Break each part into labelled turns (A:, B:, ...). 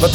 A: Wat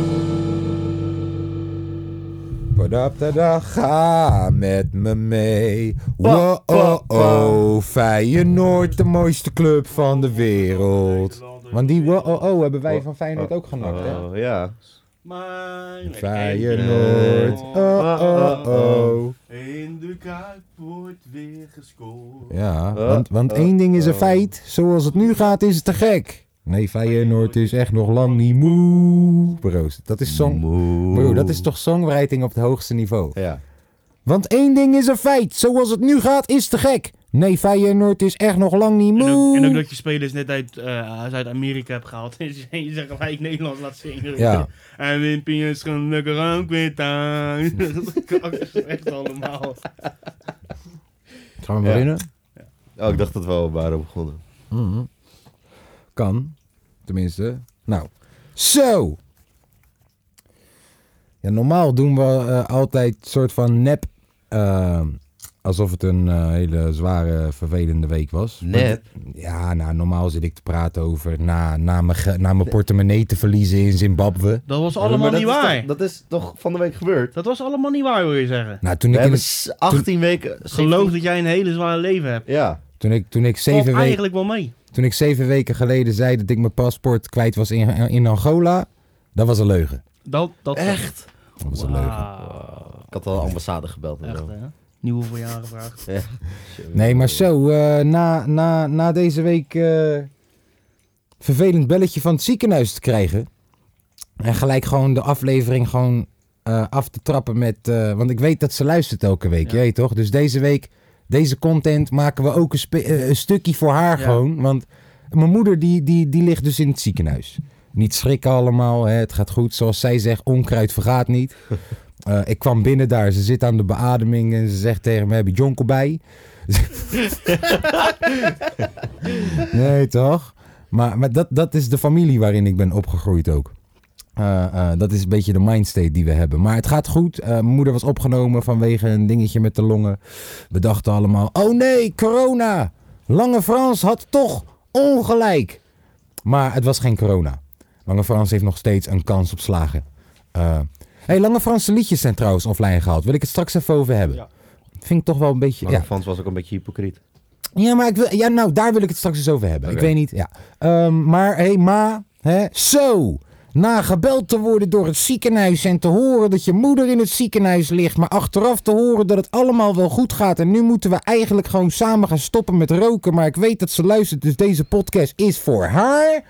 A: Padaptada, ga met me mee. Wow, oh, oh. Feyenoord, de mooiste club van de wereld. Want die wow, oh, oh hebben wij van Feyenoord ook genakt, hè?
B: Oh, ja.
C: Mijn
A: Feyenoord,
C: eh,
A: oh, oh, oh.
C: In de kuip wordt weer gescoord.
A: Ja, want,
C: oh,
A: want één ding is een feit. Zoals het nu gaat, is het te gek. Nee, Feyenoord is echt nog lang niet moe. Broos, dat is song... Bro, dat is toch songwriting op het hoogste niveau.
B: Ja.
A: Want één ding is een feit. Zoals het nu gaat, is te gek. Nee, Feyenoord is echt nog lang niet
C: En ook,
A: moe.
C: en ook dat je spelers net uit eh, Zuid-Amerika hebt gehaald. En je zegt gelijk Nederlands laat zingen.
A: Ja.
C: En Wimpy is gelukkig ook weer thuis. Dat is echt allemaal.
A: Gaan we
B: Ja.
A: beginnen?
B: Oh, ik dacht dat we al waren begonnen.
A: Mhm. Kan. Tenminste. Nou. Zo. Ja, normaal doen we eh, altijd soort van nep. eh, alsof het een eh, hele zware, vervelende week was.
B: Nep?
A: Ja, nou, normaal zit ik te praten over na, na, mijn, ge- na mijn portemonnee te verliezen in Zimbabwe.
C: Dat was allemaal
B: Maar dat
C: niet
B: is
C: waar.
B: toch- dat is toch van de week gebeurd?
C: Dat was allemaal niet waar, wil je zeggen.
A: Nou, toen
B: We
A: ik, in
B: hebben
A: het-
B: s- 18 weken...
C: Geloof dat jij een hele zware leven hebt.
B: Ja.
A: toen ik, toen ik
C: Valt
A: zeven weken...
C: eigenlijk wel mee.
A: Toen ik zeven weken geleden zei dat ik mijn paspoort kwijt was in, in Angola, dat was een leugen.
C: Dat, dat
B: Echt?
A: Dat was een leugen.
C: Wauw.
B: Ik had al de ambassade gebeld. en
C: Echt,
B: zo.
C: hè? Nieuwe voorjaren vraag.
A: Nee, maar zo, eh, na, na, na deze week eh, vervelend belletje van het ziekenhuis te krijgen. En gelijk gewoon de aflevering gewoon eh, af te trappen met... eh, want ik weet dat ze luistert elke week,
C: Ja.
A: je weet toch? Dus deze week, deze content maken we ook een, spe- eh, een stukje voor haar
C: Ja.
A: gewoon. Want mijn moeder die, die, die ligt dus in het ziekenhuis. Niet schrikken allemaal, hè, het gaat goed. Zoals zij zegt, onkruid vergaat niet. Eh, ik kwam binnen daar, ze zit aan de beademing en ze zegt tegen me, heb je jonkel bij? nee, toch? Maar, maar dat, dat is de familie waarin ik ben opgegroeid ook. Eh, eh, dat is een beetje de mindstate die we hebben. Maar het gaat goed. Eh, mijn moeder was opgenomen vanwege een dingetje met de longen. We dachten allemaal, oh nee, corona. Lange Frans had toch ongelijk. Maar het was geen corona. Lange Frans heeft nog steeds een kans op slagen. Eh, hey, Lange Franse liedjes zijn trouwens offline gehaald. Wil ik het straks even over hebben.
C: Ja.
A: Vind ik toch wel een beetje...
B: Maar
A: Ja.
B: Frans was ook een beetje hypocriet.
A: Ja, maar ik wil, ja, nou, daar wil ik het straks eens over hebben. Ik
B: Oké.
A: weet niet. Ja. Ehm, maar hé, hey, ma, hè, zo. Na gebeld te worden door het ziekenhuis en te horen dat je moeder in het ziekenhuis ligt, maar achteraf te horen dat het allemaal wel goed gaat. En nu moeten we eigenlijk gewoon samen gaan stoppen met roken. Maar ik weet dat ze luistert, dus deze podcast is voor haar.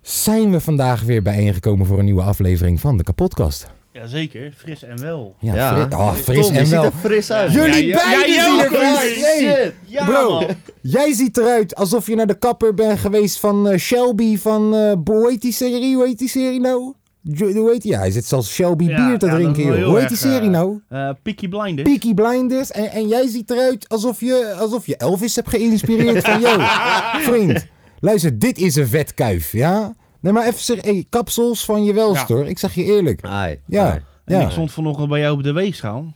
A: Zijn we vandaag weer bijeengekomen voor een nieuwe aflevering van de kapotkast?
C: Jazeker, fris en wel.
A: Ja,
B: Ja.
A: fri- oh, fris
B: Tom,
A: en
B: je
A: wel.
B: ziet er fris uit.
A: Jullie
C: Ja, ja,
A: beiden
C: jij
A: zien er
C: ook,
A: fris
C: hoor.
A: uit. Hey.
C: Ja,
A: Bro,
C: man.
A: jij ziet eruit alsof je naar de kapper bent geweest van eh, Shelby van... eh hoe heet die serie? Hoe heet die serie nou? Jo- hoe heet die? Ja, hij zit zelfs Shelby
C: Ja,
A: bier te
C: ja, dat
A: drinken,
C: is wel
A: joh.
C: heel
A: Hoe heet die
C: erg,
A: serie
C: eh,
A: nou?
C: Eh Peaky Blinders.
A: Peaky Blinders. En, en jij ziet eruit alsof je, alsof je Elvis hebt geïnspireerd van... Yo, vriend, luister, dit is een vetkuif, ja? Nee, maar even zeggen, hey, kapsels van je welst,
C: Ja.
A: hoor. Ik zeg je eerlijk.
B: Ai.
A: Ja,
B: ai.
C: En
A: ja.
C: ik stond vanochtend bij jou op de weegschaal.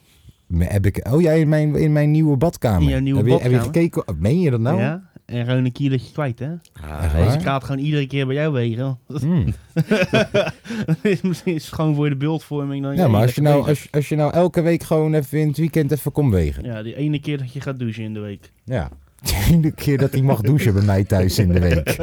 A: Maar Heb ik, oh, jij in mijn, in mijn nieuwe badkamer.
C: In jouw nieuwe
A: heb Je, heb je
C: badkamer?
A: gekeken? oh, Meen je dat nou?
C: Ja. En gewoon een kilootje kwijt, hè?
B: Ah,
A: waar?
B: deze-
C: Dus ik ga het gewoon iedere keer bij jou wegen.
A: Hmm.
C: Dat is misschien gewoon voor de beeldvorming dan.
A: Ja, maar als je,
C: dat
A: nou,
C: bezig-
A: als, je- als je nou elke week gewoon even in het weekend even komt wegen.
C: Ja, die ene keer dat je gaat douchen in de week.
A: Ja. De ene keer dat hij mag douchen bij mij thuis in de week.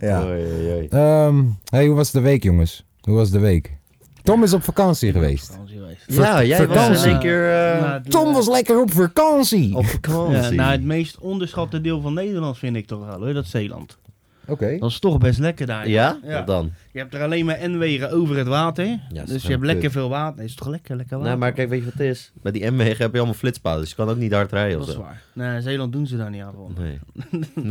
A: Ja.
B: Oei, oei, oei.
A: Ehm, hey, hoe was de week, jongens? Hoe was de week? Tom is op vakantie geweest.
C: Vakantie geweest.
B: Ja, jij was
A: vakantie.
B: in één keer eh,
C: Na het-
A: Tom was lekker op vakantie!
B: op
C: Ja,
B: vakantie.
C: nou, het meest onderschatte deel van Nederland vind ik toch wel, hoor. Dat is Zeeland.
A: Oké.
C: Dat is toch best lekker daar.
B: Ja?
C: Ja.
B: Wat dan?
C: Je hebt er alleen maar N-wegen over het water.
B: dat is
C: dus je
B: wel
C: hebt lekker
B: kut.
C: veel water. Is het toch lekker, lekker water?
B: Nou, maar kijk, weet je wat het is? Met die M-wegen heb je allemaal flitspalen, dus je kan ook niet hard rijden
C: Dat
B: of
C: is
B: zo.
C: waar. Nee, in Zeeland doen ze daar niet aan van.
B: Nee.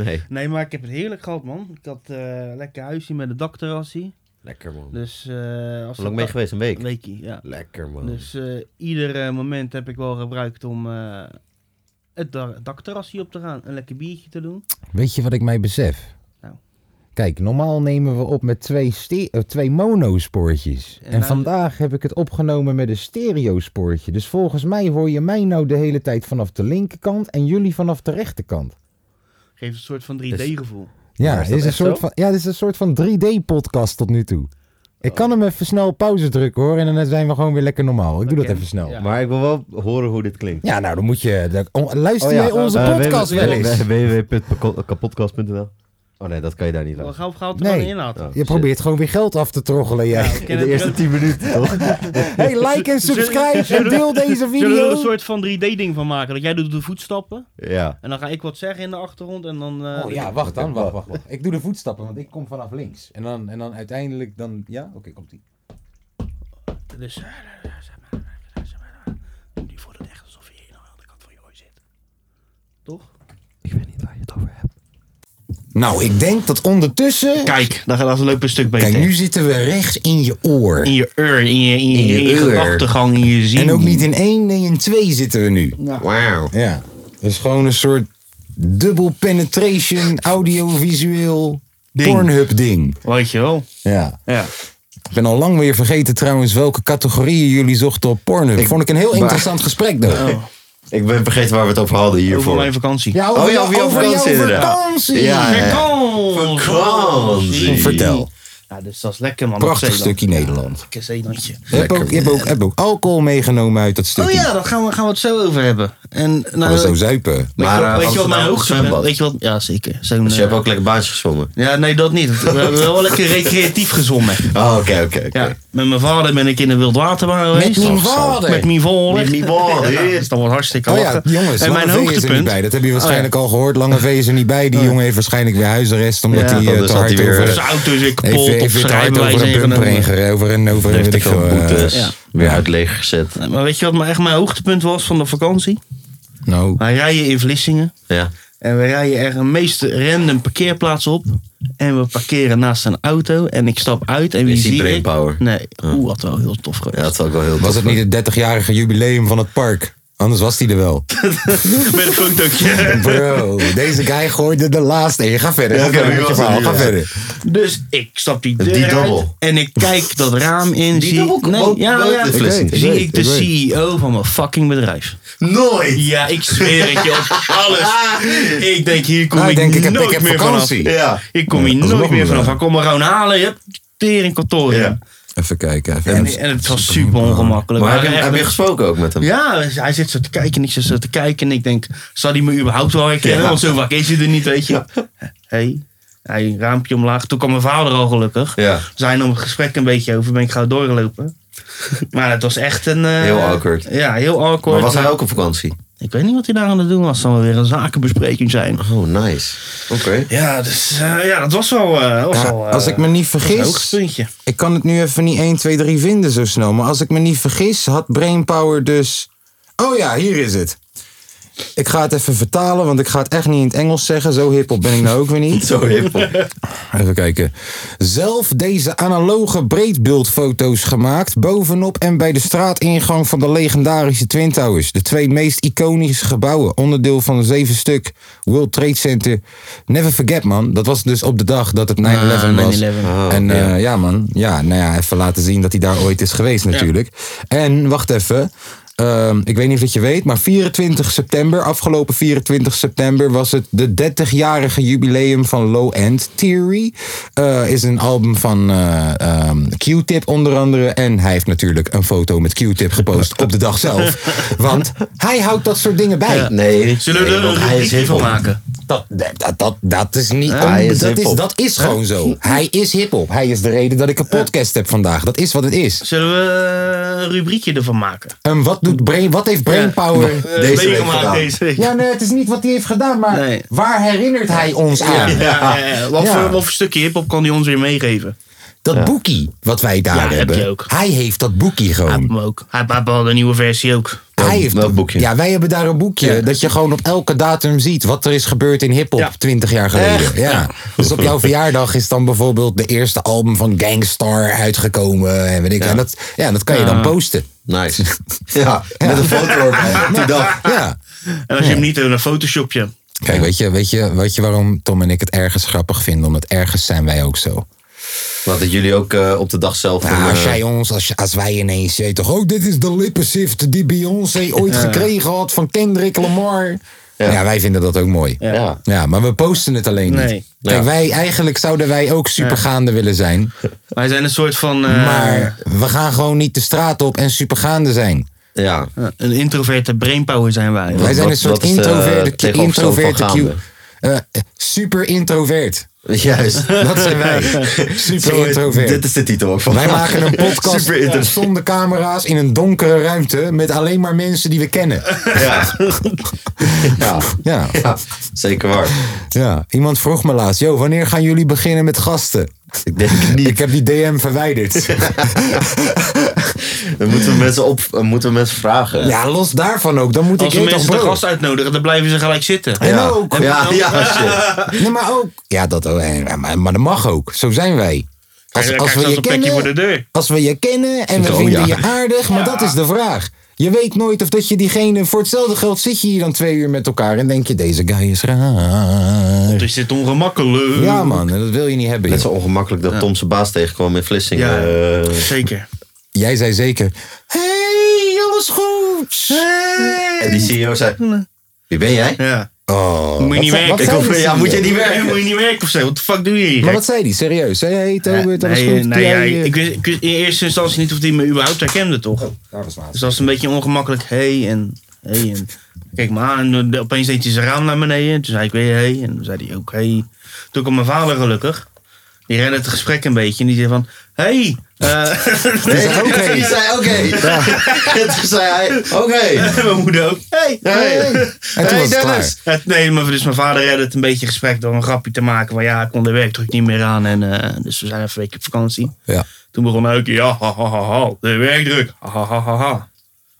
B: Nee.
C: Nee, maar ik heb het heerlijk gehad, man. Ik had eh lekker huisje met een dakterrassie.
B: Lekker man. Hoe
C: Dus eh als
B: lang ben je geweest? Een week?
C: Een weekje, ja.
B: Lekker man.
C: Dus eh, ieder eh, moment heb ik wel gebruikt om eh, het da- dakterrasje op te gaan. Een lekker biertje te doen.
A: Weet je wat ik mij besef?
C: Nou.
A: Kijk, normaal nemen we op met twee, ste- eh, twee monospoortjes. En,
C: En nou-
A: vandaag heb ik het opgenomen met een stereospoortje. Dus volgens mij hoor je mij nou de hele tijd vanaf de linkerkant en jullie vanaf de rechterkant.
C: Geeft een soort van
A: Dus-
C: 3D-gevoel.
A: Ja,
B: Maar is
A: dit
B: dat
A: is een
B: echt
A: soort
B: zo?
A: van, ja, dit is een soort van 3D-podcast tot nu toe. Ik kan hem even snel op pauze drukken hoor. En dan zijn we gewoon weer lekker normaal. Ik doe
C: Oké.
A: dat even snel.
C: Ja.
A: Ja.
B: Maar ik wil wel horen hoe dit klinkt.
A: nou dan moet je. dan- oh, luister
B: Oh ja,
A: jij onze
B: eh,
A: podcast
B: www-
A: wel eens?
B: www.kapotkast.nl Oh nee, dat kan je daar niet
C: We
B: aan.
C: gaan gauw
A: Nee.
C: nee. inlaten.
B: Oh,
A: Je probeert gewoon weer geld af te troggelen, jij.
C: Ja, we
B: In
C: kennen
B: de
C: het-
B: eerste 10 minuten toch?
A: Hey, like en subscribe en deel deze
C: Zullen we er
A: video.
C: een soort van 3D-ding van maken? Dat jij doet de voetstappen
B: Ja.
C: en dan ga ik wat zeggen in de achtergrond en dan... eh,
A: Oh ja, wacht dan, wacht, wacht, wacht. Ik doe de voetstappen, want ik kom vanaf links. En dan, en dan uiteindelijk dan... Ja? Oké, komt die.
C: Dus... Nu voelt het echt alsof je hier aan de andere kant van je oor zit. Toch?
B: Ik weet niet waar je het over hebt.
A: Nou, ik denk dat ondertussen...
C: Kijk, dan gaat dat een stuk beter.
A: Kijk, nu zitten we rechts in je oor.
C: In je ur, in je, in je,
A: je
C: in je
A: ur.
C: gedachtegang, in je zin.
A: En ook niet in één, nee, in twee zitten we nu.
B: Wauw.
A: Ja. Dus gewoon een soort dubbel penetration, audiovisueel...
C: Ding.
A: Pornhub ding.
C: Weet je wel.
A: Ja.
C: Ja.
A: Ik ben al lang weer vergeten trouwens welke categorieën jullie zochten op Pornhub. Vond ik een heel interessant gesprek though.
B: Ik ben vergeten waar we het over hadden
C: Over
B: hiervoor.
C: mijn vakantie.
A: Ja, over,
B: Oh ja,
A: jou-
B: over jouw
A: over jouw
B: vakantie inderdaad.
A: vakantie.
B: Ja, ja.
C: Vakantie.
B: Vakantie.
A: Vertel.
C: Ja, dus dat is lekker man.
A: Prachtig
C: Dat Zeeland.
A: stukje Nederland.
C: Lekker Zeelandje.
A: Je hebt, ook, je, hebt ook, heb ook alcohol meegenomen uit dat
C: Oh
A: stukje.
C: ja, daar gaan we, gaan we het zo over hebben. En nou,
A: Maar zo zuipen.
C: weet,
B: Maar,
C: je,
B: eh,
C: wat- weet je wat
B: Amsterdam
C: mijn
B: ook
C: hoogste
B: zwembad.
C: Weet je wat? Ja, zeker. Zo'n,
B: Dus je hebt
C: eh,
B: ook lekker baantjes gezongen.
C: Ja, nee, dat niet. We hebben wel lekker recreatief gezongen.
B: Oh, oké, oké,
C: Ja,
B: oké.
C: met mijn vader ben ik in de wildwaterbaan geweest.
A: mijn vader?
C: Met mijn vader.
B: Met mijn vader.
C: Ja, dus dat wordt hartstikke
A: Oh ja,
C: lachen.
A: jongens,
C: en mijn
A: Lange V is er niet
C: hoogtepunt. Oh
A: bij. Dat
B: Oh
A: hebben je waarschijnlijk al gehoord. Lange V is er niet bij. Die jongen heeft waarschijnlijk weer huisarrest. Omdat
C: Ja,
A: hij eh,
B: anders
A: te
B: had
A: hard
B: hij weer-
A: over...
C: Zijn auto is weer kapot.
A: Heeft, heeft
C: of
A: weer
C: zijn
A: te hard
C: rijbewijs
A: over een bumper
C: ingenomen.
A: heen gereden. Over een, over een,
B: Heeft
A: weet ik
B: ik
A: veel.
B: veel
A: eh,
B: boetes.
C: ja.
B: Weer uit leeg gezet.
C: Maar weet je wat maar echt mijn hoogtepunt was van de vakantie?
A: nou,
C: Wij rijden in Vlissingen.
B: Ja.
C: En we rijden er een meest random parkeerplaats op. En we parkeren naast een auto. En ik stap uit. En wie
B: Is die
C: zie ik?
B: Brainpower? Oh.
C: Nee. Oeh, dat wel heel tof geweest.
B: Ja, dat is ook wel heel
A: was het niet het 30-jarige jubileum van het park? Anders was hij er wel.
C: Met een fotootje.
A: Bro, deze guy gooide de laatste in. Ga verder.
B: Ja,
A: Ga
B: oké,
A: verder
B: wie
A: met je
B: was het
A: verhaal.
B: nu?
A: Ga
B: Ja.
A: verder.
C: Dus ik stap die deur
B: Die
C: uit
B: dubbel.
C: en ik kijk dat raam in.
B: Die
C: zie
B: dubbel
C: ik,
B: komt ook
C: ja,
B: buiten
C: ja,
B: de fles
A: Ik
B: in.
A: weet,
C: zie
A: weet,
C: ik de
A: ik weet.
C: CEO van mijn fucking bedrijf.
B: Nooit!
C: Ja, ik zweer het je op alles. Ik denk, hier kom
A: Nou,
C: ik,
A: ik denk, ik heb-
C: nooit
A: ik heb
C: meer
A: vakantie.
C: vanaf.
B: Ja.
C: Ik kom hier
A: dat is nog
C: nooit meer
A: een
C: vanaf.
A: bedrijf.
C: Ik kom me gewoon halen. Je hebt tering kantoor.
B: Ja.
A: Even kijken. Even.
C: En, en het was super ongemakkelijk.
B: Maar heb je,
C: echt-
B: heb je gesproken ook met hem?
C: ja, dus hij zit zo te kijken en ik zit zo te kijken. En ik denk, zal hij me überhaupt wel herkennen?
B: Ja.
C: Want zo vaak is hij er niet, weet je. hey, hij raampje omlaag. Toen kwam mijn vader al gelukkig.
B: Ja.
C: Zijn om het gesprek een beetje over, ben ik gauw doorgelopen. Maar het was echt een... eh,
B: Heel awkward.
C: Ja, heel awkward.
B: Maar was hij ook op vakantie?
C: Ik weet niet wat hij daar aan het doen was. Het zal wel weer een zakenbespreking zijn.
B: Oh, nice. Oké.
C: Ja, dus, eh, ja dat was wel... eh, was
A: Ja,
C: wel eh,
A: als ik me niet
C: een
A: vergis,
C: hoogtepuntje.
A: ik kan het nu even niet 1, 2, 3 vinden zo snel. Maar als ik me niet vergis, had Brainpower dus. Oh ja, hier is het. Ik ga het even vertalen, want ik ga het echt niet in het Engels zeggen. Zo hiphop ben ik nou ook weer niet.
B: Zo hiphop.
A: Even kijken. Zelf deze analoge breedbeeldfoto's gemaakt. Bovenop en bij de straatingang van de legendarische Twin Towers. De twee meest iconische gebouwen. Onderdeel van een zeven stuk World Trade Center. Never forget man. Dat was dus op de dag dat het 9-11
C: Ah,
A: was.
C: 9/11.
B: Oh,
A: en
B: ja.
A: eh, ja man. Ja, nou ja, even laten zien dat hij daar ooit is geweest natuurlijk. En wacht even. Ehm, ik weet niet of dat je weet, maar 24 september, afgelopen 24 september, was het de 30-jarige jubileum van Low End Theory. Eh, is een album van eh, ehm, Q-Tip onder andere. En hij heeft natuurlijk een foto met Q-Tip gepost op de dag zelf. Want hij houdt dat soort dingen bij.
B: Nee.
C: Zullen we
B: nee,
C: er
B: want
C: een
B: hij is
C: rubriekje van
B: hiphop.
C: maken?
A: Dat, dat, dat, dat is niet.
B: Ja, hij is
A: dat, is,
B: hiphop.
A: dat is gewoon zo. Hij is hip-hop. Hij is de reden dat ik een podcast heb vandaag. Dat is wat het is.
C: Zullen we eh, een rubriekje ervan maken?
A: En wat, doet brain, wat heeft Brainpower.
C: Eh,
B: Deze week
C: meegemaakt
B: gedaan.
C: deze week.
A: Ja, nee, het is niet wat hij heeft gedaan, maar
C: Nee.
A: waar herinnert hij ons aan?
C: Ja, ja, ja. Wat,
A: Ja.
C: Voor, wat voor stukje hiphop kan hij ons weer meegeven?
A: Dat
B: Ja.
A: boekie wat wij daar
C: Ja, heb
A: hebben.
C: je ook.
A: Hij heeft dat boekie
C: Hij heeft
A: gewoon.
C: hem ook. Hij heeft al een nieuwe versie ook.
A: Hij heeft
B: welk boekje?
A: Ja, wij hebben daar een boekje. Dat je gewoon op elke datum ziet wat er is gebeurd in hip-hop 20 jaar geleden. Ja. Dus op jouw verjaardag is dan bijvoorbeeld de eerste album van Gangstar uitgekomen. En, weet ik. en dat, ja, dat kan je dan posten.
B: Nice. ja, met een foto erbij. Die dag.
A: Ja.
C: En als je hem niet doet, een photoshopje.
A: Kijk, weet je, weet, je, weet je waarom Tom en ik het ergens grappig vinden? Omdat ergens zijn wij ook zo.
B: Wat dat jullie ook eh, op de dag zelf...
A: Ja,
B: een,
A: als
B: eh,
A: jij ons, als, je- als wij ineens je weet toch, oh, dit is de lippensift die Beyoncé ooit gekregen had van Kendrick Lamar. Ja, wij vinden dat ook mooi. Ja,
B: ja.
A: maar we posten het alleen
C: Nee.
A: niet. Kijk,
B: Ja.
A: wij, eigenlijk zouden wij ook supergaande willen zijn.
C: Wij zijn een soort van eh,
A: Maar we gaan gewoon niet de straat op en supergaande zijn.
B: ja.
C: een introverte brainpower zijn wij.
A: Wij zijn
B: wat-
A: een soort
B: wat is de
A: introverte,
B: tegenovergestelde van
A: introverte Q.
B: gaande?
A: Eh, super introvert.
B: Juist.
A: Dat zijn wij. Super
B: Zo,
A: introvert.
B: Dit is de titel ook van
A: Wij maken een podcast
B: Super introvert.
A: zonder camera's in een donkere ruimte met alleen maar mensen die we kennen.
B: Ja. ja.
A: Ja,
B: Ja, zeker waar.
A: ja. iemand vroeg me laatst, "Yo, wanneer gaan jullie beginnen met gasten?
B: Ik denk niet.
A: Ik heb die DM verwijderd.
B: Dan moeten we mensen, op, dan moeten we mensen vragen.
A: Ja, los daarvan ook. Dan moet
C: Als we
A: ik
C: mensen de
A: toch
C: gast uitnodigen, dan blijven ze gelijk zitten.
A: En
B: ja.
A: ook.
B: Ja, ja, shit.
A: Nee, maar ook. Ja, dat, ook. En- maar, maar dat mag ook. Zo zijn wij. Als,
C: dan
A: als
C: krijg je
A: we
C: zelfs
A: je
C: een plekje voor de
A: kennen,
C: deur.
A: als we je kennen en we
B: Oh,
A: vinden
B: ja.
A: je aardig, maar dat is de vraag. Je weet nooit of dat je diegene... Voor hetzelfde geld zit je hier dan twee uur met elkaar en denk je... Deze guy is raar.
C: Dus dit ongemakkelijk.
A: Ja, man, dat wil je niet hebben.
B: Net
A: joh.
B: zo ongemakkelijk dat Tom zijn baas tegenkwam in Vlissingen.
C: Ja.
B: Eh,
C: Zeker.
A: Jij zei zeker. Hey, alles goed?
B: en die CEO zei... Wie ben jij?
C: Ja.
A: Oh,
C: Moet je niet werken. Ik
A: zei
C: hoop-
A: die
B: ja, moet je
A: CEO?
B: niet werken.
C: Hey, moet je niet werken of zo? Wat de fuck doe je hier?
A: Maar wat zei die? Serieus? Zei hey, Tobert, alles
C: nee,
A: goed?
C: eh,
A: Doe
C: nee,
A: jij,
C: ja,
A: eh,
C: ik, wist, ik wist in eerste instantie niet of die me überhaupt herkende, toch?
A: daar was laatst.
C: Dus dat is een beetje ongemakkelijk. hey, en hey, en kijk maar aan. En eh, opeens deed hij zijn raam naar beneden. Toen zei ik weer hey. En toen zei hij ook hey. Toen kwam mijn vader gelukkig. Die redde het gesprek een beetje. En die zei van, hey. eh,
A: zei ook, hey.
B: Die zei oké. En toen zei hij oké.
C: mijn moeder ook, hey.
B: Hey.
A: En toen
B: Hey,
A: was het
B: Dennis.
A: klaar.
C: Het- nee, maar dus mijn vader redde het een beetje gesprek door een grapje te maken. Van ja, ik kon de werkdruk niet meer aan. En, eh, dus we zijn even een week op vakantie.
A: Ja.
C: Toen begon hij ook, ja, ha, ha, ha, ha, de werkdruk. Ha, ha, ha, ha, ha.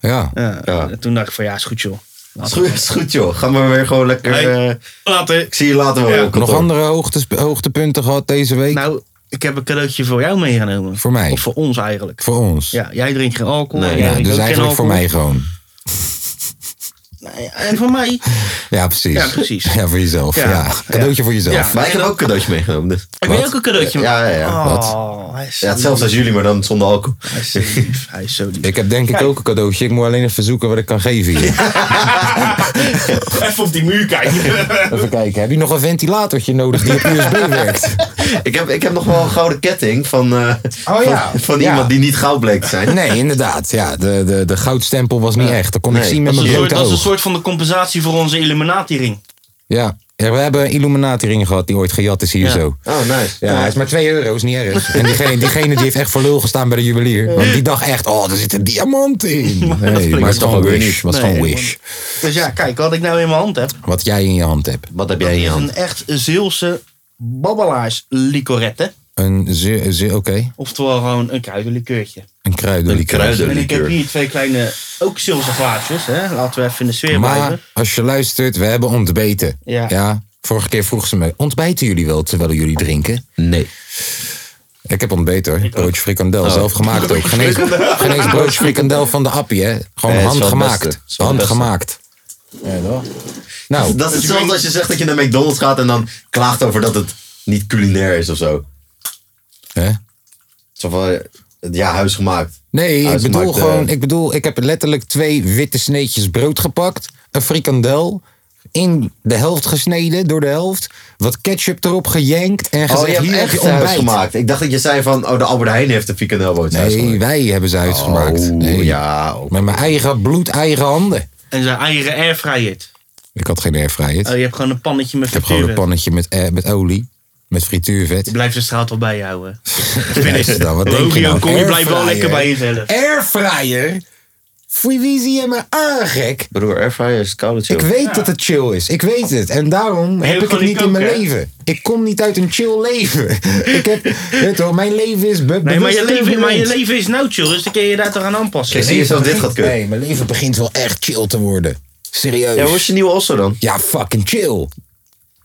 A: Ja.
C: Ja,
B: Ja.
C: en Toen dacht ik van ja, is goed joh.
B: Is goed, is goed joh. Ga maar weer gewoon lekker.
C: Hey.
B: eh,
C: Later.
B: ik zie je later wel.
C: Ja.
B: op kantoor.
A: Nog andere hoogtes, hoogtepunten gehad deze week?
C: Nou, ik heb een cadeautje voor jou meegenomen.
A: Voor mij?
C: Of voor ons eigenlijk.
A: voor ons. Ja,
C: Ja, jij drinkt geen alcohol.
B: Nee,
C: jij drinkt
A: dus
C: ook geen
A: eigenlijk voor
C: alcohol.
A: mij gewoon.
C: Nee, En voor mij?
A: Ja, precies.
C: Ja, precies.
A: Ja, voor jezelf. Ja.
C: Ja.
A: Cadeautje voor jezelf.
C: Ja.
B: Maar ik heb ook cadeautje meegenomen. Dus.
C: Ik
A: Wat?
C: wil ook een cadeautje.
B: Ja, ja, ja.
C: Oh,
A: Wat?
C: hij is zo
B: Ja, hetzelfde als
C: lief.
B: jullie, maar dan zonder alcohol.
C: Hij is zo lief. Hij is zo lief.
A: Ik heb denk ik
C: Kijk.
A: ook een cadeautje. Ik moet alleen even zoeken wat ik kan geven hier.
C: Even op die muur kijken.
A: Even kijken. Heb je nog een ventilatortje nodig die op USB werkt?
B: Ik heb, ik heb nog wel een gouden ketting van, eh,
A: Oh ja,
B: van, van
A: ja.
B: iemand die niet goud bleek te zijn.
A: Nee, inderdaad. Ja, de, de, de goudstempel was niet echt. Dat kon ik
B: Nee.
A: zien met
C: Dat is,
A: mijn
C: een soort,
A: blote
C: dat is een
A: oog.
C: soort van de compensatie voor onze Illuminati-ring.
A: Ja. ja, we hebben een Illuminati-ring gehad die ooit gejat is hier zo.
B: Oh, nice.
A: Ja, hij is maar 2 euro, is niet erg. En diegene, diegene die heeft echt voor lul gestaan bij de juwelier. Want die dacht echt, oh, er zit een diamant in. Nee, maar het is
B: toch
A: gewoon
B: ook weer
A: wish.
B: niet.
A: was gewoon
C: Nee.
A: wish.
C: Dus ja, kijk, wat ik nou in mijn hand heb.
A: Wat jij in je hand hebt.
B: Wat heb jij in je
C: Een
B: hand?
C: echt Zeelse babbelaars licorette.
A: Een, ze- ze- oké,
C: Oftewel gewoon een kruidenlikeurtje.
A: een kruidenlikeur.
B: Een kruiden-
C: En ik heb
B: Likeur.
C: hier twee kleine, ook Zeelse glaasjes. Hè? Laten we even in de sfeer
A: Maar
C: blijven.
A: als je luistert, we hebben ontbeten.
C: Ja.
A: Vorige keer vroeg ze me, ontbijten jullie wel terwijl jullie drinken?
B: Nee.
A: Ik heb ontbeten hoor. Broodje frikandel,
B: Oh.
A: zelf gemaakt ook. Geen eens, geen eens broodje frikandel van de appie, hè. Gewoon
B: Nee, het is wel het beste.
A: handgemaakt.
B: Het is wel het beste.
A: Handgemaakt. Ja, toch? Nou,
B: Dat is hetzelfde als je zegt dat je naar McDonald's gaat en dan klaagt over dat het niet culinair is of zo.
A: hè?
B: Zo van, eh, ja, huisgemaakt.
A: Nee, ik
B: Huisgemaakt,
A: bedoel
B: eh,
A: gewoon, ik bedoel, ik heb letterlijk twee witte sneetjes brood gepakt, een frikandel in de helft gesneden door de helft, wat ketchup erop gejankt en gezegd
B: Oh, je hebt
A: hier heb je
B: echt
A: ontbijt.
B: huisgemaakt. Ik dacht dat je zei van, oh, de Albert Heijn heeft een frikandelboot
A: Nee, wij hebben ze huisgemaakt.
B: Oh,
A: nee.
B: ja. ook.
A: Met mijn eigen bloed, eigen handen.
C: En zijn eigen airfryer.
A: Ik had geen airfryer.
C: Oh, je hebt gewoon een pannetje met
A: ik heb gewoon een
C: frituren.
A: pannetje met, eh, met olie, met frituurvet.
C: Je blijft de straat wel bij je houden.
A: Ja, is het dan? Wat denk je
C: Logio,
A: nou?
C: kom je blijft wel
A: Airfryer?
C: lekker bij jezelf.
A: Airfryer? Freeweezy in mijn aan, gek.
B: Broer, airfryer is koude chill.
A: Ik weet dat het chill is. Ik weet het. En daarom
C: je
A: heb
C: hoeft
A: ik het
C: gewoon
A: niet in
C: niet
A: mijn
C: koken, hè?
A: leven. Ik kom niet uit een chill leven. ik heb, weet je wel, mijn leven is be-
C: Nee, maar je,
A: bewust
C: leven, maar je
A: turbulent.
C: leven is nou chill, dus dan kun je je daar toch aan aanpassen.
B: Ik zie je zelf dit gaat kunnen.
A: Nee, mijn leven begint wel echt chill te worden. Serieus.
B: Ja, hoe is je nieuwe Osso dan?
A: Ja, fucking chill.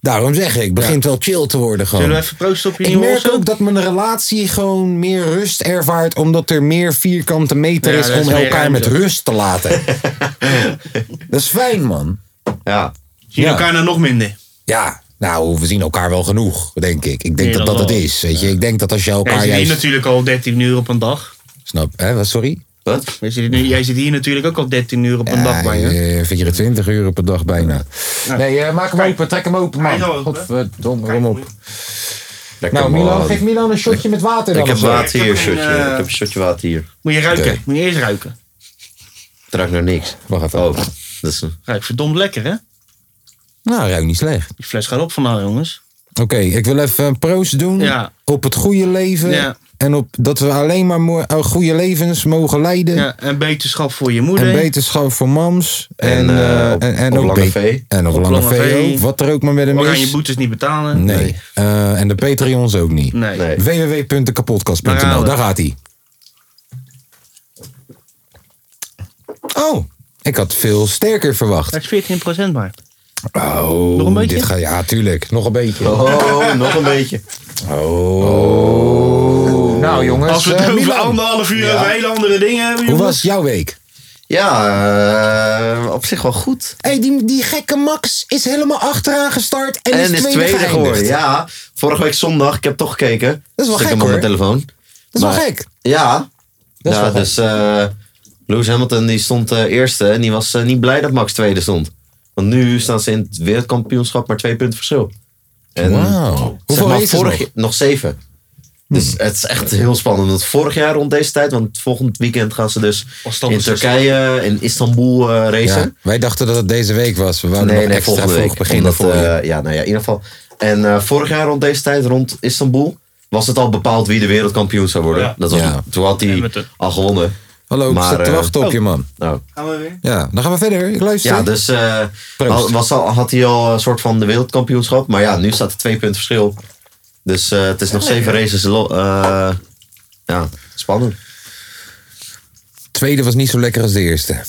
A: Daarom zeg ik, begint wel chill te worden gewoon.
C: Zullen we even proosten op je
A: Ik
C: nieuwe
A: merk
C: Osso?
A: ook dat mijn relatie gewoon meer rust ervaart. Omdat er meer vierkante meter
C: Ja,
A: is
C: dat is
A: om
C: meer
A: elkaar met
C: ruimte.
A: rust te laten. dat is fijn, man.
B: Ja.
C: Zie je
A: Ja.
C: elkaar nou nog minder?
A: Ja, nou, we zien elkaar wel genoeg, denk ik. Ik denk
C: Nee,
A: dat dat
C: dat
A: het
C: wel.
A: is. Weet je? Ik denk dat als je
C: Jij
A: elkaar
C: zit hier
A: juist...
C: natuurlijk al 13 uur op een dag.
A: Snap, hè? Wat, Sorry?
B: Wat?
C: Jij zit, nu- jij zit hier natuurlijk ook al 13 uur op een dag bij je.
A: Ja, 24 uur per dag bijna. Nee, eh, maak hem open. Trek hem open,
C: Hij
A: man.
C: is al open.
A: Godverdomme, kom op.
B: Lekker,
A: Nou,
B: man.
A: Milan, geef Milan een shotje met water dan.
B: Ik heb
A: of zo.
B: water hier,
C: Ik heb een,
B: shotje.
C: eh,
B: Ik heb een shotje water hier.
C: Moet je ruiken.
A: Oké.
C: Moet je eerst ruiken.
B: Het ruikt naar niks.
A: Wacht even.
B: Oh, dat is een...
C: Ruikt verdomd lekker, hè?
A: Nou, ruikt niet slecht.
C: Die fles gaat op vandaag, jongens.
A: Oké, ik wil even een proost doen
C: Ja.
A: op het goede leven.
C: Ja.
A: En op dat we alleen maar mo- eh, goede levens mogen leiden.
C: Ja, en beterschap voor je moeder.
A: En wetenschap voor mams. En,
B: En, eh,
A: eh,
B: op-
A: en, en
B: op
A: ook
B: Lange
A: be-
B: V.
A: En op,
C: Op
A: Lange
C: Lange
A: V
C: V.
A: ook. Wat er ook maar met hem
C: Oranje
A: is.
C: boetes niet betalen.
A: Nee. Eh, en de Patreons ook niet.
C: Nee.
B: Nee.
C: Daar gaan
A: www.dekapotkast.nl,
C: we.
A: daar gaat hij. Oh, ik had veel sterker verwacht.
C: Dat is 14% maar.
A: Oh,
C: Nog een beetje?
A: Dit gaat, ja, tuurlijk. Nog een beetje. Oh.
B: Oh, nog een beetje. Oh.
A: Nou jongens,
C: Als we
A: eh,
C: het over
A: Milan,
C: anderhalf uur
B: Ja.
C: over hele andere dingen hebben,
A: hoe
C: jongens.
A: was jouw week?
B: Ja, eh, op zich wel goed.
A: hey, die, die gekke Max is helemaal achteraan gestart en,
B: En is tweede
A: geëindigd.
B: geworden. Ja, vorige week zondag, ik heb toch gekeken.
A: Dat is wel
B: Stik
A: gek,
B: hem op mijn
A: hoor.
B: telefoon.
A: Dat is wel
B: Maar-
A: gek.
B: Ja.
A: Dat is wel
B: ja,
A: gek.
B: dus eh, Lewis Hamilton die stond eh, eerste en die was eh, niet blij dat Max tweede stond. Want nu staan ze in het wereldkampioenschap maar twee punten verschil. En,
A: Wauw. Hoeveel
B: maar,
A: races
B: vorig
A: nog? Hmm.
B: jaar- nog zeven. Dus het is echt heel spannend. Want vorig jaar rond deze tijd, want volgend weekend gaan ze dus in
C: Afstanders-
B: Turkije, in Istanbul eh, racen.
A: Ja, wij dachten dat het deze week was. We wouden
B: Nee,
A: nog
B: nee,
A: extra
B: volgende
A: vroeg
B: week.
A: beginnen
B: Omdat,
A: voor je.
B: eh, ja, nou ja, in ieder geval. En eh, vorig jaar rond deze tijd, rond Istanbul, was het al bepaald wie de wereldkampioen zou worden.
C: Ja.
B: Dat was,
A: Ja.
B: Toen had hij
C: Hamilton.
B: al gewonnen.
A: Hallo, ik
B: maar,
A: zit te
B: eh,
A: wachten op je man.
B: Nou,
C: Gaan we weer?
A: Ja, dan gaan we verder. Ik luister.
B: ja, dus eh,
A: Proost.
B: al- was al, had hij al een soort van de wereldkampioenschap. Maar ja, nu staat er twee punten verschil. Dus eh, het is nog zeven races. lo- eh, ja, spannend.
A: Tweede was niet zo lekker als de eerste.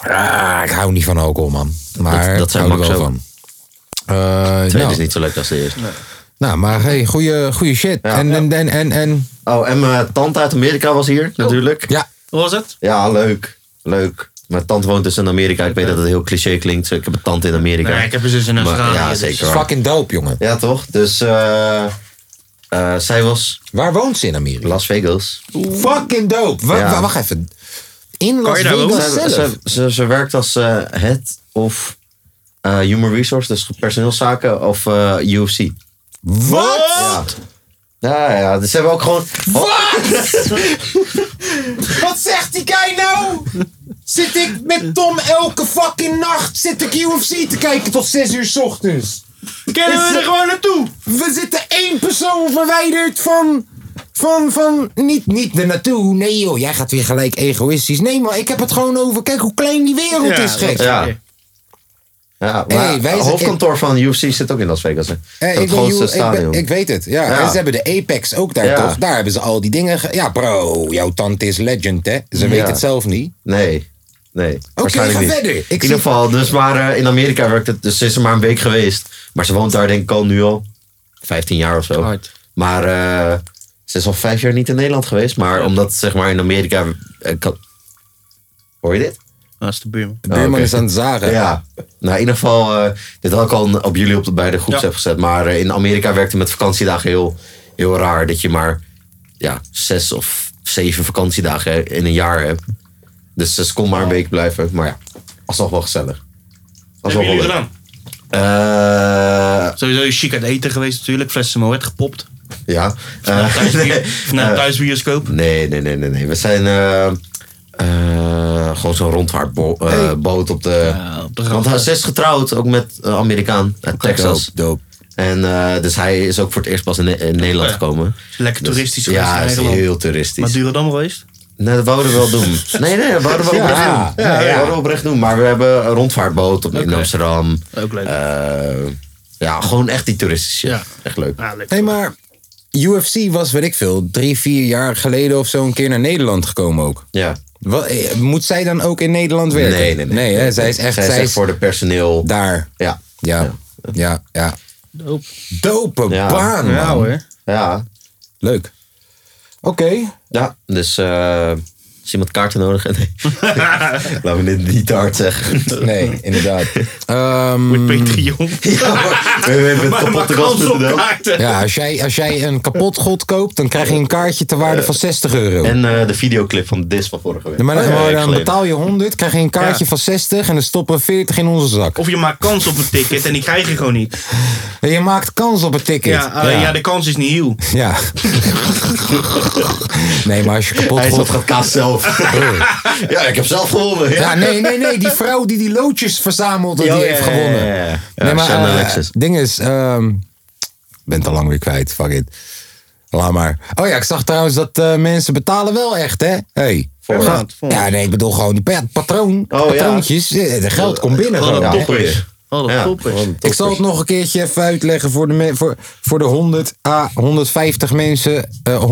A: Ah, ik hou niet van alcohol, man. Maar
B: Dat- dat
A: ik
B: zei
A: hou er
B: Max
A: wel
B: ook.
A: van. Eh,
B: Tweede is
A: nou,
B: niet zo lekker als de eerste.
A: nou, maar hey, goede, goede shit. en, en, en, en, en-
B: Oh, en mijn tante uit Amerika was hier, natuurlijk.
A: ja,
C: Hoe was het?
B: Ja, leuk. Leuk. Mijn tante woont dus in Amerika. Ik weet dat het heel cliché klinkt. Ik heb een tante in Amerika.
C: Nee, ik heb een zus in
B: Maar-
C: Australië.
B: ja,
C: dus-
B: zeker. waar.
A: fucking dope, jongen.
B: Ja, toch? Dus eh, eh, zij was
A: Waar woont ze in Amerika?
B: Las Vegas.
A: Fucking dope. Wa-
B: Ja.
A: wa- Wacht even. In Las
C: Kan je daar
A: Vegas
B: Zij-
A: zelf?
B: ze, ze, ze werkt als eh, head of eh, human resource, dus personeelszaken of eh, UFC.
A: Wat?
B: Ja. Ja, ja, dus ze hebben ook gewoon...
A: Wat zegt die guy nou? Zit ik met Tom elke fucking nacht zit ik UFC te kijken tot 6 uur 's ochtends.
C: Kennen we er gewoon naartoe?
A: We zitten één persoon verwijderd van. Van, van, niet, niet er naartoe. Nee joh, jij gaat weer gelijk egoïstisch. Nee maar ik heb het gewoon over, kijk hoe klein die wereld
C: Ja,
A: is gek.
C: dat-
B: Ja. Ja, maar
A: Hey, wij zijn-
B: het hoofdkantoor van UFC zit ook in Las Vegas. Hè.
A: Eh,
B: Dat
A: ik, ben
B: grootste
A: Joe- ik ben-
B: stadion.
A: ik weet het, ja.
B: Ja.
A: En ze hebben de Apex ook daar
B: Ja.
A: toch? Daar hebben ze al die dingen. ge- ja bro, jouw tante is legend hè. Ze weet
B: Ja.
A: het zelf niet.
B: Nee. Nee. waarschijnlijk
A: ga
B: niet.
A: verder. Ik
B: in
A: zie-
B: ieder geval, dus maar eh, in Amerika werkt het. Dus ze is er maar een week geweest. Maar ze woont daar denk ik al nu al 15 jaar of zo.
C: Hard.
B: Maar eh, ze is al vijf jaar niet in Nederland geweest. Maar omdat zeg maar in Amerika. eh, kan- Hoor je dit?
C: Dat is de buurman.
A: De buurman
B: Oh, oké.
A: is aan het zagen.
B: Ja. Nou, in ieder geval, eh, dit had ik al op jullie op de, bij de groepsapp gezet. Maar eh, in Amerika werkte met vakantiedagen heel, heel raar. Dat je maar ja, zes of zeven vakantiedagen in een jaar hebt. Dus ze kon maar een week blijven. Maar ja, alsnog wel gezellig.
C: Wat
B: Alsnog wel
C: hebben jullie
B: leuk.
C: gedaan?
B: Eh,
C: Sowieso is chic uit eten geweest natuurlijk. Flessen Moet gepopt.
B: ja. Eh, nee.
C: Thuisbier- Naar de thuisbioscoop.
B: nee, nee, nee, nee, nee. We zijn eh, eh, gewoon zo'n rondvaartboot boot op de...
C: Ja, op de
B: want hij-
C: gracht.
B: ze is getrouwd, ook met een Amerikaan uit Texas. En eh, dus hij is ook voor het eerst pas in, Ne- in Nederland
C: Oh Ja.
B: gekomen.
C: Lekker
B: Dus-
C: toeristisch geweest
B: Ja,
C: in
B: is
C: Nederland.
B: heel toeristisch.
C: Maar Durodam geweest?
B: Nee, dat wouden we wel doen. Nee, nee, dat wouden we
A: Ja.
B: oprecht
A: Ja,
B: doen. Nee, dat wouden we oprecht doen. Maar we hebben een rondvaartboot op, in Amsterdam.
C: Ook leuk.
B: Eh, ja, gewoon echt die toeristische.
C: Ja.
B: Echt leuk.
C: Ja, leuk.
A: Hé, maar UFC was, weet ik veel, drie, vier jaar geleden of zo een keer naar Nederland gekomen ook.
B: Ja.
A: Wat, eh, moet zij dan ook in Nederland werken?
B: Nee, nee, nee.
A: hè, zij is echt,
B: Zij is echt voor de personeel.
A: daar.
B: Ja.
A: Ja, ja, ja.
C: Doop.
A: Dope
B: Ja.
A: baan, man.
C: Ja hoor.
B: Ja.
A: Leuk. Oké.
B: Ja. Dus eh, is iemand kaarten nodig? Nee. Laten we dit niet te hard zeggen.
A: Nee, inderdaad. Ehm,
C: Peter Jong.
B: Mm. We hebben het
C: maar
B: kapotte
C: kans op
B: gast
C: kaarten.
A: ja, als jij, als jij een kapot god koopt, dan krijg je een kaartje ter waarde van 60 euro.
B: En eh, de videoclip van Dis van vorige week.
A: Ja, maar dan,
B: Oh, ja,
A: maar
B: week
A: dan
B: geleden.
A: betaal je 100, krijg je een kaartje
C: Ja.
A: van 60 en dan stoppen we 40 in onze zak.
C: Of je maakt kans op een ticket en die krijg je gewoon niet.
A: En Je maakt kans op het ticket.
C: Ja, alleen, ja. de kans is niet heel.
A: Ja. nee, maar als je kapot
B: Hij is
A: god...
B: wat gaat kaas zelf. ja, ik heb zelf gewonnen. Ja.
A: Ja, nee, nee, nee. Die vrouw die die loodjes verzamelde, die
B: Ja, ja,
A: heeft
B: ja, ja,
A: gewonnen.
B: ja, ja. Ja,
A: Nee, maar
B: Shannon
A: eh,
B: Alexis.
A: ding is, ehm, ik ben het al lang weer kwijt. Fuck it. Laat maar. Oh ja, ik zag trouwens dat eh, mensen betalen wel echt, hè? Hey.
C: Voorraad, voorraad.
A: Ja, nee, ik bedoel gewoon die pa- patroon,
B: ja.
A: patroontjes. Eh, De geld komt binnen
C: Oh Wat
A: gewoon.
C: een
B: ja,
C: top is.
B: goeie.
C: Wat een
B: Ja.
C: top is.
A: Ik zal het nog een keertje even uitleggen voor de, me- voor, voor de 100 à 150 mensen, eh,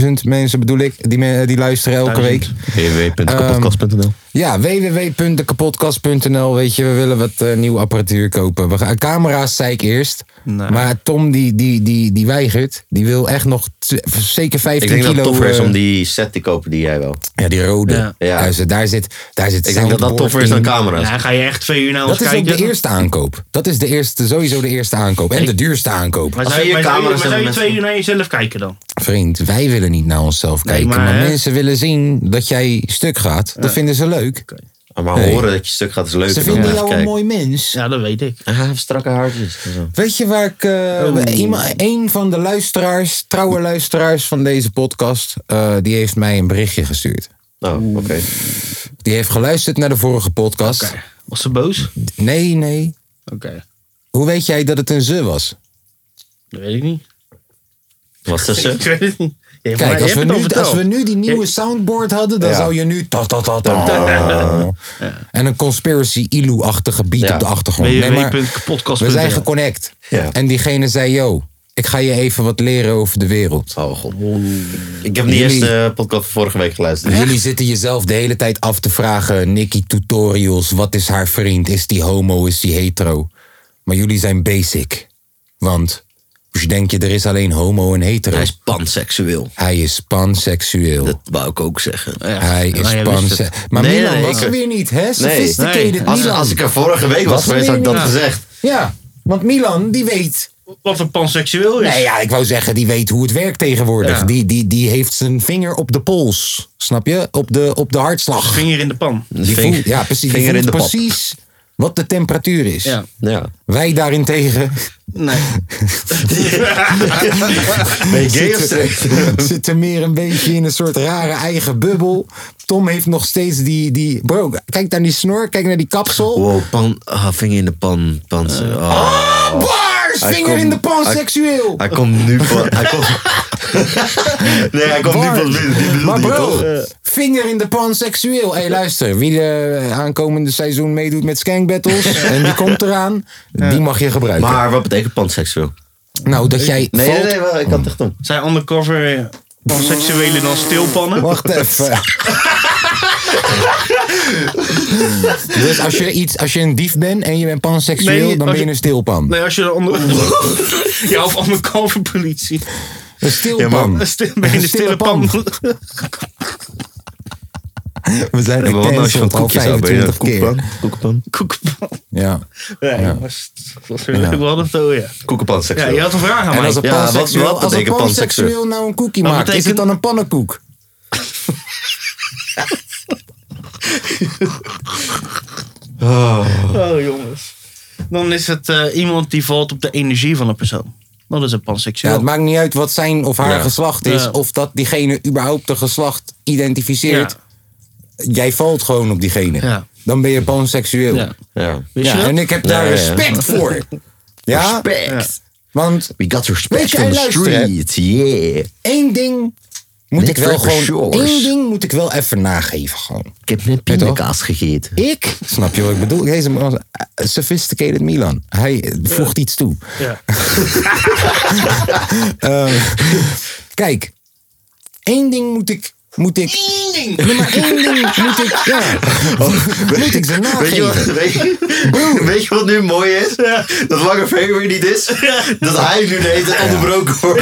A: 150.000 mensen bedoel ik, die, me- die luisteren elke
C: Duizend.
A: week. Ehm,
B: www.kapotkast.nl
A: Ja, www.dekapodcast.nl. Weet je, we willen wat eh, nieuwe apparatuur kopen. We gaan, camera's zei ik eerst.
C: Nee.
A: Maar Tom, die, die, die, die weigert. Die wil echt nog t- zeker
B: Ik
A: 15
B: denk dat
A: kilo.
B: het toffer is
A: eh,
B: om die set te kopen die jij wel.
A: Ja, die rode.
C: Ja.
B: Ja.
A: Daar zit, daar zit, daar zit
B: Ik denk dat dat
A: soundboard
B: toffer is dan
A: in.
B: camera's.
C: Ja, ga je echt twee uur naar ons
A: Dat is ook
C: kijken?
A: de eerste aankoop. Dat is de eerste, sowieso de eerste aankoop. En de duurste aankoop.
C: Maar
B: Als
C: zou je,
B: we hier
C: maar zou je-
B: camera's
C: maar zou je
B: hebben,
C: twee uur naar jezelf kijken dan?
A: Vriend, wij willen niet naar onszelf kijken.
C: maar,
A: maar
C: hè?
A: mensen willen zien dat jij stuk gaat. Dat vinden ze leuk.
B: Maar horen dat je stuk gaat is leuk.
A: Ze vinden jou een mooi mens.
C: Ja, dat weet ik.
B: Ah, strakke haartjes. en zo.
A: Weet je waar ik. eh, iemand- een van de luisteraars, trouwe luisteraars van deze podcast, eh, die heeft mij een berichtje gestuurd. Mm.
B: Oh, oké.
A: Die heeft geluisterd naar de vorige podcast.
C: Oké. Was ze boos? Oké.
A: Nee, nee. Hoe weet jij dat het een ze was?
C: Dat weet ik niet.
B: Was dat zo?
C: Ik weet het niet. Je hebt- maar
A: Kijk,
C: je
A: als we,
C: hebt het
A: nu,
C: al
A: als we
C: verteld.
A: nu die nieuwe soundboard hadden, dan
B: Ja.
A: zou je nu. Ta, ta, ta, ta, En een conspiracy ilu-achtige beat
B: Ja.
A: op de achtergrond. Nee, maar we
C: www.kapotkast.nl
A: zijn geconnect.
B: Ja.
A: En diegene zei: Yo, ik ga je even wat leren over de wereld.
B: Oh, god. Ik heb niet
A: Jullie-
B: eerst de podcast van vorige week geluisterd.
A: Jullie zitten jezelf de hele tijd af te vragen, Nicky tutorials, wat is haar vriend? Is die homo, is die hetero? Maar jullie zijn basic. Want dus denk je, er is alleen homo en hetero.
B: Hij is panseksueel.
A: Hij is panseksueel.
B: Dat wou ik ook zeggen.
A: Hij
C: Nou,
A: is
C: jij wist
A: panseksueel.
C: het.
A: Maar
B: Nee,
A: Milan
B: nee,
A: was
B: ik-
A: er weer niet, hè? Sophisticated
C: Nee.
B: Als,
A: Milan.
B: als ik er vorige week was
A: Was er
B: geweest, had ik
A: weer
B: dat
A: niet.
B: gezegd.
A: Ja, want Milan, die weet...
C: Wat een panseksueel is.
A: Nee, ja, ik wou zeggen, die weet hoe het werkt tegenwoordig.
C: Ja.
A: Die, die, die heeft zijn vinger op de pols. Snap je? Op de, op de hartslag.
C: Vinger in de pan.
A: Die
B: Ving-
A: voelt, ja, precies. Die
B: vinger in
A: voelt
B: de pap.
A: precies wat de temperatuur is.
C: Ja.
B: Ja.
A: Wij daarentegen
C: Nee.
B: Ben je gay of straight?
A: zitten, zitten meer een beetje in een soort rare eigen bubbel. Tom heeft nog steeds die... die bro, kijk naar die snor, kijk naar die kapsel.
B: Wow, pan, ah, vinger in de pan. pan oh.
A: Bars!
B: Hij
A: Ah, Vinger
B: komt-
A: in de pan,
B: hij-
A: seksueel!
B: Hij komt nu van. Hij komt, nee, hij komt nu
A: Bars.
B: van binnen. Die bedoelde
A: Maar
B: je
A: bro, eh,
B: toch?
A: vinger in de pan, seksueel. Hé, hey, luister. Wie de aankomende seizoen meedoet met Skank Battles... en die komt eraan, die mag je gebruiken.
B: Maar wat betekent panseksueel?
A: nou, dat jij
B: Nee,
A: valt...
B: nee, nee, wel, ik had het echt om.
C: Zijn undercover eh, panseksuelen dan stilpannen?
A: Wacht even. dus als je, iets, als je een dief bent en je bent panseksueel,
C: Nee,
A: dan
C: als
A: ben je
C: je-
A: een stilpan.
C: Nee, als je de onder... ja, of undercover politie.
A: Een stilpan.
C: Een stil- ben je in de stille pan.
A: We zijn
B: En wat nou als je van
A: gecanceld al
B: koekjes houdt? Ben je een
A: 25 keer.
B: koekenpan? Koekenpan?
C: Koekenpan.
A: Ja.
C: Ja, was, was weer leuk. We hadden het al, ja. Ja,
B: Koekenpanseksueel.
C: je had een vraag aan
A: En
C: mij.
A: als een
B: Ja, wat- wat
A: panseksueel, als een
B: betekent
A: panseksueel
B: panseksueel?
A: nou een koekie
C: Wat
A: maakt, is het
C: betekent-
A: dan een pannenkoek?
C: Oh, jongens. Dan is het eh, iemand die valt op de energie van een persoon. Dat is een
A: Ja,
C: panseksueel.
A: het maakt niet uit wat zijn of haar
B: Ja.
A: geslacht is,
C: Ja.
A: of dat diegene überhaupt de geslacht identificeert. Jij valt gewoon op diegene.
C: Ja.
A: Dan ben je panseksueel.
C: Ja.
B: Ja.
C: Wist
A: Ja,
C: je dat?
A: en ik heb daar
B: Ja, ja, ja.
A: respect voor. Ja?
B: Respect.
A: Want
B: We got
A: Weet
B: respect
A: je,
B: on
A: en
B: the
A: luister, hè.
B: street. Yeah.
A: één ding Moet ik wel
B: Netwerkers,
A: gewoon.
B: jongens.
A: Ding, ding, moet ik wel even nageven. Gewoon.
B: Ik heb net pindakaas gegeten.
A: Ik? Snap je wat ik bedoel? Deze man was eh, sophisticated Milan. Hij eh, voegt iets toe.
C: Ja.
A: Ehm, kijk, één ding moet ik. Moet ik. Nee, maar één ding moet ik. Ja.
C: Oh.
A: moet ik ze
B: Weet je, wat,
A: nageven.
B: weet, je- weet je wat nu mooi is? Dat Lange V weer niet is. Dat hij nu de hele tijd onderbroken wordt.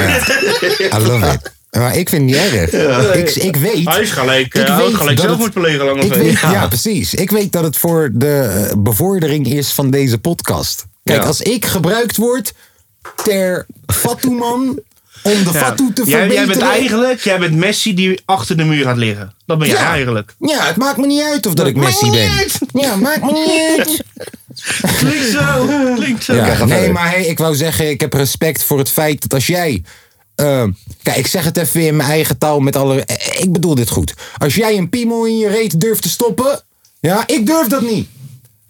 A: I love it. Maar ik vind het niet erg. Ik, ik weet.
C: Hij is gelijk,
A: Ik
C: eh, hij
A: weet
C: had gelijk
A: dat
C: zelf
A: het-
C: moet plegen lang
A: Ik
C: of
A: weet,
C: weet...
A: ja. precies. Ik weet dat het voor de eh, bevordering is van deze podcast. Kijk,
B: Ja.
A: als ik gebruikt word ter Fatouman om de Fatou te
C: jij,
A: verbeteren.
C: jij bent eigenlijk jij bent Messi die achter de muur gaat liggen. Dat ben jij
A: Ja.
C: eigenlijk.
A: Ja, het maakt me niet uit of dat ik Messi ben. Ja, maakt me niet uit.
C: Klinkt zo. Klinkt zo.
A: Ja,
B: ga
A: nee,
B: verder.
A: maar hey, ik wou zeggen, ik heb respect voor het feit dat als jij. eh, kijk, ik zeg het even in mijn eigen taal met alle. eh, Ik bedoel dit goed. Als jij een piemel in je reet durft te stoppen. Ja, ik durf dat niet.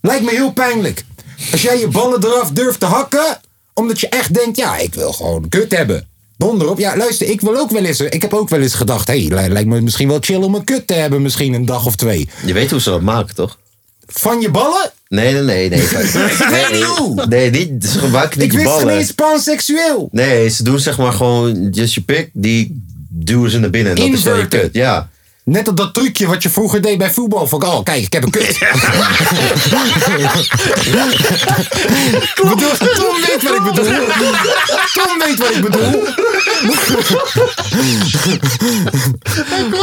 A: Lijkt me heel pijnlijk. Als jij je ballen eraf durft te hakken. omdat je echt denkt, ja, ik wil gewoon kut hebben. Donder op. Ja, luister, ik wil ook wel eens. Ik heb ook wel eens gedacht, hé, hey, li- lijkt me misschien wel chill om een kut te hebben, misschien een dag of twee.
B: Je weet hoe ze dat maken, toch?
A: Van je ballen?
B: Nee, nee, nee. nee.
A: weet niet hoe.
B: Nee, niet, ze gebruiken niet
A: Ik
B: je
A: wist
B: ballen.
A: geen panseksueel.
B: Nee, ze doen zeg maar gewoon just your pick. Die duwen ze naar binnen. En dat is wel je
A: Inverted.
B: kut. Ja.
A: Net als dat trucje wat je vroeger deed bij voetbal. Van, oh, kijk, ik heb een kut. Ik bedoel, Tom weet wat ik bedoel. Tom weet wat ik bedoel.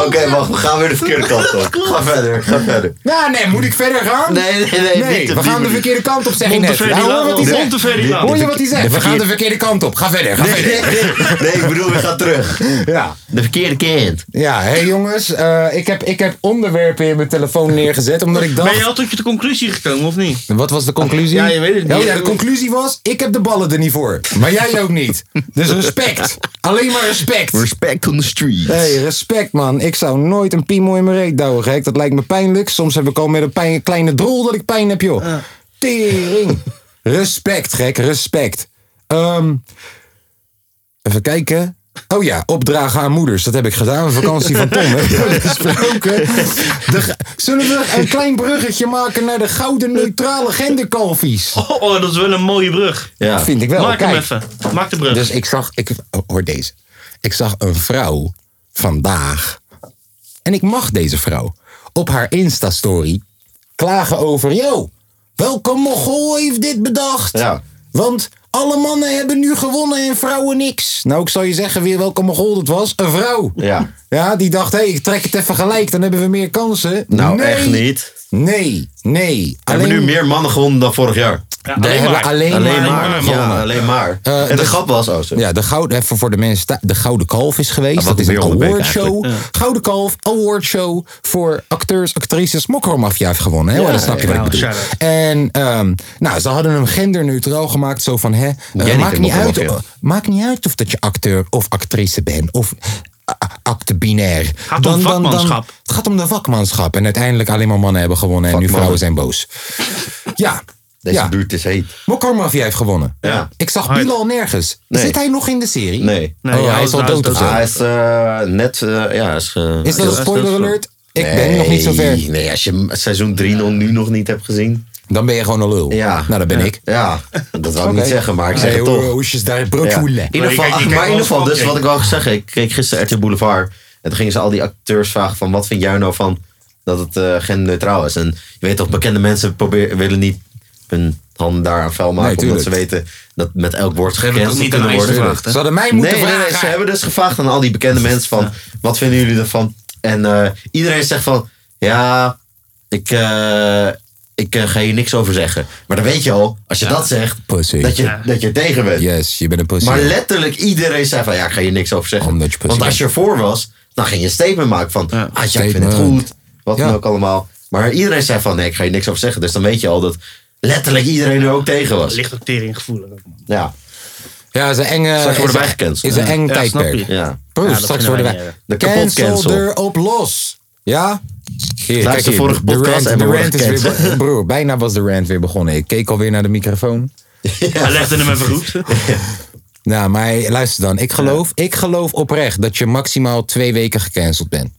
B: Oké, wacht. We gaan weer de verkeerde kant op. Ga verder. Ga verder.
A: Nou, nee, moet ik verder gaan?
B: Nee, nee, nee, niet op
A: we
B: die
A: gaan de
B: manier.
A: verkeerde kant op, zeg je net.
C: Monteverdi
A: Nou, hoor wat hij
C: Laan.
A: zegt.
C: Monteverdi Laan.
A: Hoor je wat hij zegt? We gaan de verkeerde kant op. Ga verder, ga
B: Nee,
A: verder.
B: nee, nee. Nee, ik bedoel, we gaan terug.
A: Ja.
B: De verkeerde kant.
A: Ja, hé hey jongens, eh, ik, heb, ik heb onderwerpen in mijn telefoon neergezet omdat ik dacht...
C: Ben je al tot je de conclusie gekomen of niet?
A: Wat was de conclusie?
C: Ja, je weet het niet.
A: Oh ja, de conclusie was, ik heb de ballen er niet voor. Maar jij ook niet. Dus respect. Alleen maar respect.
B: Respect on the street.
A: hey, respect man. Ik zou nooit een piemel in mijn reet douwen, gek. Dat lijkt me pijnlijk. Soms heb ik al met een pijn- kleine drol dat ik pijn heb, joh. Tering. Respect, gek. Respect. Ehm, even kijken. Oh ja, opdragen aan moeders. Dat heb ik gedaan. Vakantie van Tom. Hebben we gesproken. De ge- Zullen we een klein bruggetje maken naar de gouden neutrale genderkalfies?
C: Oh, oh, dat is wel een mooie brug.
B: Ja.
A: Vind ik wel.
C: Maak hem
A: Kijk,
C: even. Maak de brug.
A: Dus ik zag, ik, oh, hoor deze. Ik zag een vrouw vandaag. En ik mag deze vrouw. Op haar Insta-story klagen over, yo, welke mogol heeft dit bedacht?
B: Ja.
A: Want alle mannen hebben nu gewonnen en vrouwen niks. Nou, ik zal je zeggen weer welke mogol dat was. Een vrouw.
B: Ja.
A: Ja, die dacht, hé, hey, ik trek het even gelijk, dan hebben we meer kansen.
B: Nou,
A: Nee.
B: echt niet.
A: Nee, nee.
B: Hebben nu meer mannen gewonnen dan vorig jaar.
C: Ja,
A: Daar
C: alleen
A: hebben
C: maar.
A: alleen,
B: Alleen
A: maar,
B: maar. Ja, alleen maar. En de
A: dus-
B: grap was, oh, sorry.
A: Ja, de gouden, even voor de mensen, thu- de Gouden Kalf is geweest.
B: wat
A: dat is
B: een
A: een
B: wereldbeker
A: awardshow. Gouden Kalf, awardshow voor acteurs, actrices. Mokro-maffia heeft gewonnen, hè? Ja, dat snap je wat ik
C: ja,
A: bedoel.
C: shout-out.
A: En ehm, nou, ze hadden hem genderneutraal gemaakt. Zo van, hè, eh,
B: niet
A: maakt,
B: in
A: niet uit,
B: Mokro-maffia.
A: maakt niet uit of dat je acteur of actrice bent. Of eh, acte binair.
C: Gaat om vakmanschap.
A: het gaat om de vakmanschap. En uiteindelijk alleen maar mannen hebben gewonnen. En nu vrouwen
B: Vakmannen.
A: zijn boos. Ja.
B: Deze
A: ja.
B: buurt is heet.
A: Mokro-maffia heeft gewonnen.
B: Ja.
A: Ik zag
C: Hard.
A: Bilal nergens.
B: Nee.
A: Zit hij nog in de serie?
B: Nee.
C: Nee,
A: oh,
C: ja,
A: hij is al
C: hij is
A: dood of
C: dood.
A: zo.
B: Hij is eh, net, eh, ja, hij is... ge-
A: Is dat een
C: is
A: spoiler
C: dood.
A: alert? Ik ben nog niet zo ver.
B: Nee, Nee, als je m- seizoen 3 nog, nu nog niet hebt gezien.
A: Dan ben je gewoon een lul.
B: Ja.
A: Nou, dat ben ik.
B: Ja, dat wou ik
A: Oké.
B: niet zeggen, maar ik zeg
A: Hey,
B: het
A: hoe-
B: toch.
A: hoe is je daar
B: Ja.
A: broekvoelen?
B: In ieder
C: je
B: geval,
C: kijkt- je kijkt
B: maar in
C: wel
B: ieder geval,
C: eens
B: dus
C: van,
B: wat ik wou zeggen. Ik kreeg gisteren RTL Boulevard. En toen gingen ze al die acteurs vragen van, wat vind jij nou van dat het eh genderneutraal is? En je weet toch, bekende mensen proberen, willen niet hun handen daar aan vuil maken.
A: Nee,
B: omdat
A: tuurlijk.
B: ze weten dat met elk woord
C: hebben
B: gecanceld
C: toch niet
B: kunnen
C: aan mij
B: worden.
C: gevraagd, hè?
A: Ze hadden mij
B: Nee,
A: moeten
B: nee, nee,
A: vragen.
B: ze hebben dus gevraagd aan al die bekende mensen van, wat vinden jullie ervan? En eh, iedereen zegt van, ja, ik, eh, ik eh, ga hier niks over zeggen. Maar dan weet je al, als je dat zegt,
A: Pussy.
B: dat je,
C: Ja.
B: dat je tegen bent.
A: Yes, je bent een pussy.
B: Maar letterlijk iedereen zei van, ja, ik ga hier niks over zeggen.
A: Omdat je pussy
B: Want als je ervoor was, dan ging je een statement maken van,
C: Ja.
B: ah, ja, ik vind het
A: Statement.
B: goed, wat
A: Ja.
B: dan ook allemaal. Maar iedereen zei van, nee, ik ga hier niks over zeggen. Dus dan weet je al dat letterlijk iedereen er ook tegen was.
C: Ligt ook tering gevoelig.
B: Ja,
A: Ja, is een enge...
B: Straks worden
A: is een-
B: wij gecanceld.
A: Is een
B: Ja.
A: eng
C: Ja, snap
A: tijdperk.
C: je.
B: ja.
A: Bro,
C: Ja, dat
A: straks
C: vinden
A: worden
C: wij niet
A: wij...
C: erg.
B: De kapot cancel.
A: erop los. Ja? Hier,
B: Luister
A: hier,
B: vorige
A: de
B: podcast
A: rant-
B: en we
A: de
B: worden
A: rant is weer
B: gecanceld.
A: be- Broer, bijna was de rant weer begonnen. Ik keek alweer naar de microfoon.
C: Hij legde hem even goed.
A: Nou, maar luister dan. Ik geloof, ik geloof oprecht dat je maximaal twee weken gecanceld bent.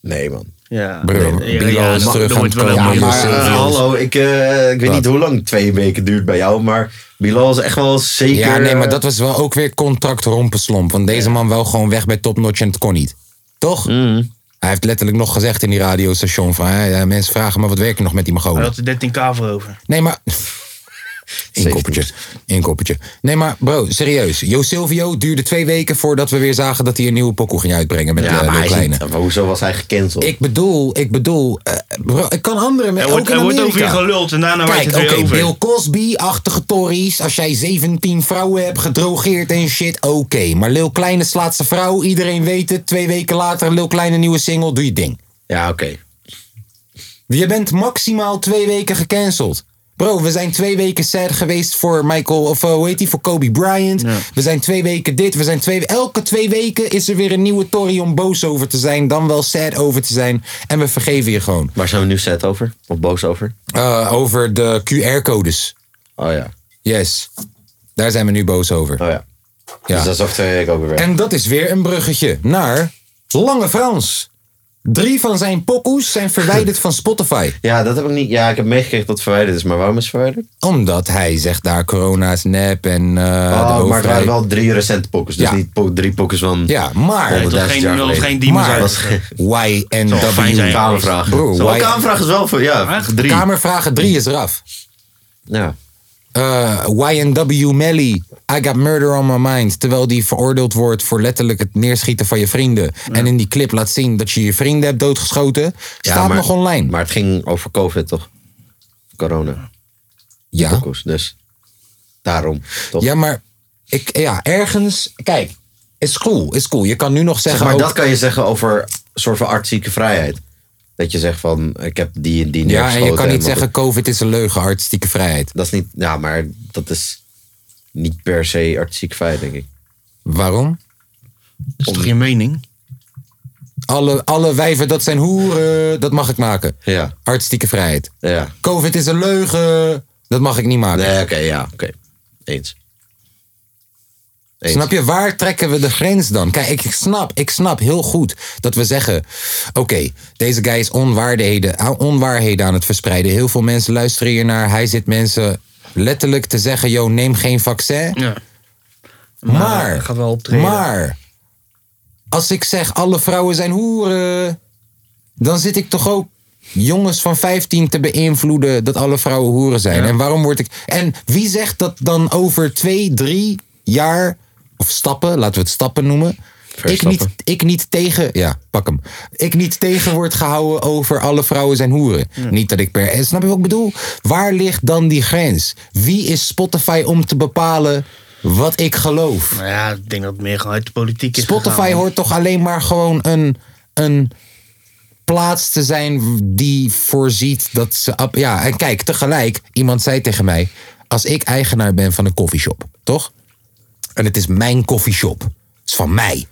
B: Nee, man.
C: Ja.
A: Bro,
C: Nee,
A: Bilal
C: ja,
A: is
C: dat-
A: terug
C: dat
A: aan
C: wordt
A: het
C: wel
A: komen.
C: een
A: Ja,
C: mooie
A: maar,
B: Maar eh,
C: serie.
B: hallo, ik, eh, ik weet niet hoe lang twee weken duurt bij jou, maar Bilal is echt wel zeker...
A: Ja, nee, maar
B: eh,
A: dat was wel ook weer contract rompenslomp. Want deze man wou gewoon weg bij Top Notch en het kon niet. Toch? Hij heeft letterlijk nog gezegd in die radiostation van... hè, eh, mensen vragen me wat werk je nog met die
C: Hij
A: Magogo?
C: had er 13k voor over.
A: Nee, maar... Eén koppeltje. Eén koppeltje. Nee, maar bro, serieus. Jo Silvio duurde twee weken voordat we weer zagen dat hij een nieuwe pokoe ging uitbrengen met
B: Ja,
A: eh,
B: maar,
A: Lil
B: hij is
A: Kleine.
B: niet- maar hoezo was hij gecanceld?
A: Ik bedoel, ik bedoel... eh, bro, ik kan anderen... met
C: Er
A: ook
C: wordt,
A: in
C: er wordt over je
A: Amerika.
C: geluld en daarna wordt
A: Kijk,
C: het
A: oké,
C: weer over.
A: Bill Cosby-achtige Tories. Als jij 17 vrouwen hebt gedrogeerd en shit, oké. Maar Lil Kleine slaat zijn vrouw, iedereen weet het. Twee weken later, Lil Kleine nieuwe single, doe je ding.
B: Ja, oké.
A: Je bent maximaal twee weken gecanceld. Bro, we zijn twee weken sad geweest voor Michael, of eh, hoe heet die, voor Kobe Bryant. We zijn twee weken dit, we zijn twee Elke twee weken is er weer een nieuwe Tory om boos over te zijn, dan wel sad over te zijn. En we vergeven je gewoon.
B: Waar zijn we nu set over? Of boos over?
A: Eh, over de QR-codes.
B: Oh ja.
A: Yes. Daar zijn we nu boos over.
B: Oh ja.
A: Ja.
B: Dus dat is over twee weken ook weer weg.
A: En dat is weer een bruggetje naar Lange Frans. Drie van zijn pokoes zijn verwijderd van Spotify.
B: Ja, dat heb ik niet. Ja, ik heb meegekregen dat het verwijderd is, maar waarom is het verwijderd?
A: Eh, Omdat hij zegt daar corona is nep en eh, de
B: oh, maar
A: overheid...
B: het waren wel drie recente pokkers. Dus
A: Ja.
B: niet po- drie pokkers van.
A: Ja, maar...
C: Het
B: Honderd-
C: was
B: 100.000
C: geen,
B: jaar
C: het was
B: geleden.
C: geen demons
A: Maar-
C: uit.
A: Why en
C: wel fijn zijn.
A: W?
B: Kamervraag.
A: Bro,
B: Zo'n
A: why-
B: kamervraag is wel voor. Ja,
C: Echt?
B: drie.
A: Kamervragen 3 is eraf.
B: Ja.
A: Eh, YNW Melly, I got murder on my mind. Terwijl die veroordeeld wordt voor letterlijk het neerschieten van je vrienden. En in die clip laat zien dat je je vrienden hebt doodgeschoten.
B: Ja,
A: staat
B: maar-
A: nog online.
B: Maar het ging over COVID toch? Corona.
A: ja.
B: Pokkers. Dus daarom. Toch?
A: Ja, maar ik, ja, ergens. Kijk, is cool, is cool. Je kan nu nog zeggen.
B: maar
A: ook-
B: dat kan je zeggen over een soort van artistieke vrijheid. Dat je zegt van, ik heb die en die
A: ja, en je
B: neergeschoten
A: kan niet
B: wat-
A: zeggen: COVID is een leugen, artistieke vrijheid.
B: Dat is niet, ja, maar dat is niet per se artistiek feit, denk ik.
A: Waarom?
C: Dat is toch je mening?
A: Alle, alle wijven, dat zijn hoeren, dat mag ik maken.
B: Ja,
A: Artistieke vrijheid.
B: ja.
A: COVID is een leugen, dat mag ik niet maken.
B: Nee, oké, ja, oké. Eens. Eens.
A: Snap je, waar trekken we de grens dan? Kijk, ik ik snap, ik snap heel goed dat we zeggen... oké, deze guy is onwaarheden, onwaarheden aan het verspreiden. Heel veel mensen luisteren hier naar. Hij zit mensen letterlijk te zeggen... yo, neem geen vaccin.
C: Ja.
A: Maar,
C: gaat wel optreden.
A: maar, als ik zeg alle vrouwen zijn hoeren, dan zit ik toch ook jongens van 15 te beïnvloeden dat alle vrouwen hoeren zijn. En waarom word ik. En wie zegt dat dan over twee, drie jaar, of stappen, laten we het stappen noemen. Ik niet,
B: Verstappen.
A: ik niet tegen, ja, pak hem. Ik niet tegen word gehouden over alle vrouwen zijn hoeren. Niet dat ik per. en Snap je wat ik bedoel? Waar ligt dan die grens? Wie is Spotify om te bepalen wat ik geloof?
C: Nou ja, ik denk dat het meer gewoon uit de politiek is
A: Spotify
C: gegaan.
A: hoort toch alleen maar gewoon een, een plaats te zijn die voorziet dat ze. ab- Ja, en kijk, tegelijk, iemand zei tegen mij: als ik eigenaar ben van een koffieshop, toch? En het is mijn koffieshop, het is van mij.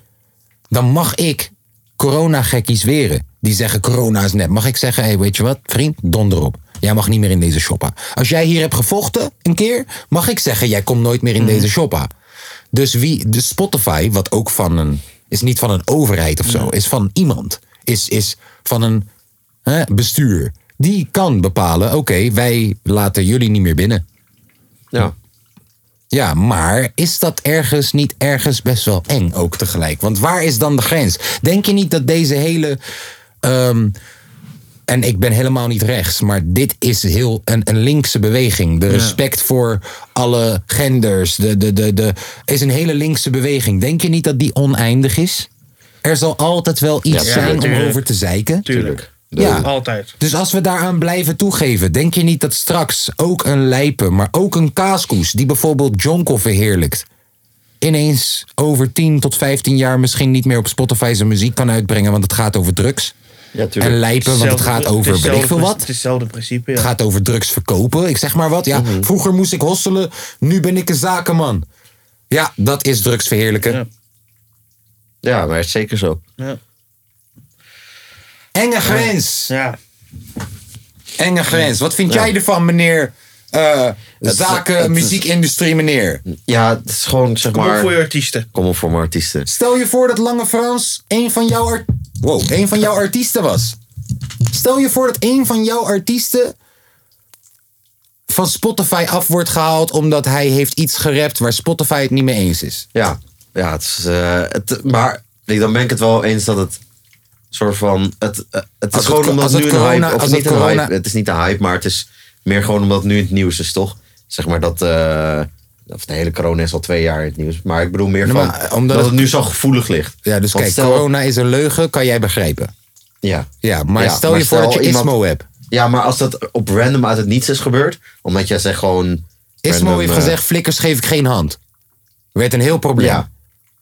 A: Dan mag ik corona-gekkies weren. Die zeggen corona is net. Mag ik zeggen, hey, weet je wat, vriend, donder op. Jij mag niet meer in deze shoppa. Als jij hier hebt gevochten een keer, mag ik zeggen, jij komt nooit meer in deze shoppa. Dus wie, de Spotify, wat ook van een, is niet van een overheid of zo, is van iemand. Is, is van een hè, bestuur. Die kan bepalen, oké, wij laten jullie niet meer binnen.
B: Ja.
A: Ja, maar is dat ergens niet ergens best wel eng ook tegelijk? Want waar is dan de grens? Denk je niet dat deze hele. ehm, en ik ben helemaal niet rechts, maar dit is heel een, een linkse beweging. De respect voor alle genders. De, de, de, de, is een hele linkse beweging. Denk je niet dat die oneindig is? Er zal altijd wel iets
B: Ja,
A: zijn om
C: tuurlijk.
A: over te zeiken.
C: Tuurlijk.
A: Ja.
C: Altijd.
A: Dus als we daaraan blijven toegeven, denk je niet dat straks ook een lijpen, maar ook een kaaskoes, die bijvoorbeeld Jonko verheerlijkt, ineens over 10 tot 15 jaar misschien niet meer op Spotify zijn muziek kan uitbrengen, want het gaat over drugs?
B: Ja, tuurlijk.
A: En lijpen, want het
C: Hetzelfde-
A: gaat over
C: hetzelfde
A: weet ik veel
C: prin-
A: wat.
C: Hetzelfde principe, ja.
A: Het gaat over drugs verkopen, ik zeg maar wat. Ja,
C: Mhm.
A: Vroeger moest ik hosselen, nu ben ik een zakenman. Ja, dat is drugs verheerlijken.
C: Ja.
B: Ja, maar het is zeker zo.
C: Ja.
A: Enge grens,
C: ja.
A: enge grens. Wat vind jij ervan, meneer eh,
B: Het-
A: zaken,
B: het-
A: muziekindustrie, meneer.
B: Ja, het is gewoon zeg
C: Kom op
B: maar.
C: voor je artiesten.
B: Kom op voor mijn artiesten.
A: Stel je voor dat Lange Frans een van jouw, art- wow, een van jouw artiesten was. Stel je voor dat een van jouw artiesten van Spotify af wordt gehaald omdat hij heeft iets gerapt waar Spotify het niet mee eens is.
B: Ja, ja het is, eh, het, maar ik, dan ben ik het wel eens dat het soort van. Het, eh, het is
A: het
B: gewoon
A: co-
B: omdat
A: als
B: nu
A: het
B: een
A: corona-
B: hype. Of
A: als
B: niet
A: het
B: een
A: corona-
B: hype. Het is niet een hype, maar het is meer gewoon omdat nu het nieuws is, toch? Zeg maar dat. eh, of de hele corona is al twee jaar in het nieuws. Maar ik bedoel meer
A: Nee,
B: van.
A: maar, eh,
B: omdat
A: omdat
B: dat het,
A: het-
B: nu zo gevoelig ligt.
A: Ja, dus
B: Want
A: kijk,
B: stel-
A: corona is een leugen, kan jij begrijpen.
B: Ja.
A: Ja, maar
B: Ja,
A: stel
B: maar
A: je voor
B: stel
A: dat je
B: iemand-
A: Ismo hebt.
B: ja, maar als dat op random uit het niets is gebeurd. Omdat jij zegt gewoon.
A: Ismo
B: random,
A: heeft
B: eh,
A: gezegd, flikkers geef ik geen hand. Werd een heel probleem.
B: Ja.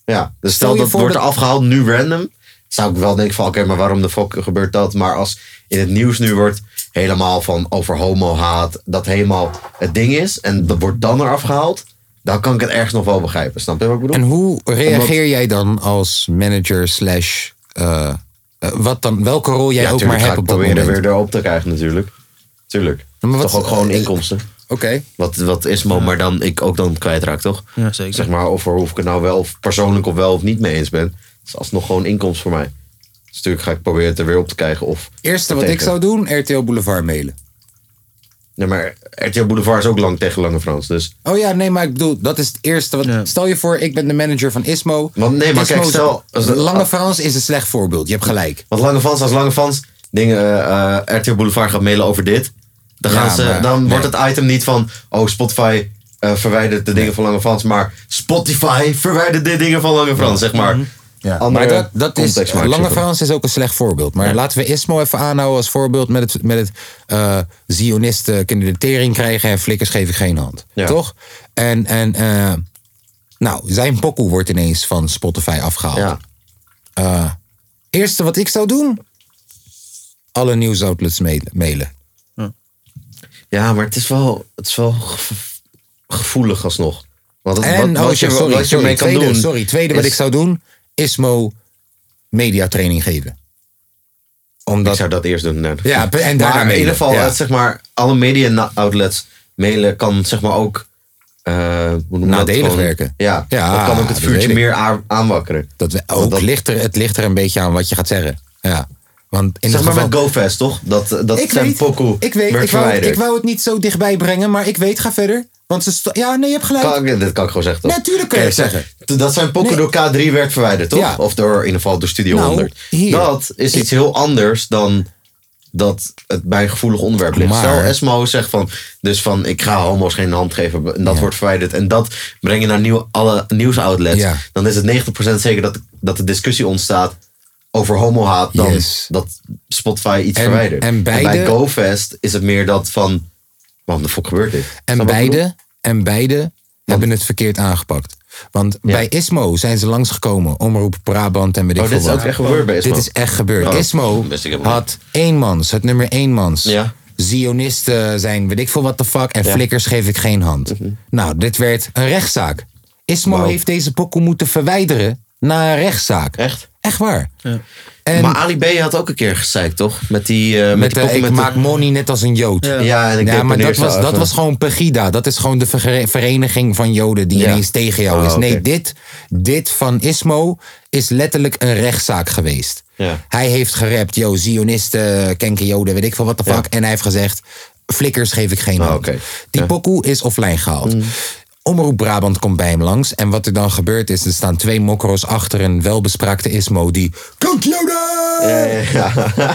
B: ja. Dus
A: Stel
B: stel,
A: je
B: dat
A: voor
B: wordt er
A: dat-
B: afgehaald, nu random. Zou ik wel denken van, oké, maar waarom de fuck gebeurt dat? Maar als in het nieuws nu wordt helemaal van over homo-haat... dat helemaal het ding is en dat wordt dan eraf gehaald... dan kan ik het ergens nog wel begrijpen. Snap je wat ik bedoel?
A: En hoe reageer jij dan als manager slash... eh, eh, wat dan, welke rol jij ook
B: tuurlijk
A: maar
B: ga
A: hebt
B: ik
A: op dat
B: proberen
A: moment?
B: weer erop te krijgen natuurlijk. Tuurlijk.
A: Maar wat-
B: Toch ook gewoon inkomsten.
A: Oké.
B: Wat, wat is mo, maar dan ik ook dan kwijtraak, toch?
C: Ja, zeker.
B: Zeg maar, of, er, of ik het nou wel of persoonlijk of wel of niet mee eens ben. Het is alsnog gewoon inkomst voor mij. Dus natuurlijk ga ik proberen het er weer op te krijgen. Of
A: Eerste wat ik
B: betekent-
A: zou doen, RTL Boulevard mailen.
B: Nee, maar RTL Boulevard is ook lang tegen Lange Frans. Dus.
A: Oh ja, nee, maar ik bedoel, dat is het eerste. Wat,
C: Ja.
A: Stel je voor, ik ben de manager van Ismo.
B: Want nee, maar kijk,
A: Ismo's-
B: stel- als-
A: Lange Frans is een slecht voorbeeld, je hebt gelijk.
B: Want Lange Frans, als Lange Frans dingen, eh, eh, RTL Boulevard gaat mailen over dit. Dan, gaan
A: Ja,
B: ze,
A: maar-
B: dan
A: nee.
B: wordt het item niet van. Oh, Spotify eh, verwijdert de dingen van Lange Frans. Maar Spotify verwijdert de dingen van Lange Frans, zeg
A: Mhm.
B: maar. Andere
A: maar dat, dat is,
B: context maak je
A: Lange
B: van.
A: Frans is ook een slecht voorbeeld. Maar laten we Ismo even aanhouden als voorbeeld met het, met het eh, Zionisten kunnen de tering krijgen en flikkers geef ik geen hand.
B: Ja.
A: Toch? En, en eh, nou, zijn pokoe wordt ineens van Spotify afgehaald. Eh,
B: Ja.
A: Eerste wat ik zou doen, alle nieuwsoutlets mailen. mailen.
B: Ja, maar het is wel, het is wel gev- gevoelig alsnog. Want het-
A: En,
B: wat,
A: oh,
B: wat, je,
A: sorry,
B: wat je
A: sorry,
B: mee kan
A: tweede,
B: doen.
A: Sorry, tweede wat
B: is-
A: ik zou doen, Ismo mediatraining geven. Omdat,
B: Ik zou dat eerst doen. nee.
A: Ja, en daarna
B: maar in
A: mailen,
B: ieder geval,
A: ja.
B: eh, zeg maar, alle media outlets mailen kan zeg maar ook eh, hoe noem je dat?
A: Nadelig
B: Gewoon-
A: werken.
B: Ja,
A: Ja,
B: dat kan ook het
A: dat
B: vuurtje
A: weet ik.
B: meer aan- aanwakkeren.
A: Dat we,
B: Want
A: ook
B: dat-
A: ligt er, het ligt er een beetje aan wat je gaat zeggen. Ja. Want in
B: Zeg
A: het
B: maar
A: geval,
B: met GoFest, toch? Dat, eh, dat zijn pokoe
A: ik weet,
B: werd
A: ik wou,
B: verwijderd.
A: ik wou het niet zo dichtbij brengen, maar ik weet, ga verder. Want ze, sto- ja, nee, je hebt gelijk.
B: Kan ik- dit kan ik gewoon zeggen, toch?
A: Natuurlijk kan je
B: Oké,
A: het
B: zeg-
A: zeggen.
B: t- Dat zijn pokken
A: Nee.
B: door K3 werd verwijderd, toch?
A: Ja.
B: Of door, in ieder geval door Studio
A: Nou,
B: 100.
A: hier.
B: Dat is iets heel anders dan dat het bij een gevoelig onderwerp ligt.
A: Maar-
B: Stel, Esmo zegt van, dus van, ik ga homo's geen hand geven. En dat wordt verwijderd. En dat breng je naar nieuw, alle nieuwsoutlets.
A: Ja.
B: Dan is het 90% zeker dat, dat de discussie ontstaat over homohaat dan
A: Yes.
B: dat Spotify iets
A: En-
B: verwijdert.
A: en
B: bij
A: beide-
B: GoFest is het meer dat van, waarom de fuck gebeurt dit? Snap je wat
A: en
B: ik bedoel?
A: beide, en beide hebben het verkeerd aangepakt. Want bij Ismo zijn ze langsgekomen, Omroep Brabant en weet ik
B: Oh,
A: veel
B: dit is ook
A: wat.
B: echt gebeurd bij Esmo.
A: Dit is echt gebeurd.
B: Oh,
A: Ismo
B: wist ik helemaal
A: had eenmans, het nummer eenmans.
B: Ja.
A: Zionisten zijn weet ik veel wat de fuck. En flikkers geef ik geen hand. Nou, dit werd een rechtszaak. Ismo
B: Mhm. Wauw.
A: heeft deze pokoe moeten verwijderen na een rechtszaak.
B: Echt?
A: Echt waar. En
B: maar Ali B had ook een keer gezeikt, toch? Met die. eh, met
A: met de,
B: die poppen
A: ik
B: met de-
A: maak money net als een jood.
B: Ja, en ik
A: Ja,
B: deed
A: maar dat
B: paneerzaal
A: was, dat
B: even.
A: was gewoon Pegida. Dat is gewoon de verge- vereniging van Joden die
B: Ja.
A: ineens tegen jou
B: Oh,
A: is. Nee,
B: oké.
A: dit, dit van Ismo is letterlijk een rechtszaak geweest.
B: Ja.
A: Hij heeft gerapt, yo, Zionisten, kenken Joden, weet ik veel wat de fuck. En hij heeft gezegd, flikkers geef ik geen
B: Oh,
A: hand.
B: oké.
A: Die pokoe is offline gehaald. Omroep Brabant komt bij hem langs. En wat er dan gebeurt is, er staan twee mokro's achter een welbespraakte Ismo die... Kank Joden!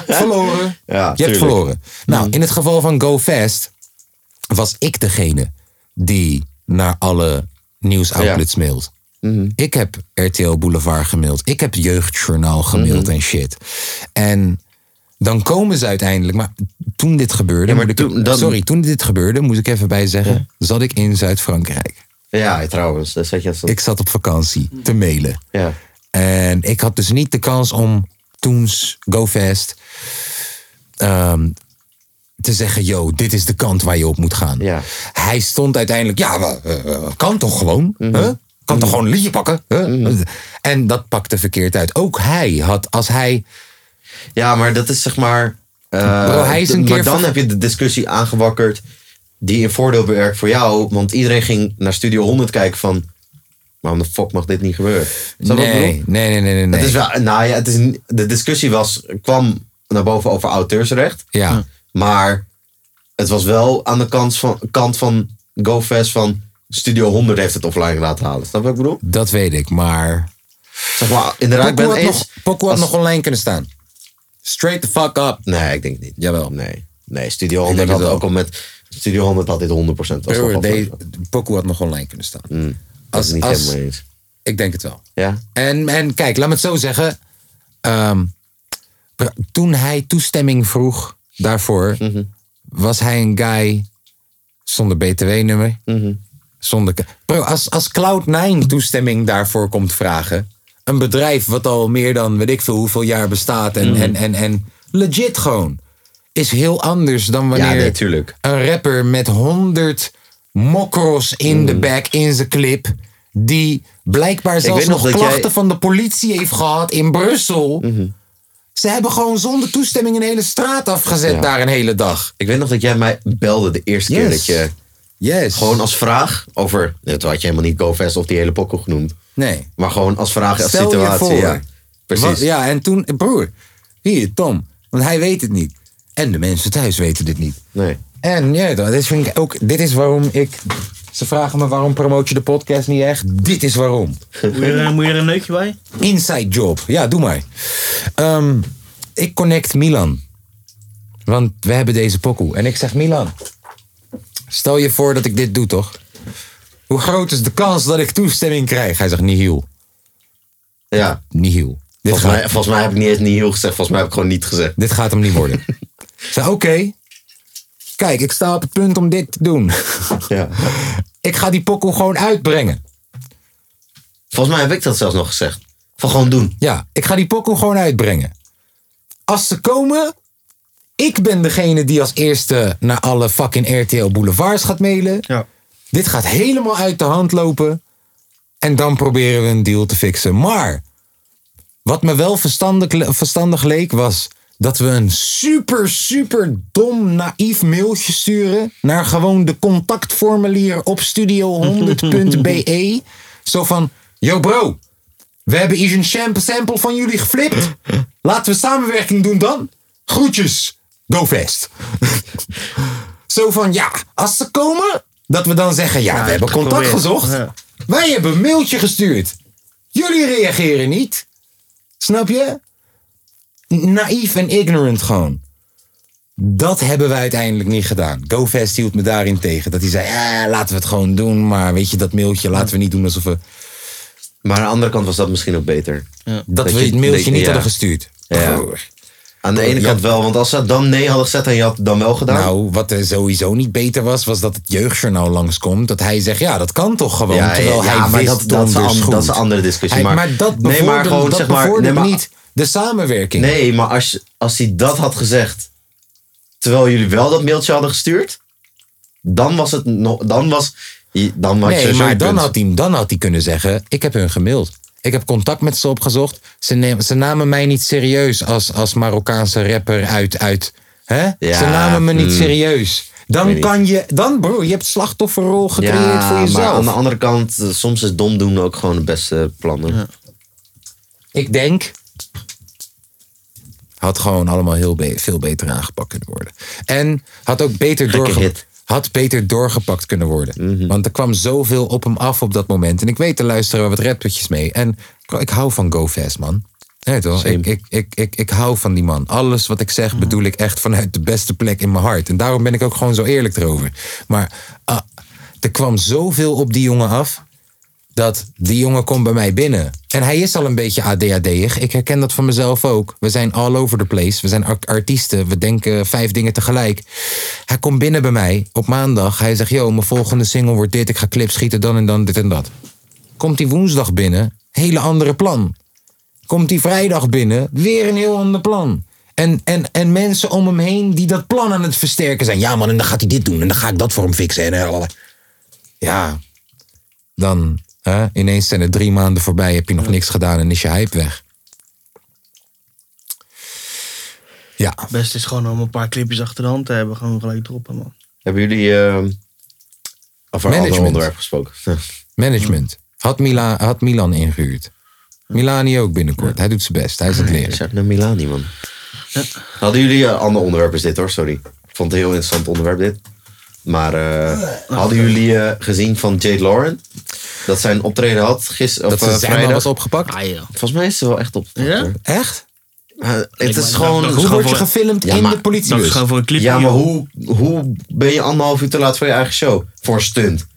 A: verloren.
B: Ja,
A: je hebt
B: tuurlijk. Mm.
A: verloren. Nou, in het geval van GoFest was ik degene die naar alle nieuwsoutlets mailt.
B: Mhm.
A: Ik heb RTL Boulevard gemaild. Ik heb Jeugdjournaal gemaild
B: Mhm.
A: en shit. En dan komen ze uiteindelijk. Maar toen dit gebeurde.
B: maar
A: moet ik-
B: toen- dan-
A: sorry, toen dit gebeurde, moet ik even bij zeggen. Zat ik in Zuid-Frankrijk.
B: Ja, trouwens. Dat zat je als
A: Ik zat op vakantie te mailen.
B: Ja.
A: En ik had dus niet de kans om toens GoFest ehm, te zeggen: yo, dit is de kant waar je op moet gaan.
B: Ja.
A: Hij stond uiteindelijk: ja, we- eh, eh, kan toch gewoon?
B: Mhm.
A: hè? Kan toch gewoon een liedje pakken? hè?" En dat pakte verkeerd uit. Ook hij had, als hij.
B: ja, maar dat is zeg maar. eh,
A: Bro, hij is een
B: maar
A: keer
B: dan
A: ver-
B: heb je de discussie aangewakkerd. die in voordeel werkt voor jou. Want iedereen ging naar Studio 100 kijken van... Waarom de fuck mag dit niet gebeuren? Snap je wat ik bedoel?
A: Nee, nee, nee, nee, nee. nee.
B: Het is wel, nou ja, het is, niet- de discussie was, kwam naar boven over auteursrecht.
A: Ja.
B: Maar het was wel aan de kant van, kant van GoFest van Studio 100 heeft het offline laten halen. Snap je wat ik bedoel?
A: Dat weet ik, maar...
B: Zeg maar, inderdaad, ik
A: Poco
B: ben
A: had,
B: het eens.
A: nog, Poco had
B: als-
A: nog online kunnen staan. Straight the fuck up.
B: Nee, ik denk het niet.
A: Jawel.
B: Nee, nee Studio
A: denk
B: 100
A: het
B: had
A: wel.
B: ook al met... Studio 100 had dit 100% als
A: Poco
B: dat offline was.
A: Poco had nog online kunnen staan.
B: Mm, Dat is
A: Als,
B: niet
A: als,
B: helemaal mee eens.
A: ik denk het wel.
B: Ja?
A: En, en kijk, laat me het zo zeggen. Ehm, pr- toen hij toestemming vroeg daarvoor,
B: Mhm.
A: was hij een guy zonder BTW-nummer.
B: Mhm.
A: Zonder. k- Bro, als, als Cloud9 toestemming daarvoor komt vragen. Een bedrijf wat al meer dan weet ik veel hoeveel jaar bestaat.
B: Mhm.
A: En, en, en, en legit gewoon. Is heel anders dan wanneer
B: Ja, nee, tuurlijk.
A: een rapper met 100 mokros in
B: Mm.
A: de back in zijn clip. Die blijkbaar zelfs
B: weet nog
A: nog
B: dat
A: klachten
B: jij- Mhm.
A: van de politie heeft gehad in Brussel. Ze hebben gewoon zonder toestemming een hele straat afgezet daar een hele dag.
B: Ik weet nog dat jij mij belde de eerste keer
A: Yes.
B: dat je...
A: Yes.
B: Gewoon als vraag over... Dat had je helemaal niet GoFest of die hele pokkel genoemd.
A: Nee.
B: Maar gewoon als vraag, als
A: Stel je
B: situatie.
A: voor.
B: Ja. Precies.
A: Wat- ja, en toen, broer, hier, Tom. Want hij weet het niet. En de mensen thuis weten dit niet.
B: Nee.
A: En ja, dat is, vind ik ook, dit is waarom ik. Ze vragen me waarom promoot je de podcast niet echt. Dit is waarom.
C: Moet je, er- moet je er een neukje bij?
A: Inside job. Ja, doe maar. Ehm, ik connect Milan. Want we hebben deze pokoe. En ik zeg Milan. Stel je voor dat ik dit doe, toch? Hoe groot is de kans dat ik toestemming krijg? Hij zegt nihil.
B: Ja.
A: Nihil. Dit
B: Volgens mij,
A: gaat,
B: volgens mij heb ik niet eens niet heel gezegd. Volgens mij heb ik gewoon niet gezegd.
A: dit gaat hem niet worden. Ik zeg oké. Kijk, ik sta op het punt om dit te doen.
B: Ja.
A: ik ga die pokoe gewoon uitbrengen.
B: Volgens mij heb ik dat zelfs nog gezegd. Van gewoon doen.
A: Ja, ik ga die pokoe gewoon uitbrengen. Als ze komen, ik ben degene die als eerste naar alle fucking RTL Boulevards gaat mailen.
C: Ja.
A: Dit gaat helemaal uit de hand lopen. En dan proberen we een deal te fixen. Maar wat me wel verstandig, le- verstandig leek was dat we een super, super dom, naïef mailtje sturen naar gewoon de contactformulier op studio100.be. Zo van, yo bro, we hebben hier een sham- sample van jullie geflipt. Laten we samenwerking doen dan. Groetjes, GoFest. Zo van, ja, als ze komen, dat we dan zeggen, ja, we hebben contact
C: geprobeerd.
A: gezocht.
C: Ja.
A: Wij hebben een mailtje gestuurd. Jullie reageren niet. Snap je? Naïef en ignorant gewoon. Dat hebben wij uiteindelijk niet gedaan. GoFest hield me daarin tegen. Dat hij zei, ja, laten we het gewoon doen. Maar weet je, dat mailtje laten we niet doen alsof we...
B: Maar aan de andere kant was dat misschien ook beter.
A: Dat, we
B: je-
A: het mailtje
B: dat je-
A: niet
B: ja.
A: hadden gestuurd.
B: Ja.
A: Broer.
B: Aan de ene
A: Ja.
B: kant wel. Want als ze dan nee hadden gezegd en je had het dan wel gedaan.
A: Nou, wat er sowieso niet beter was, was dat het jeugdjournaal langskomt. Dat hij zegt, ja, dat kan toch gewoon.
B: Ja,
A: terwijl
B: ja,
A: hij
B: maar
A: wist
B: dat- dat is een-
A: donders goed.
B: dat is een andere discussie,
A: Hij-
B: maar-
A: maar dat
B: Nee, maar
A: bevorderde,
B: gewoon,
A: dat
B: zeg maar,
A: bevorderde
B: nee, maar-
A: niet de samenwerking.
B: Nee, maar als, als hij dat had gezegd. Terwijl jullie wel dat mailtje hadden gestuurd. Dan was het nog. Dan was. Dan was
A: Nee, maar dan had, hij, dan had hij kunnen zeggen: Ik heb hun gemaild. Ik heb contact met ze opgezocht. Ze, neem- ze namen mij niet serieus als, als Marokkaanse rapper uit. uit hè?
B: Ja,
A: ze namen me niet
B: mm.
A: serieus. Dan
B: weet niet.
A: kan je, dan bro, je hebt slachtofferrol gecreëerd
B: Ja,
A: voor
B: maar aan
A: jezelf.
B: de andere kant, eh, soms is dom doen ook gewoon het beste plannen.
A: Ik denk. Had gewoon allemaal heel be- veel beter aangepakt kunnen worden. En had ook beter, doorge
B: hit.
A: had beter doorgepakt kunnen worden. Want er kwam zoveel op hem af op dat moment. En ik weet, er luisteren wat rappertjes mee. En bro, ik hou van GoFast, man. Nee, toch? Ik, ik, ik, ik, ik hou van die man. Alles wat ik zeg bedoel ik echt vanuit de beste plek in mijn hart. En daarom ben ik ook gewoon zo eerlijk erover. Maar ah, er kwam zoveel op die jongen af dat die jongen komt bij mij binnen. En hij is al een beetje ADHD'ig. Ik herken dat van mezelf ook. We zijn all over the place. We zijn ar- artiesten. We denken vijf dingen tegelijk. Hij komt binnen bij mij op maandag. Hij zegt, yo, mijn volgende single wordt dit. Ik ga clips schieten, dan en dan, dit en dat. Komt hij woensdag binnen, hele andere plan. Komt hij vrijdag binnen, weer een heel ander plan. En, en, en mensen om hem heen die dat plan aan het versterken zijn. Ja man, en dan gaat hij dit doen en dan ga ik dat voor hem fixen. En, eh, ja, dan hè, ineens zijn er drie maanden voorbij, heb je nog niks gedaan en is je hype weg. Ja,
C: Het beste is gewoon om een paar clipjes achter de hand te hebben. Gewoon gelijk droppen, man.
B: Hebben jullie eh, over een ander
A: Management.
B: onderwerp gesproken?
A: Management. Had, Mila, had Milan ingehuurd. Milani ook binnenkort. Hij doet zijn best. Hij is aan het
B: Ik
A: leren.
B: zou naar Milani, man. Hadden jullie een ander onderwerp is dit hoor, sorry. Ik vond het een heel interessant onderwerp dit. Maar eh, hadden jullie eh, gezien van Jade Lauren? Dat zij een optreden had gisteren
A: Dat
B: of eh,
A: ze zijn
B: vrijdag?
A: was opgepakt.
B: Volgens mij is ze wel echt op.
C: Ja?
B: hoor.
A: Echt?
B: Eh, het is
C: maar
B: gewoon...
C: dat- dat
A: Hoe
C: gewoon
A: word je
C: voor-
A: gefilmd
B: Ja,
A: in
B: maar
A: de
C: Dat is
A: politiebus?
C: gewoon voor een clip.
B: Ja, maar
C: joh.
B: hoe, hoe ben je anderhalf uur te laat voor je eigen show? Voor een stunt.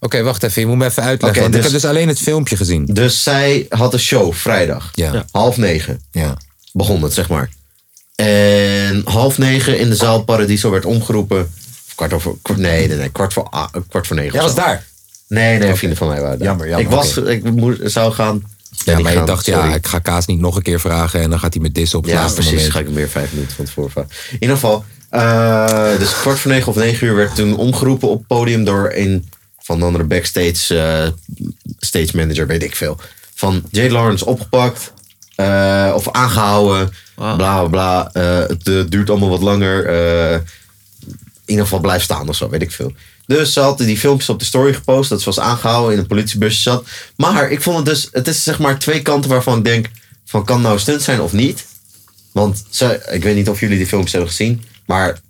A: Oké, wacht even. Je moet me even uitleggen.
B: Oké,
A: want ik
B: dus-
A: heb dus alleen het filmpje gezien.
B: Dus zij had een show vrijdag.
A: Ja. Ja.
B: Half negen.
A: Ja.
B: begon het, zeg maar. En half negen in de zaal Paradiso werd omgeroepen. Of Kwart over, kwart- nee, nee, nee, kwart voor, a- eh, kwart voor negen.
A: Jij
B: of
A: was
B: zo.
A: daar.
B: Nee, nee, vrienden van mij waren daar.
A: Jammer, jammer,
B: Ik, was, ik moest, zou gaan. ben
A: Ja,
B: niet
A: maar je
B: gaan,
A: dacht,
B: sorry.
A: ja, ik ga Kaas niet nog een keer vragen. En dan gaat hij me dissen op het
B: Ja,
A: laatste
B: precies. Ga
A: moment.
B: ik hem weer vijf minuten van tevoren vragen. In ieder geval, eh, dus kwart voor negen of negen uur werd toen omgeroepen op het podium door een van de andere backstage eh, stage manager, weet ik veel. Van Jade Lawrence opgepakt eh, of aangehouden, bla bla bla. Eh, het eh, duurt allemaal wat langer. eh, in ieder geval blijft staan of zo, weet ik veel. Dus ze had die filmpjes op de story gepost. Dat ze was aangehouden in een politiebusje zat. Maar ik vond het dus, het is zeg maar twee kanten waarvan ik denk: van kan nou stunt zijn of niet? Want ze, ik weet niet of jullie die filmpjes hebben gezien, maar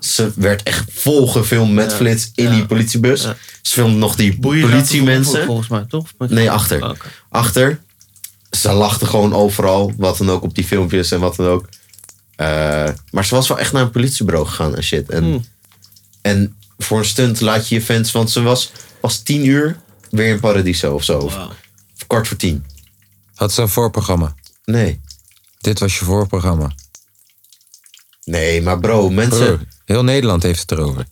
B: ze werd echt vol gefilmd met flits in die politiebus. Ze filmde nog die
C: Boeien
B: politiemensen.
C: Volgens mij, toch?
B: Nee, achter.
C: Oké.
B: Achter. Ze lachten gewoon overal, wat dan ook, op die filmpjes en wat dan ook. Eh, maar ze was wel echt naar een politiebureau gegaan en shit. En, en voor een stunt laat je je fans, want ze was pas tien uur weer in Paradiso of zo. Of, of kwart voor tien.
A: Had ze een voorprogramma.
B: Nee.
A: Dit was je voorprogramma.
B: Nee, maar bro, mensen.
A: Broer, heel Nederland heeft het erover.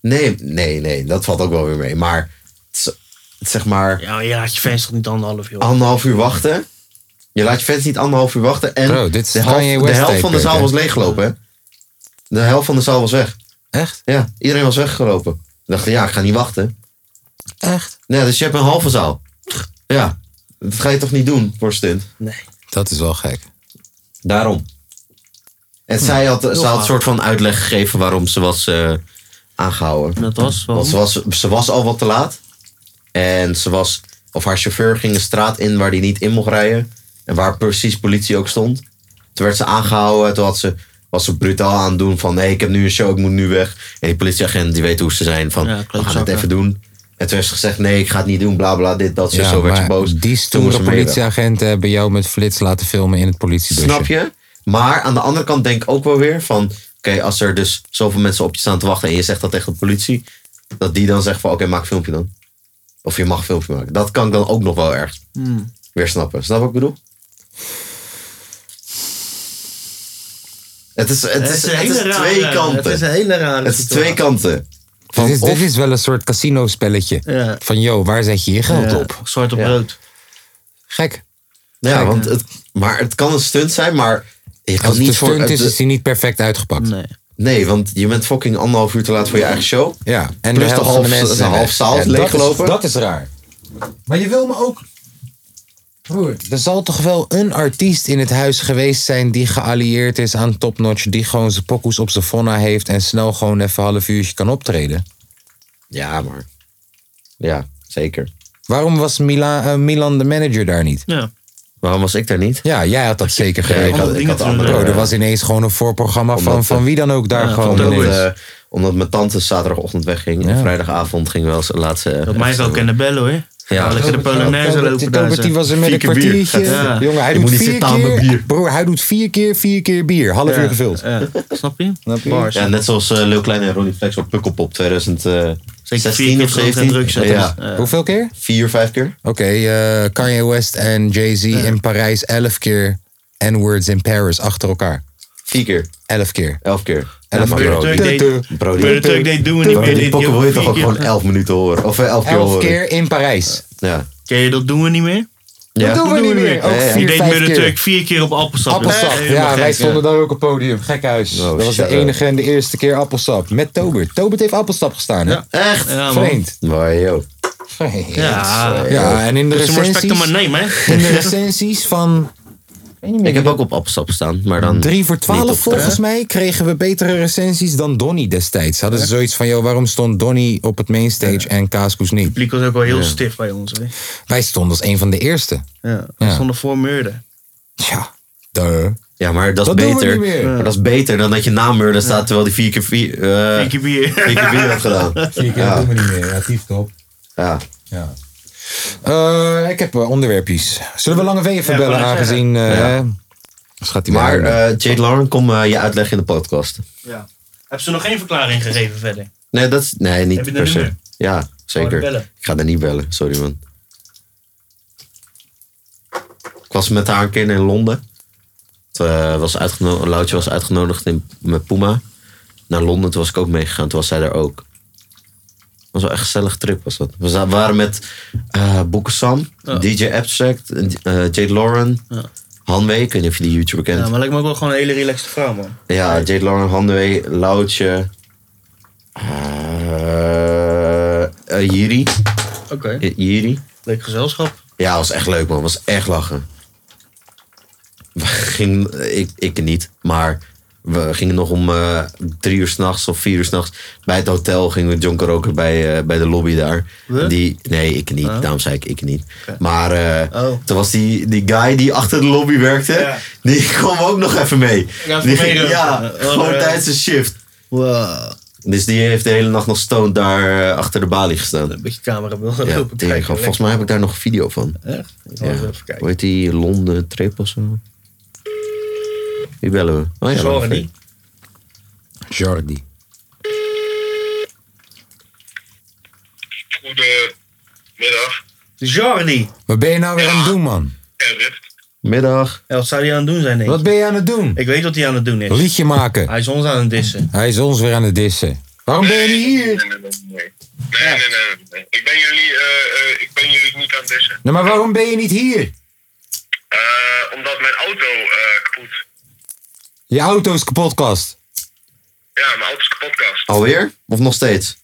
B: Nee, nee, nee, dat valt ook wel weer mee. Maar z- zeg maar,
C: Ja, maar je laat je fans toch niet anderhalf, joh.
B: anderhalf uur wachten. Je laat je fans niet anderhalf uur wachten. En
A: Bro, dit is
B: de,
A: Kanye
B: helft, de
A: West
B: helft van de
A: tijdperk,
B: zaal
A: hè?
B: was leeggelopen. Hè? De helft van de zaal was weg.
A: Echt?
B: Ja, iedereen was weggelopen. Ik dacht, ja, ik ga niet wachten.
A: Echt?
B: Nee, dus je hebt een halve zaal. Ja, dat ga je toch niet doen voor een stunt?
A: Dat is wel gek.
B: Daarom. En
C: Hm.
B: zij had, ze had
C: gaaf.
B: een soort van uitleg gegeven waarom ze was eh, aangehouden.
C: Dat was wel.
B: Want ze was, ze was al wat te laat. En ze was, of haar chauffeur ging een straat in waar die niet in mocht rijden. En waar precies politie ook stond. Toen werd ze aangehouden. Toen had ze, was ze brutaal aan het doen van... Hey, ik heb nu een show, ik moet nu weg. En die politieagent die weet hoe ze zijn van...
C: Ja,
B: we gaan het
C: klootzakken.
B: even doen. En toen heeft ze gezegd... Nee, ik ga het niet doen, bla bla, dit, dat, zo.
A: Ja,
B: zo werd ze
A: maar
B: boos.
A: Die
B: Toen moest
A: stoere
B: ze mee weg.
A: politieagenten hebben jou met flits laten filmen in het politiebusje.
B: Snap je? Maar aan de andere kant denk ik ook wel weer van... Oké, als er dus zoveel mensen op je staan te wachten... en je zegt dat tegen de politie... dat die dan zegt van oké, maak een filmpje dan. Of je mag een filmpje maken. Dat kan ik dan ook nog wel erg weer snappen. Snap wat ik bedoel? Het is, het is, het is twee
C: Het is een
B: kanten.
C: hele rare
B: Het is twee kanten. Van
A: Dit is,
B: of-
A: dit is wel een soort casino spelletje.
C: Ja.
A: Van, yo, waar zet je je geld op?
C: Zwart op rood.
A: Gek.
B: ja, want het, maar het kan een stunt zijn, maar je kan
A: Als het een
B: niet voor...
A: stunt is,
B: het-
A: is die niet perfect uitgepakt.
C: Nee.
B: nee, want je bent fucking anderhalf uur te laat voor je eigen show.
A: Ja, en
B: Plus
A: de helft
B: de
A: van de
B: half-
A: mensen
B: de
A: zijn
B: half
A: weg.
B: zaal is
A: dat
B: leeggelopen.
A: Dat is raar.
D: Maar je wil me ook.
A: Broer, er zal toch wel een artiest in het huis geweest zijn die geallieerd is aan Topnotch, die gewoon zijn pokoes op zijn fonna heeft en snel gewoon even een half uurtje kan optreden.
B: Ja, maar... Ja, zeker.
A: Waarom was Mila, eh, Milan de manager daar niet?
C: Ja.
B: Waarom was ik daar niet?
A: Ja, jij had dat zeker
B: Ja, ik
A: geregeld.
B: had, ik
C: dingen
B: had Oh,
C: te
B: andere...
C: doen,
A: Bro,
C: hè?
A: er was ineens gewoon een voorprogramma van,
B: Omdat,
A: van wie dan ook daar
C: ja,
A: gewoon.
C: van
B: Omdat,
C: Toby.
A: ineens.
B: eh, omdat mijn tante zaterdagochtend wegging. En vrijdagavond ging wel zijn laatste...
C: Dat mij ook kennen bellen hoor. Ja, lekker de Polonaise
A: Robert-
C: lopen
A: Robert, die
C: dansen.
A: was er met
B: Vier
A: een
B: keer bier.
A: kwartiertje.
C: Ja.
A: Jongen, hij
B: Je
A: doet
B: moet niet
A: vier
B: zitten aan
A: keer.
B: met bier.
A: Broer, hij doet vier keer, vier keer bier. Half uur gevuld.
C: Ja. Snap je? Bars.
B: Ja, net zoals eh Lil Klein en Ronnie Flex op Pukkelpop 2016
C: Zeker vier keer
B: of
C: drank
B: 17.
C: en drugs. zetten.
B: ja,
C: Ja.
A: Hoeveel keer?
B: vier, vijf keer.
A: Oké, eh, Kanye West en Jay-Z in Parijs elf keer. En Words in Paris achter elkaar.
B: Vier keer.
A: Elf keer.
B: Elf keer.
A: Elf
C: Ja,
A: keer.
C: Bro,
B: Brody.
C: Turk deed-
B: Brody.
C: Bro, de Turk deed doen we niet
B: Bro,
C: meer.
B: die
C: Dit
B: pokken wil je
C: joh,
B: toch ook
C: vier
B: gewoon
C: keer.
B: elf minuten horen. Of eh, elf keer
A: Elf
B: horen.
A: keer in Parijs.
B: Ja.
C: Ken je dat doen we niet meer?
B: Ja.
A: Dat doen we niet meer. Ook
B: Ja, ja.
C: Die
A: vier,
C: deed
A: vijf
C: Murder
A: keer.
C: Turk vier keer op appelsap.
A: Appelsap.
C: Helemaal
A: Ja,
C: gek, Nou,
A: wij stonden daar ook op het podium. Gekhuis.
B: Oh,
A: Dat was de
B: shit, ja.
A: enige en de eerste keer appelsap. Met Tobert. Tobert heeft appelsap gestaan, hè?
B: Echt?
C: Ja, man.
A: Vreemd.
B: Maar joh.
A: Vreemd.
C: Ja.
A: Ja, en in de
C: Dus je moet respect
A: recensies...
C: aan mijn name, hè?
A: in de recensies van
B: Ik heb ook op appelsap staan, maar dan...
A: Drie voor
B: niet op
A: 12
B: de-
A: volgens mij kregen we betere recensies dan Donnie destijds. Hadden ze zoiets van, joh, waarom stond Donnie op het mainstage en Kaaskoes niet?
C: publiek was ook wel heel stif bij ons. Hè?
A: Wij stonden als een van de eerste.
C: Ja, we
A: Ja.
C: stonden voor Murden.
A: Ja, duh.
B: Ja, maar dat is
A: Dat doen we
B: beter.
A: niet meer.
B: Maar dat is beter dan dat je na Murder staat terwijl die vier keer vier, eh,
C: Vier keer bier.
B: vier keer vier heeft gedaan.
D: Zie ik ja. niet meer. Ja, top.
B: Ja.
D: Ja.
A: Eh, ik heb eh, onderwerpjes. Zullen we Lange V even
C: Ja,
A: bellen,
C: ik wou net
A: aangezien... eh hè? Anders gaat hij
B: Maar
A: weer aan.
B: eh, Jade Lauren, kom eh, je uitleggen in de podcast.
C: Ja. Heb ze nog geen verklaring gegeven verder?
B: Nee, dat is, nee niet
C: Heb je
B: per
C: een
B: se.
C: nummer?
B: Ja,
C: Gewoon
B: zeker.
C: bellen.
B: Ik ga daar niet bellen, sorry man. Ik was met haar een keer in Londen. Toen, eh, was uitgeno- Loutje was uitgenodigd in, met Puma. Naar Londen, toen was ik ook meegegaan. Toen was zij daar ook. was wel echt een gezellig trip, was dat. We za- waren met eh Boeken Sam, DJ Abstract, eh, Jade Lauren, Hanwee. Ik weet niet of je die YouTuber kent.
C: Ja, maar lijkt me ook wel gewoon een hele relaxte vrouw, man.
B: Ja, Jade Lauren, Handwee, Loutje. eh, eh, Jiri.
C: Oké.
B: J- Jiri.
C: Leuk gezelschap.
B: Ja, was echt leuk man. Was echt lachen. We gingen, ik, ik niet, maar we gingen nog om eh, drie uur s'nachts of vier uur s'nachts bij het hotel gingen we jonker roken bij, eh, bij de lobby daar.
C: We?
B: Die, nee, ik niet. Daarom zei ik ik niet. Maar eh,
C: Oh.
B: toen was die, die guy die achter de lobby werkte,
C: Ja.
B: die kwam ook nog even mee.
C: Ja,
B: die
C: voor meedoen.
B: ja,
C: Eh,
B: gewoon
C: eh,
B: tijdens de shift.
C: Wow.
B: Dus die heeft de hele nacht nog stoned daar eh, achter de balie gestaan.
C: Een beetje camera wil
B: Ja,
C: lopen
B: tering,
C: kijken.
B: gewoon. volgens mij heb ik daar nog een video van.
C: Echt? Ik zal
B: Ja.
C: eens even kijken.
B: Hoe heet die? Londen Trip of zo? Wie bellen we? Oh ja,
C: Zorgen
B: oké.
C: die. eh,
A: Jordi.
E: Goedemiddag,
C: Jordi!
A: Wat ben je nou weer aan het doen, man?
E: Kevin.
B: Middag.
C: Ja, wat zou hij aan het doen zijn, denk ik?
A: Wat ben je aan het doen?
C: Ik weet wat hij aan het doen is.
A: Liedje maken.
C: Hij is ons aan het dissen.
A: Hij is ons weer aan het dissen. Waarom ben je niet
E: Nee,
A: hier?
E: nee, nee, nee. Nee, nee, nee, nee. Ik ben jullie, eh, eh, ik ben jullie niet aan het dissen.
A: Nou, maar waarom ben je niet hier?
E: Eh, omdat mijn auto eh, kapot.
A: Je auto is kapotkast.
E: Ja, mijn auto is kapotkast.
A: Oh.
B: Alweer? Of nog steeds?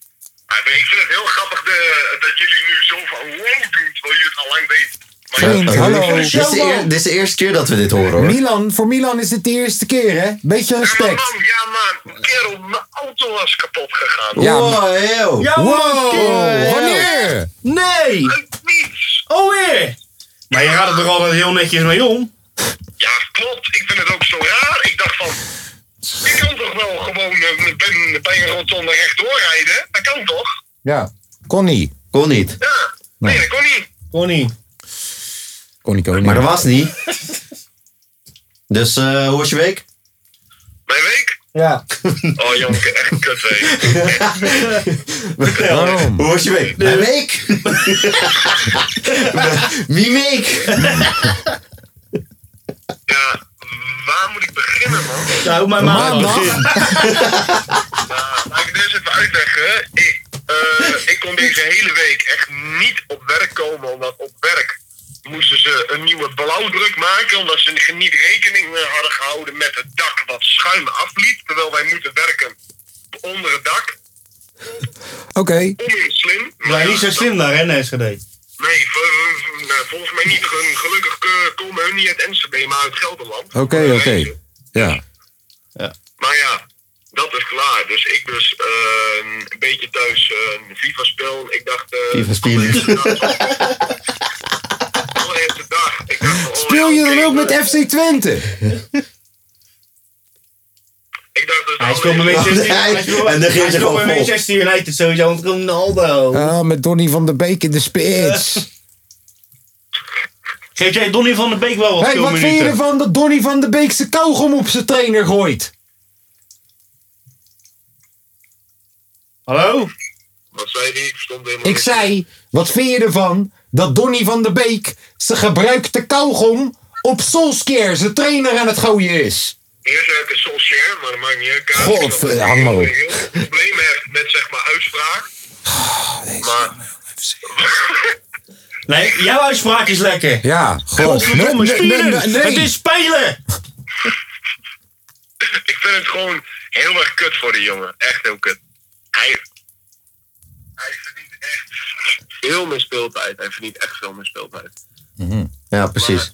E: Ah, maar ik vind het heel grappig de, dat jullie nu zo van wow doen, terwijl jullie het al lang weten. Maar
A: Vriend,
B: Oké.
A: hallo.
B: Dit is, de eer- dit is de eerste keer dat we dit horen hoor.
A: Milan, voor Milan is dit de eerste keer, hè? Beetje
E: Ja, maar
A: respect.
E: man, ja man, kerel, mijn auto was kapot gegaan.
A: Ja,
B: wow, eeuw.
C: Ja,
A: Wow! Oh, Wanneer?
C: Nee! Oh,
E: Uit niets.
C: Alweer! Maar je gaat er toch altijd heel netjes mee om?
E: Ja, klopt. Ik vind het ook zo raar. Ik dacht van, ik kan toch wel gewoon eh, bij- bij een rotonde rechtdoor rijden? Dat kan toch?
A: Ja. Connie.
B: Kon niet.
E: Ja, nee, dat kon niet.
C: Connie.
A: Connie Koning.
B: Maar dat was niet. Dus eh, hoe was je week?
E: Mijn week?
C: Ja.
E: Oh jongen, echt een kutweek.
A: Waarom?
B: Hoe was je week? Mijn week. Wie week?
E: Ja, waar moet ik beginnen man?
C: Nou, maar maandag.
E: Nou, laat ik het eerst even uitleggen. Ik, eh, ik kon deze hele week echt niet op werk komen, omdat op werk moesten ze een nieuwe blauwdruk maken, omdat ze niet rekening eh, hadden gehouden met het dak wat schuim afliep, terwijl wij moeten werken onder het dak.
A: Oké.
E: Onmin slim.
C: Maar niet zo slim daar, hè, Enschede.
E: Nee, v- v- nou, volgens mij niet. Ge- Gelukkig eh, komen hun niet uit Enschede, maar uit Gelderland.
A: Oké, oké. Ja.
E: Maar ja, dat is klaar. Dus ik dus eh, een beetje thuis eh FIFA spelen. Ik dacht... eh,
B: FIFA spelen.
E: allereerste dag. Allereerste dag. Ik dacht, van, oh,
A: Speel je
E: ja,
A: dan
E: oké,
A: ook met
E: eh,
A: FC Twente?
E: Ik dacht dus...
C: Hij speelt met
E: allereerste-
C: Manchester
B: Oh, nee.
C: Hij speelt-
B: En dan
C: hij
B: geeft hij
C: speelt
B: gewoon vol.
C: met Manchester United sowieso, want Ronaldo.
A: Ah, met Donny van der Beek in de spits.
C: Geef jij Donny van der Beek wel wat
A: Hey, wat vind je
C: speelminuten?
A: ervan dat Donny van der Beek zijn kauwgom op zijn trainer gooit?
C: Hallo?
E: Wat zei die? Ik stond helemaal...
A: Ik zei, wat vind je ervan dat Donny van der Beek zijn gebruikte kauwgom op Solskjaer, zijn trainer, aan het gooien is?
E: Eerst heb ik een Solskjaer, maar dat maakt niet uit. Kaas.
A: God, eh,
E: Ik snap dat
A: hang
E: ik
A: maar op.
E: heel veel problemen heb met, zeg maar, uitspraak. maar...
C: Nee, jouw uitspraak is lekker.
A: Ja, god.
C: Godverdomme, spelen! Het
A: nee.
C: is spelen!
E: Ik vind het gewoon heel erg kut voor die jongen. Echt heel kut. Hij, hij verdient echt veel meer speeltijd. Hij verdient echt veel meer speeltijd.
B: Ja, precies.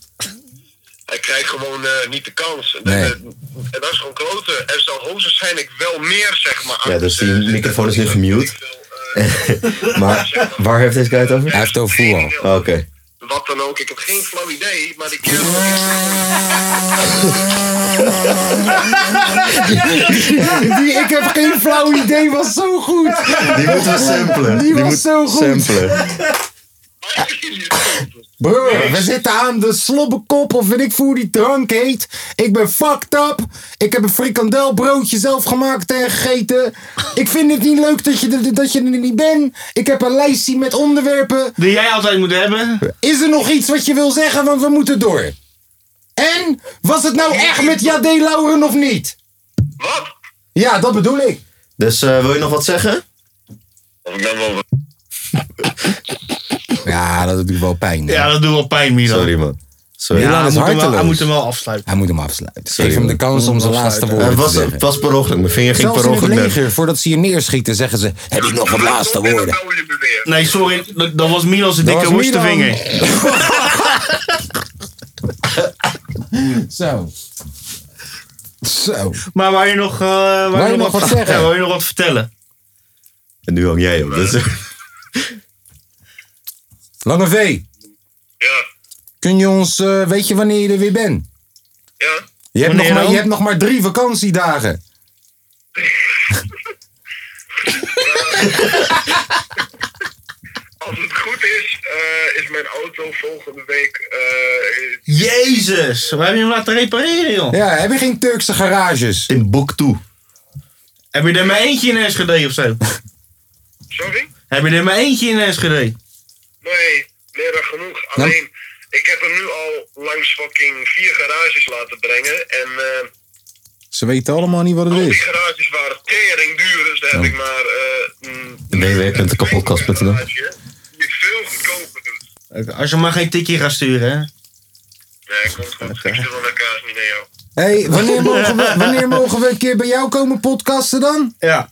E: Hij krijgt gewoon eh, niet de kans. En,
F: Nee.
E: en- en dat is gewoon kloten. Er zal hoogstwaarschijnlijk wel meer, zeg maar.
B: Ja,
E: achter
B: dus
E: de-
B: die
E: zitten.
B: microfoon is nu gemute.
E: Ik wil, eh,
B: Maar waar heeft deze guy het over? Ah,
F: Hij heeft het over voetbal.
B: Oké.
E: Wat dan ook, ik heb geen flauw idee, maar die kerel...
A: Die ik heb geen flauw idee was zo goed.
B: Die moeten we samplen.
A: Die was
B: moet
A: zo goed.
B: Samplen.
A: Broer, we zitten aan de slobbenkop of weet ik voor die drank heet. Ik ben fucked up. Ik heb een frikandelbroodje zelf gemaakt en gegeten. Ik vind het niet leuk dat je, er- dat je er niet bent. Ik heb een lijstje met onderwerpen.
C: Die jij altijd moet hebben.
A: Is er nog iets wat je wil zeggen? Want we moeten door. En was het nou echt met Jade Lauren of niet?
E: Wat?
A: Ja, dat bedoel ik.
B: Dus eh, wil je nog wat zeggen?
E: Ik ben wel...
F: Ja, dat doet wel pijn. hè.
C: Ja, dat doet wel pijn, Milan.
B: Sorry man. Sorry.
C: Ja,
F: Milan
C: hij
F: is
C: moet hem wel-
F: harteloos.
C: hij moet hem wel afsluiten.
F: Hij moet hem afsluiten.
B: Sorry,
F: Geef hem de
B: hoor.
F: kans om zijn laatste
C: Afsluiten.
B: Eh,
F: woorden
B: Het
F: te
B: was,
F: zeggen.
B: het was per ongeluk. Mijn vinger ging
F: Zelfs
B: per
F: in het
B: ongeluk naar-
F: leger, voordat ze je neerschieten, zeggen ze... heb je nog wat laatste
E: Ik
F: woorden?
E: bel je me nou weer.
C: Nee, sorry, dat, dat was Milan zijn dikke
A: was
C: woeste
A: Milan.
C: vinger.
A: Zo. Zo.
C: Maar waar je nog, eh waar
A: je nog wat zeggen?
C: Ja, wou je nog wat vertellen?
B: En nu hang jij op. Dus,
F: Lange V,
E: Ja,
A: Kun je ons, eh, weet je wanneer je er weer bent?
E: ja.
A: Je hebt, nog
C: Wanneer
A: maar,
C: dan?
A: je hebt nog maar drie vakantiedagen.
E: Als het goed is, eh, is mijn auto volgende week... eh,
C: Jezus, waar heb je hem laten repareren, joh?
A: Ja, heb je geen Turkse garages?
B: in boek toe.
C: Heb je er maar eentje in Enschede of zo?
E: sorry?
C: heb je er maar eentje in Enschede?
E: Nee, meer dan genoeg. Alleen, ik heb er nu al langs fucking vier garages laten brengen. En eh,
A: Ze weten allemaal niet wat het
E: al die
A: is.
E: garages waren tering duur. Dus daar heb ik maar... eh, mm,
B: www.kapotkast.nl.
E: garage Die het veel goedkoper doet.
C: Als je maar geen tikje gaat sturen, hè?
E: Nee, komt goed. Ik stuur wel naar kaas niet naar jou.
A: hey, wanneer, mogen we- wanneer mogen we een keer bij jou komen podcasten dan?
C: Ja.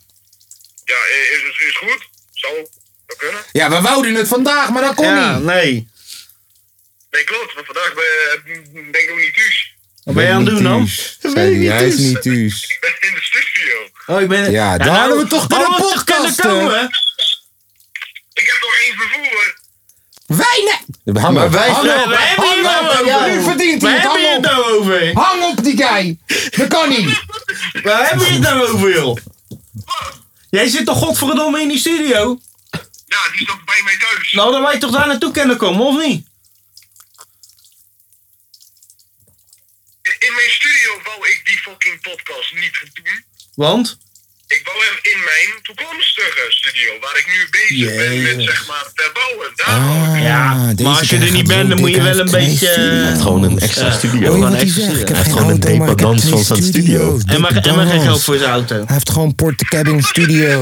E: Ja, eh, is het is goed? Zou dat kunnen?
A: Ja, we wouden het vandaag, maar dat kon
C: Ja,
A: niet.
C: nee.
E: Nee, klopt. Want vandaag ben, eh, ben ik nog niet thuis.
C: Wat ben je aan het doen dan?
A: Zei hij, hij is niet thuis.
E: Ik ben in de studio.
C: Oh, ik ben...
A: Ja, dan hadden we toch kunnen
C: hadden we
A: podcasten.
C: kunnen komen.
E: Ik heb nog één vervoer.
A: Wij nee! Hang op,
B: wij-
A: hang
C: Ja,
A: op,
C: we hebben hier
A: hang
C: nou
A: op.
C: over.
A: Nu verdient
C: We
A: hij het,
C: hebben je het
A: hang op.
C: nou over.
A: Hang op die guy. Dat kan niet.
C: Waar hebben je het nou over, joh? Jij zit toch godverdomme in die studio?
E: Ja, die is nog bij mij thuis.
C: Nou, dan wij toch daar naartoe kunnen komen, of niet?
E: In mijn studio wou ik die fucking podcast niet doen.
C: Want?
E: Ik wou hem in mijn toekomstige studio, waar ik nu bezig ben met zeg maar verbouwen. Daar
A: Ah,
E: wou ik-
C: Ja,
F: deze
C: maar als je
F: guy
C: er niet
F: gaat
C: bent, dan
F: zo
C: moet je
F: dik
C: wel
F: uit
C: een beetje... eh,
F: knijpen.
B: Gewoon een extra studio.
F: Hoor je
C: Gewoon
F: wat hij
C: extra
F: zegt? Oh, Ik heb
B: Hij heeft
F: geen
B: gewoon een
F: auto, maar ik heb
B: dependance
F: twee
B: van zijn studio.
F: studio's.
C: En maar, en maar geen
F: Dependance.
C: geld voor zijn auto.
F: Hij heeft gewoon portecabin studio.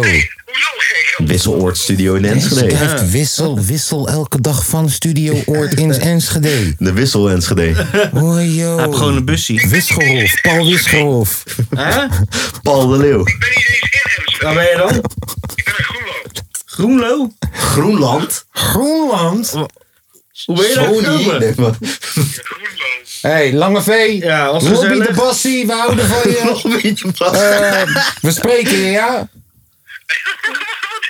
E: Hoezo geen geld?
B: Wisseloord Studio in
F: Hij
B: Enschede.
F: heeft wissel, wissel elke dag van studio Oord in Enschede.
B: De Wissel Enschede.
F: Hoi joh.
C: Hij heeft gewoon een bussie.
F: Wisgerhof, Paul Wisgerhof.
C: Hè?
B: Paul de Leeuw.
E: Ik ben niet eens in
C: Waar
E: Amsterdam.
C: ben je dan?
E: Ik ben in Groenlo.
C: Groenlo?
B: Groenland.
A: Groenland.
C: Oh. Hoe ben je daar gekomen?
B: Nee, maar-
E: In Groenlo.
A: Hé, hey, Lange V.
C: Ja, was
A: Lobby
C: gezellig.
A: de Bassie, we houden van je.
B: Een beetje plat.
A: Eh, we spreken je, ja?
E: Wat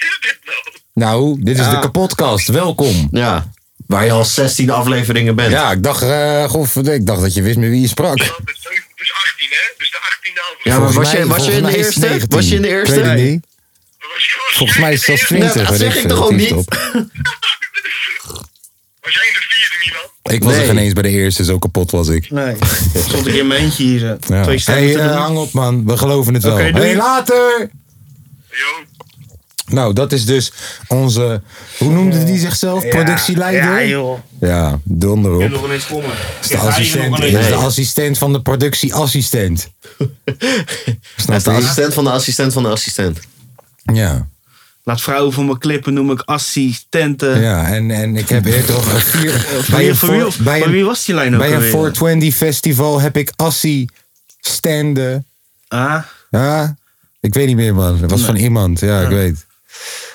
E: is dit nou?
A: Nou, dit is de kapotkast. Welkom.
B: Ja. Waar je al 16 afleveringen bent.
A: Ja, ik dacht, eh, gof, ik dacht dat je wist met wie je sprak.
E: Ja, het is zeven- Het is 18, hè? Dus de 18e
B: Ja,
E: avond.
B: maar was,
A: Volgens
B: je,
A: mij-
B: was je in
A: volgens
B: de
A: mij is het
B: eerste?
A: 19.
B: Was je in de eerste?
A: Ik weet het niet. Volgens mij is dat
C: Nou,
B: Nee,
A: 20. weet
B: dat zeg ik
A: veel,
F: eh,
B: toch ook
A: het is
B: niet?
A: op.
E: Was jij in de vierde, Milan?
A: Ik was er
B: Nee.
A: geen eens bij de eerste, zo kapot was ik.
C: Nee. Stond ik in mijn eentje hier. zo.
A: Ja.
C: Twee stemmen
A: Hey,
C: te
A: eh,
C: doen.
A: hang op man, we geloven het wel.
C: Oké, doei.
A: hey, later!
E: Jo.
A: Nou, dat is dus onze, hoe noemde die zichzelf? Productieleider?
C: Ja, joh. Ik
A: Ja, donder
C: heb
A: op.
C: nog ineens komen.
A: Is de assistent, is de assistent van de productieassistent.
B: Hij
A: Snap
B: is de
A: je?
B: assistent van de assistent van de assistent.
A: Ja.
C: Laat vrouwen voor me klippen, noem ik assistenten.
A: Ja, en, en ik heb eerder toch een vier...
C: Bij,
A: een
C: voor wie,
A: voor- bij
C: bij
A: een-
C: wie was die lijn ook
A: Bij een
C: alweer?
A: 420 festival heb ik Assie standen.
C: Ah,
A: Ja, ik weet niet meer man. Dat was van iemand. Ja, ik weet.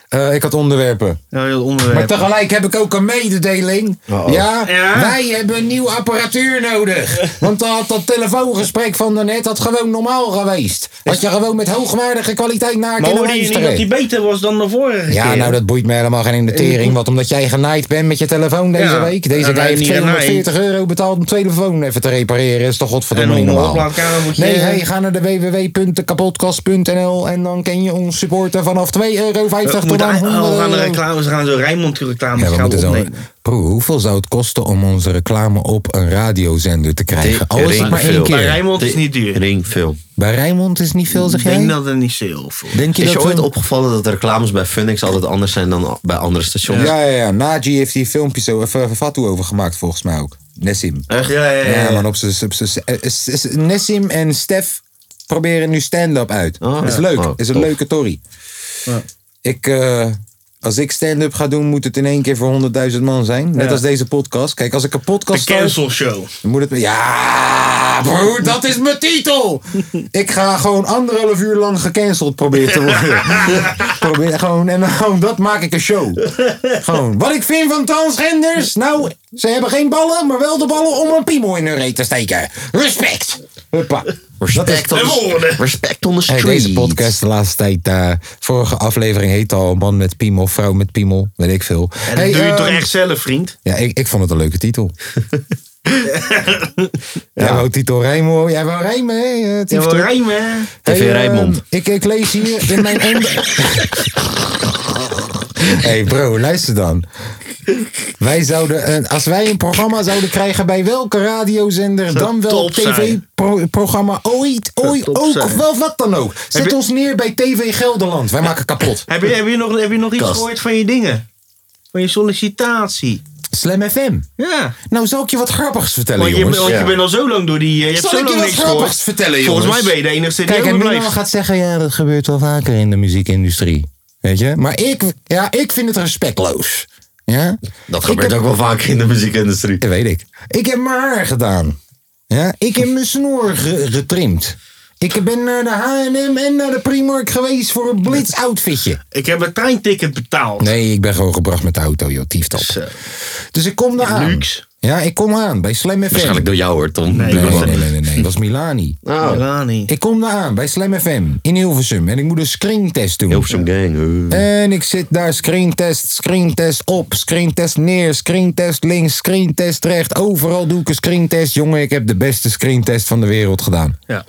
A: Eh, ik had onderwerpen.
C: Ja, heel onderwerp.
A: Maar tegelijk heb ik ook een mededeling.
B: Uh-oh.
A: Ja,
C: Ja?
A: wij hebben nieuw apparatuur nodig. Want dat, dat telefoongesprek van daarnet had gewoon normaal geweest. Had je gewoon met hoogwaardige kwaliteit naar
C: Maar
A: kunnen
C: hoorde je niet dat die
A: luisteren.
C: beter was dan de vorige
A: Ja,
C: keer? Eh,
A: nou dat boeit me helemaal geen in de tering. Want omdat jij genaaid bent met je telefoon deze
C: Ja.
A: week.
C: Ja,
A: Deze
C: wij
A: guy heeft
C: niet
A: 240 euro betaald om twee telefoon even te repareren. Is toch godverdomme
C: En
A: niet
C: om een
A: normaal.
C: oplaadkamer moet je...
A: Nee, hey, ga naar de www.kapotkast.nl en dan kan je ons supporten vanaf 2,50 euro
C: we
A: tot
C: moeten
A: aan
C: ei-
A: 100
C: oh, we gaan de
A: euro.
C: reclames, we gaan zo Rijnmond reclames
A: Ja, we
C: gaan
A: moeten zo.
C: opnemen.
A: Broer, hoeveel zou het kosten om onze reclame op een radiozender te krijgen? Al is het maar één
B: veel.
C: Maar
A: keer.
C: Rijnmond is niet duur.
B: Ringfilm.
A: Bij Rijnmond is niet veel, zeg
C: Ik denk
A: jij?
C: dat er niet veel voor.
A: Denk je
B: Is je
A: dat
B: ooit
A: we-
B: opgevallen dat de reclames bij Funix altijd anders zijn dan bij andere stations?
A: Ja, ja, ja. Naji heeft hier filmpjes zo even fatu over gemaakt, volgens mij ook. Nessim.
C: Echt? Ja, ja, ja.
A: Ja, man, op z'n- op z'n- eh, eh, s- s- Nessim en Stef proberen nu stand-up uit.
B: Oh,
A: is
B: ja.
A: leuk.
B: Oh,
A: is een
B: tof.
A: leuke tory. Ik, eh, als ik stand-up ga doen, moet het in één keer voor 100.000 man zijn. Net
C: Ja.
A: als deze podcast. Kijk, als ik een
C: De
A: podcast start,
C: cancel show.
A: dan moet het... Ja, broer, dat is mijn titel! ik ga gewoon anderhalf uur lang gecanceld proberen te worden. Probeer, gewoon, en dan gewoon, dat maak ik een show. gewoon, wat ik vind van transgenders? Nou, ze hebben geen ballen, maar wel de ballen om een piemel in hun reet te steken. Respect! Huppa.
B: Respect, on
C: de
B: the,
C: woorden.
B: respect on the
A: Hey,
B: street.
A: deze podcast de laatste tijd, eh, vorige aflevering heet al Man met Piemel, Vrouw met Piemel, weet ik veel.
C: En
A: Hey,
C: dat doe je
A: eh,
C: toch echt zelf, vriend?
A: Ja, ik, ik vond het een leuke titel. Jij wou titel rijmen hoor. Jij wou rijmen hè? eh,
C: Ja, wel
A: Tieftoe?
C: rijmen, hè?
B: TV
A: eh,
B: Rijnmond.
A: ik, ik lees hier in mijn... onder- hey bro, luister dan. Wij zouden, een- als wij een programma zouden krijgen bij welke radiozender, dan wel
C: top zijn.
A: tv-programma, ooit, ooit,
C: top
A: ook,
C: zijn.
A: of wel wat dan ook. Zet
C: je-
A: ons neer bij TV Gelderland. Wij maken kapot.
C: Heb je, heb je nog, heb je nog iets
B: Kast.
C: gehoord van je dingen? Van je sollicitatie?
A: Slam FM.
C: Ja.
A: Nou, zal ik je wat grappigs vertellen,
C: Want je,
A: jongens?
C: want je
B: ja.
C: bent al zo lang door die... eh, Je hebt
A: Zal
C: zo
A: ik je
C: lang
A: wat
C: niks
A: grappigs
C: gehoord.
A: vertellen, jongens?
C: Volgens mij ben je de enige die
A: Kijk, en
C: over
A: Mino
C: blijft.
A: gaat zeggen, ja, dat gebeurt wel vaker in de muziekindustrie. Weet je? Maar ik, ja, ik vind het respectloos. Ja?
B: Dat
A: Ik
B: gebeurt
A: heb-
B: ook wel vaak in de muziekindustrie.
A: Dat weet ik. Ik heb mijn haar gedaan. Ja? Ik heb mijn snor ge- getrimd. Ik ben naar de H&M en naar de Primark geweest voor een blitz outfitje.
C: Ik heb een treinticket betaald.
A: Nee, ik ben gewoon gebracht met de auto, joh. Tieftop.
C: Zo.
A: Dus ik kom daar aan.
C: Luxe.
A: Ja, ik kom aan bij Slam FM.
B: Waarschijnlijk door jou hoor, Tom.
C: Nee,
A: Nee, nee, nee, nee, nee, nee. Dat was Milani.
B: Nou,
C: Milani.
A: Ik kom daar aan bij Slam FM in Hilversum. En ik moet een screentest doen.
B: Hilversum Gang. eh.
A: En ik zit daar screentest, screentest op, screentest neer, screentest links, screentest recht. Overal doe ik een screentest. Jongen, ik heb de beste screentest van de wereld gedaan.
C: Ja.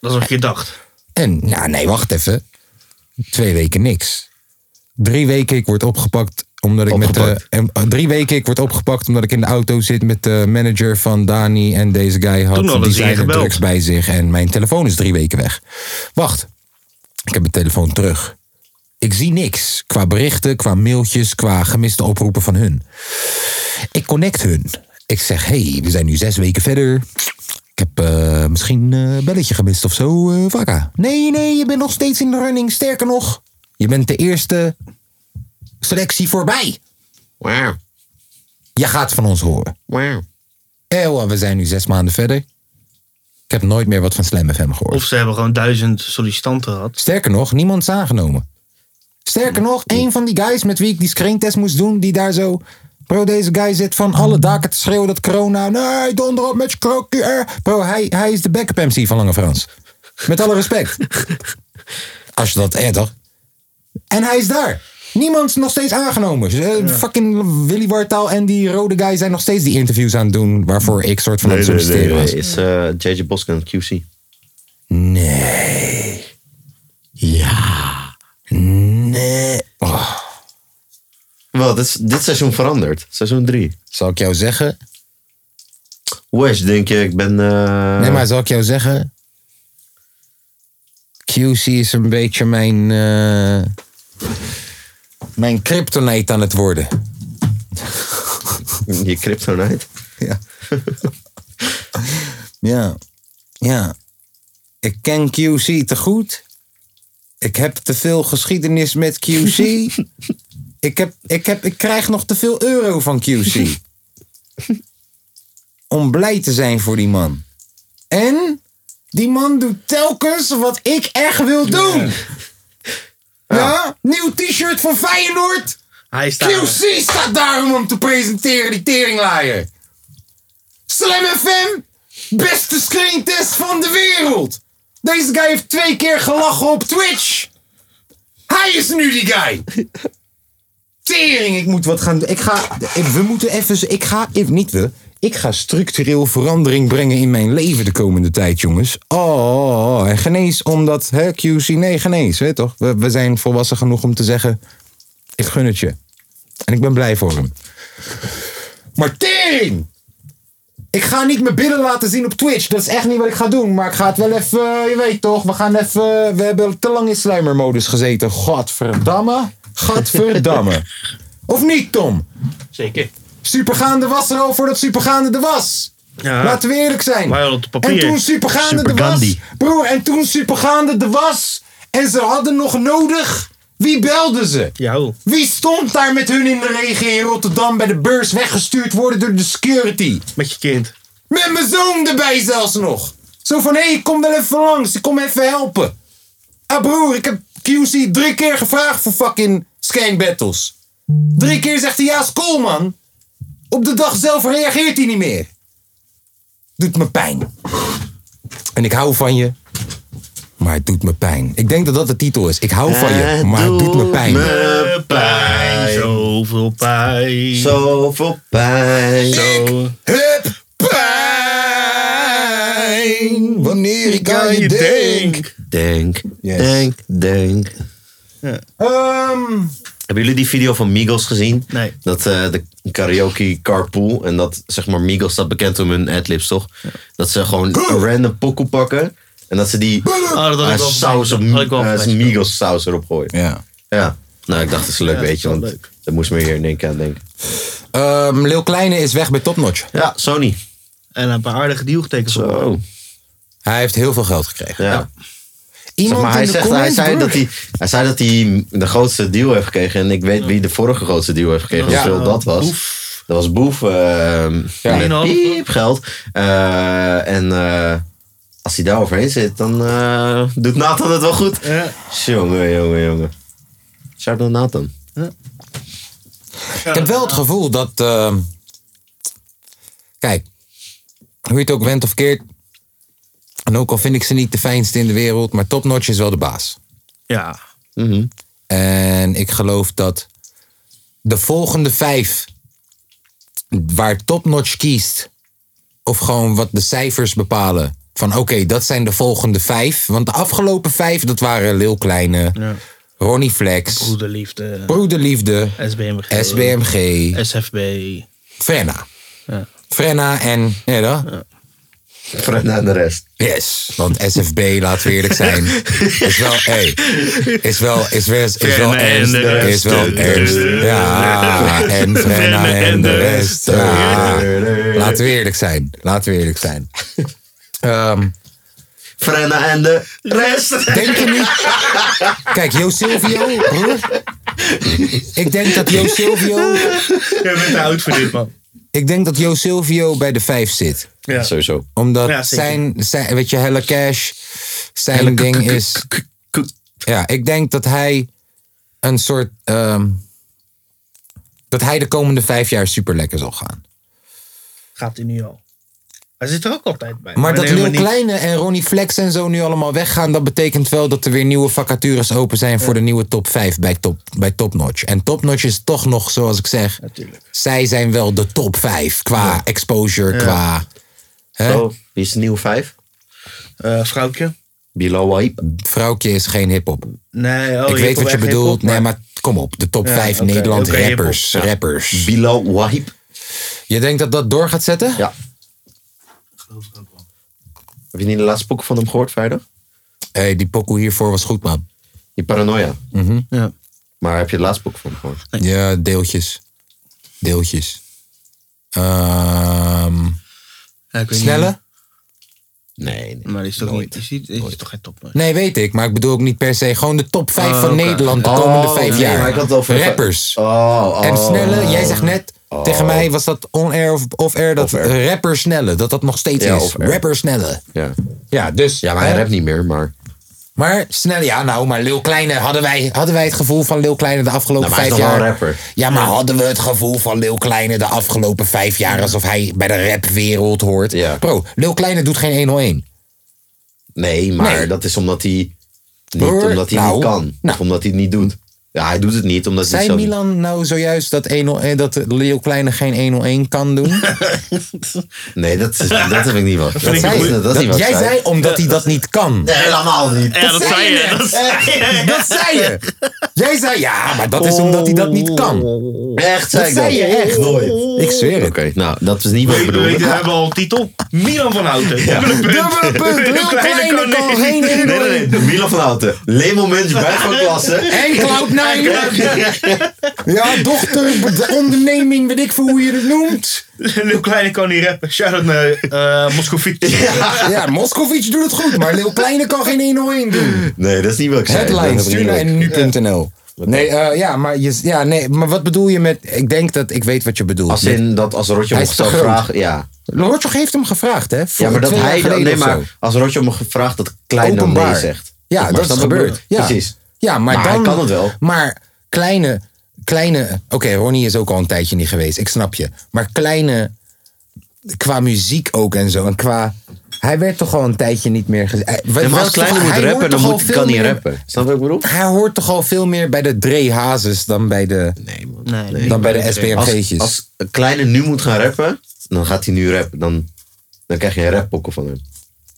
C: Dat is wat je dacht.
A: En, nou nee, wacht even. Twee weken niks. Drie weken ik word opgepakt omdat ik met de,
B: Opgepakt.
A: en, eh, drie weken ik word opgepakt omdat ik in de auto zit met de manager van Dani en deze guy
C: Toen
A: had
C: hadden ze je
A: designer
C: gebeld.
A: drugs bij zich en mijn telefoon is drie weken weg. Wacht, ik heb mijn telefoon terug. Ik zie niks qua berichten, qua mailtjes, qua gemiste oproepen van hun. Ik connect hun. Ik zeg, hey, we zijn nu zes weken verder. Ik heb eh, misschien eh, een belletje gemist of zo, eh Vakka. Nee, nee, je bent nog steeds in de running. Sterker nog, je bent de eerste selectie voorbij.
B: Wauw,
A: Je gaat van ons horen.
B: wauw.
A: Ewa, we zijn nu zes maanden verder. Ik heb nooit meer wat van Slam FM gehoord.
C: Of ze hebben gewoon duizend sollicitanten gehad.
A: Sterker nog, niemand is aangenomen. Sterker nog, een van die guys met wie ik die screentest moest doen, die daar zo. Bro, deze guy zit van alle daken te schreeuwen dat corona. Nee, donder op met je krokje. eh." Bro, hij, hij is de backup MC van Lange Frans. Met alle respect. Als je dat eh, toch? En hij is daar. Niemand is nog steeds aangenomen. Dus, eh, Fucking Willy Wartaal en die rode guy zijn nog steeds die interviews aan het doen. waarvoor ik soort van aan het solliciteren was.
B: Is eh, JJ Boskin QC.
A: Nee. Ja. Nee. Oh,
B: Wel, dit, is- dit seizoen verandert. Seizoen 3.
A: zal ik jou zeggen?
B: Wes, denk je, ik ben... eh,
A: Nee, maar zal ik jou zeggen? QC is een beetje mijn. eh, mijn kryptonite aan het worden.
B: Je kryptonite.
A: Ja. ja. Ja. Ik ken QC te goed. Ik heb te veel geschiedenis met QC. ik, heb, ik, heb, ik krijg nog te veel euro van QC. Om blij te zijn voor die man. En die man doet telkens wat ik echt wil doen. Ja?
D: Nieuw t-shirt van Feyenoord.
C: Hij staat.
D: QC staat daar om hem te presenteren, die teringlaaier. Slam FM, beste screentest van de wereld. Deze guy heeft twee keer gelachen op Twitch. Hij is nu die guy. Tering, ik moet wat gaan doen. Ik ga, we moeten even, ik ga, if, niet we, ik ga structureel verandering brengen in mijn leven de komende tijd, jongens. Oh, oh, oh. en genees omdat, hè, QC, nee, genees, weet toch? We, we zijn volwassen genoeg om te zeggen, ik gun het je. En ik ben blij voor hem. Maar tering! Ik ga niet mijn billen laten zien op Twitch. Dat is echt niet wat ik ga doen. Maar ik ga het wel even, eh, je weet toch, we gaan even, we hebben te lang in sluimermodus gezeten. Godverdamme, godverdamme. Of niet, Tom?
C: Zeker.
D: Supergaande was er al voordat Supergaande er was.
C: Ja.
D: Laten we eerlijk zijn.
C: Wij hadden het op papier.
D: En toen Supergaande er was.
C: Supergandhi.
D: Broer, en toen Supergaande er was. En ze hadden nog nodig. Wie belden ze?
C: Ja, hoe?
D: Wie stond daar met hun in de regen in Rotterdam bij de beurs weggestuurd worden door de security?
C: met je kind.
D: Met mijn zoon erbij zelfs nog. Zo van, hé, hey, kom wel even langs. Ik kom even helpen. Ah broer, ik heb QC drie keer gevraagd voor fucking skank battles. Drie keer zegt hij ja, is cool man. Op de dag zelf reageert hij niet meer. Doet me pijn. En ik hou van je. Maar het doet me pijn. Ik denk dat dat de titel is. Ik hou van je, maar het doet me pijn.
B: Me
C: Pijn, zoveel pijn.
B: Zoveel pijn.
C: Zo.
D: heb pijn wanneer ik
C: Kan je denk.
B: Denk,
D: Yes.
B: denk, denk.
D: Ehm,
B: Hebben jullie die video van Migos gezien?
C: Nee.
B: Dat eh, de karaoke carpool. En dat, zeg maar, Migos staat bekend om hun adlibs, toch? Dat ze gewoon een random pokoe pakken. En dat ze die
C: Oh, dat had
B: eh,
C: ik wel
B: saus op
C: gezien. Had ik wel
B: eh,
C: gezien.
B: Migos saus erop gooien.
D: ja.
B: Ja. Nou, ik dacht, dat is een leuk
C: Ja, dat is
B: beetje.
C: wel
B: Want
C: leuk.
B: dat moest me hier in één keer aan denken.
A: Ehm Lil Kleine is weg bij Topnotch.
B: Ja, Sony.
C: En een paar aardige deal getekend. voor.
B: Zo.
A: Hij heeft heel veel geld gekregen.
B: Ja.
D: Iemand
B: Zeg maar, hij,
D: in de
B: zegt, hij,
D: comments,
B: zei
D: broer.
B: dat hij, hij zei dat hij de grootste deal heeft gekregen. En ik weet wie de vorige grootste deal heeft gekregen.
C: Ja.
B: Hoeveel dat was. Dat was Boef. ehm met
C: 3,5.
B: piepgeld. Eh, en eh, als hij daar overheen zit, dan eh, doet Nathan het wel goed.
C: Ja.
B: Jongen, jongen, jongen. Shout out Nathan.
A: Ik heb wel het gevoel dat. ehm, kijk, hoe je het ook went of keert. En ook al vind ik ze niet de fijnste in de wereld, maar Topnotch is wel de baas.
C: Ja.
A: En ik geloof dat de volgende vijf waar Topnotch kiest, of gewoon wat de cijfers bepalen. Van oké, dat zijn de volgende vijf. Want de afgelopen vijf, dat waren Lil Kleine, Ronnie Flex,
C: Broederliefde.
A: Broederliefde,
C: SBMG.
A: SBMG,
C: SFB.
A: Frenna.
C: Ja.
A: Frenna en. Ja, toch?
B: Fred naar de rest.
A: Yes. Want SFB, laten we eerlijk zijn. Is wel. Hey, is wel. Is wel. Is wel
C: Frenna en
A: ernst.
C: de
A: Is
C: rest.
A: wel ernst. Ja. En Frenna en de rest. Ja. Laten we eerlijk zijn. Laten we eerlijk zijn. Ehm,
B: Frenna en de rest.
A: denk je niet. Kijk, Jo Silvio, broer. Ik denk dat Jo Silvio.
C: Je bent te oud voor dit, man.
A: Ik denk dat Jo Silvio bij de vijf zit.
C: Ja.
B: Sowieso.
A: Omdat
C: Ja, zeker.
A: zijn, zijn, weet je, Hella Cash, zijn ding is... Ja, ik denk dat hij een soort... ehm, dat hij de komende vijf jaar super lekker zal gaan.
C: Gaat hij nu al. Hij zit er ook altijd bij.
A: Maar
C: Ik
A: dat
C: ben
A: Lil
C: helemaal niet-
A: Kleine en Ronnie Flex en zo nu allemaal weggaan... dat betekent wel dat er weer nieuwe vacatures open zijn... voor de nieuwe top 5 bij, top, bij Top Notch. En Top Notch is toch nog, zoals ik zeg...
C: Natuurlijk.
A: zij zijn wel de top 5 qua exposure, qua... Hè?
B: Oh, wie is de nieuwe vijf?
C: Eh, vrouwtje?
B: Below Hype.
A: Vrouwtje is geen hip-hop.
C: Nee, oh,
A: ik weet wat je bedoelt. Nee,
C: maar...
A: maar kom op. De top
C: Ja,
A: 5
C: oké.
A: Nederland
C: Oké, hiphop.
A: rappers.
C: Ja.
A: Rappers.
B: Below Hype.
A: Je denkt dat dat door gaat zetten?
B: Ja. Heb je niet de laatste boek van hem gehoord vrijdag?
A: Hey, die pokoe hiervoor was goed, man.
B: Die Paranoia.
A: Mhm.
C: Ja.
B: Maar heb je het laatste boek van hem gehoord?
A: Ja, deeltjes. Deeltjes. Ehm,
C: Ja, ik weet
A: snelle?
B: Nee, nee.
C: niet. Maar die is toch niet... Is, die- is, is toch geen topman?
A: Nee, weet ik. Maar ik bedoel ook niet per se. Gewoon de top 5
C: Oh,
A: van
C: oké.
A: Nederland de komende 5
B: Ah, nee, maar
A: jaar.
B: ik had het over-
A: rappers.
B: Oh, oh.
A: En snelle, jij zegt net tegen mij, was dat on-air of off-air? Dat
B: Off-air.
A: rapper snelle, dat dat nog steeds
B: Ja,
A: is.
B: off-air.
A: Rapper snelle.
B: Ja.
A: Ja, dus.
B: ja, maar
A: hè?
B: hij rapt niet meer, maar...
A: Maar snel, ja, nou, maar Lil Kleine, hadden wij, hadden wij het gevoel van Lil Kleine de afgelopen
B: Nou, maar hij
A: vijf
B: is toch
A: jaar?
B: wel een rapper?
A: Ja, maar hadden we het gevoel van Lil Kleine de afgelopen vijf jaar alsof hij bij de rapwereld hoort?
B: Ja.
A: Bro, Lil Kleine doet geen 101.
B: Nee, maar
A: Nee.
B: dat is omdat hij niet,
A: Broer,
B: omdat hij
A: nou,
B: niet kan.
A: nou.
B: Of omdat hij het niet doet. Ja, hij doet het niet omdat hij
A: Zei
B: zo...
A: Milan nou zojuist dat, 101, dat Lil Kleine geen 101 kan doen?
B: Nee, dat, is, dat heb ik niet wat. Dat, is-
A: Zei-
B: dat, is
A: dat-
B: niet wat ik
A: jij zei omdat hij dat niet kan.
B: Nee, helemaal niet.
C: Ja, dat zei je.
A: net.
C: Dat zei je.
A: Eh, Dat zei je. Jij zei ja, maar dat is omdat hij dat niet kan.
B: Echt,
A: Dat
B: zei
A: zei
B: ik
A: je echt.
B: Nooit.
A: Ik zweer
B: Oké,
A: het.
B: nou, dat is niet wat ik
C: We
B: bedoel.
C: weten, we hebben al een titel. Milan van Houten. Dubbele punt.
A: Dubbele punt. Lil Kleine kan geen
B: Nee, nee, nee. De Milan van Houten. Lemo Mens, buik van klasse.
A: Hey Cloud9! Ja, dochter, bed- onderneming, weet ik veel hoe je het noemt.
C: Lil Kleine kan niet rappen. Shout-out naar eh Moscovici.
A: Ja, Moscovici doet het goed, maar Lil Kleine kan geen 101 doen.
B: Nee, dat is niet wat ik zei.
A: Headline,
B: Dat is
A: stuur
B: niet wat
A: naar
B: ik-
A: nu.nl. Nee, eh, ja, maar je, ja, nee, maar wat bedoel je met... Ik denk dat ik weet wat je bedoelt.
B: Als in dat als Rotje
A: Hij
B: hem
A: is te
B: gesteld
A: groot.
B: vraagt... Ja.
A: Lortjog heeft hem gevraagd, hè? voor
B: ja, maar dat
A: twee jaar
B: hij...
A: geleden
B: Nee,
A: of zo.
B: maar als Rotje hem gevraagd dat Klein dan
A: Openbaar.
B: nee zegt.
A: Ja,
B: Maar
A: dat
B: snap
A: is
B: ik bedoel?
A: gebeurd. Ja.
B: Precies.
A: Ja, maar,
B: Maar
A: dan...
B: hij kan het wel.
A: Maar kleine... kleine Oké, Ronnie is ook al een tijdje niet geweest. Ik snap je. Maar kleine... Qua muziek ook en zo. En qua... Hij werd toch al een tijdje niet meer... Geze... Eh, wel-
B: En maar
A: wel-
B: als Klein moet
A: hij hoort
B: rappen, dan
A: toch al
B: moet,
A: veel
B: kan hij
A: meer-
B: rappen. Snap je wat ik bedoel?
A: Hij hoort toch al veel meer bij de Dre Hazes dan bij de,
B: Nee, man.
C: Nee, nee.
A: dan bij de
B: Als,
A: SBMG'tjes.
B: als een Kleine nu moet gaan rappen, dan gaat hij nu rappen. Dan, dan krijg je een rappokkel van hem.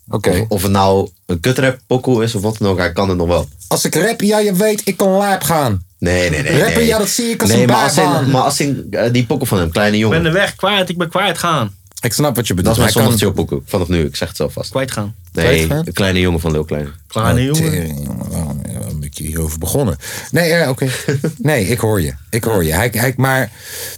A: Oké.
B: Of, of het nou een kutrappokkel is of wat dan ook, hij kan het nog wel.
A: Als ik rap, ja, je weet, ik kan lijp gaan.
B: Nee, nee, nee.
A: Rappen,
B: nee.
A: ja, dat zie ik als
B: nee,
A: een
B: maar als, in,
A: baarbaan.
B: maar als in, eh, die pokkel van hem, kleine
C: Ik
B: jongen.
C: ben de weg kwijt. Ik ben kwijt gaan.
A: Ik snap wat je
B: Dat
A: bedoelt.
B: is mijn
A: Hij
B: zondag chillpokkel. Vanaf nu, ik zeg het zo vast.
C: Kwijt gaan.
B: Nee,
A: Kwijt, hè?
B: een kleine jongen van Lil Kleine.
C: Kleine jongen.
A: Tering, jongen, waarom waarom ben ik hierover begonnen? Nee, ja, oké. Nee, ik hoor je. Ik hoor je. Hij, hij, maar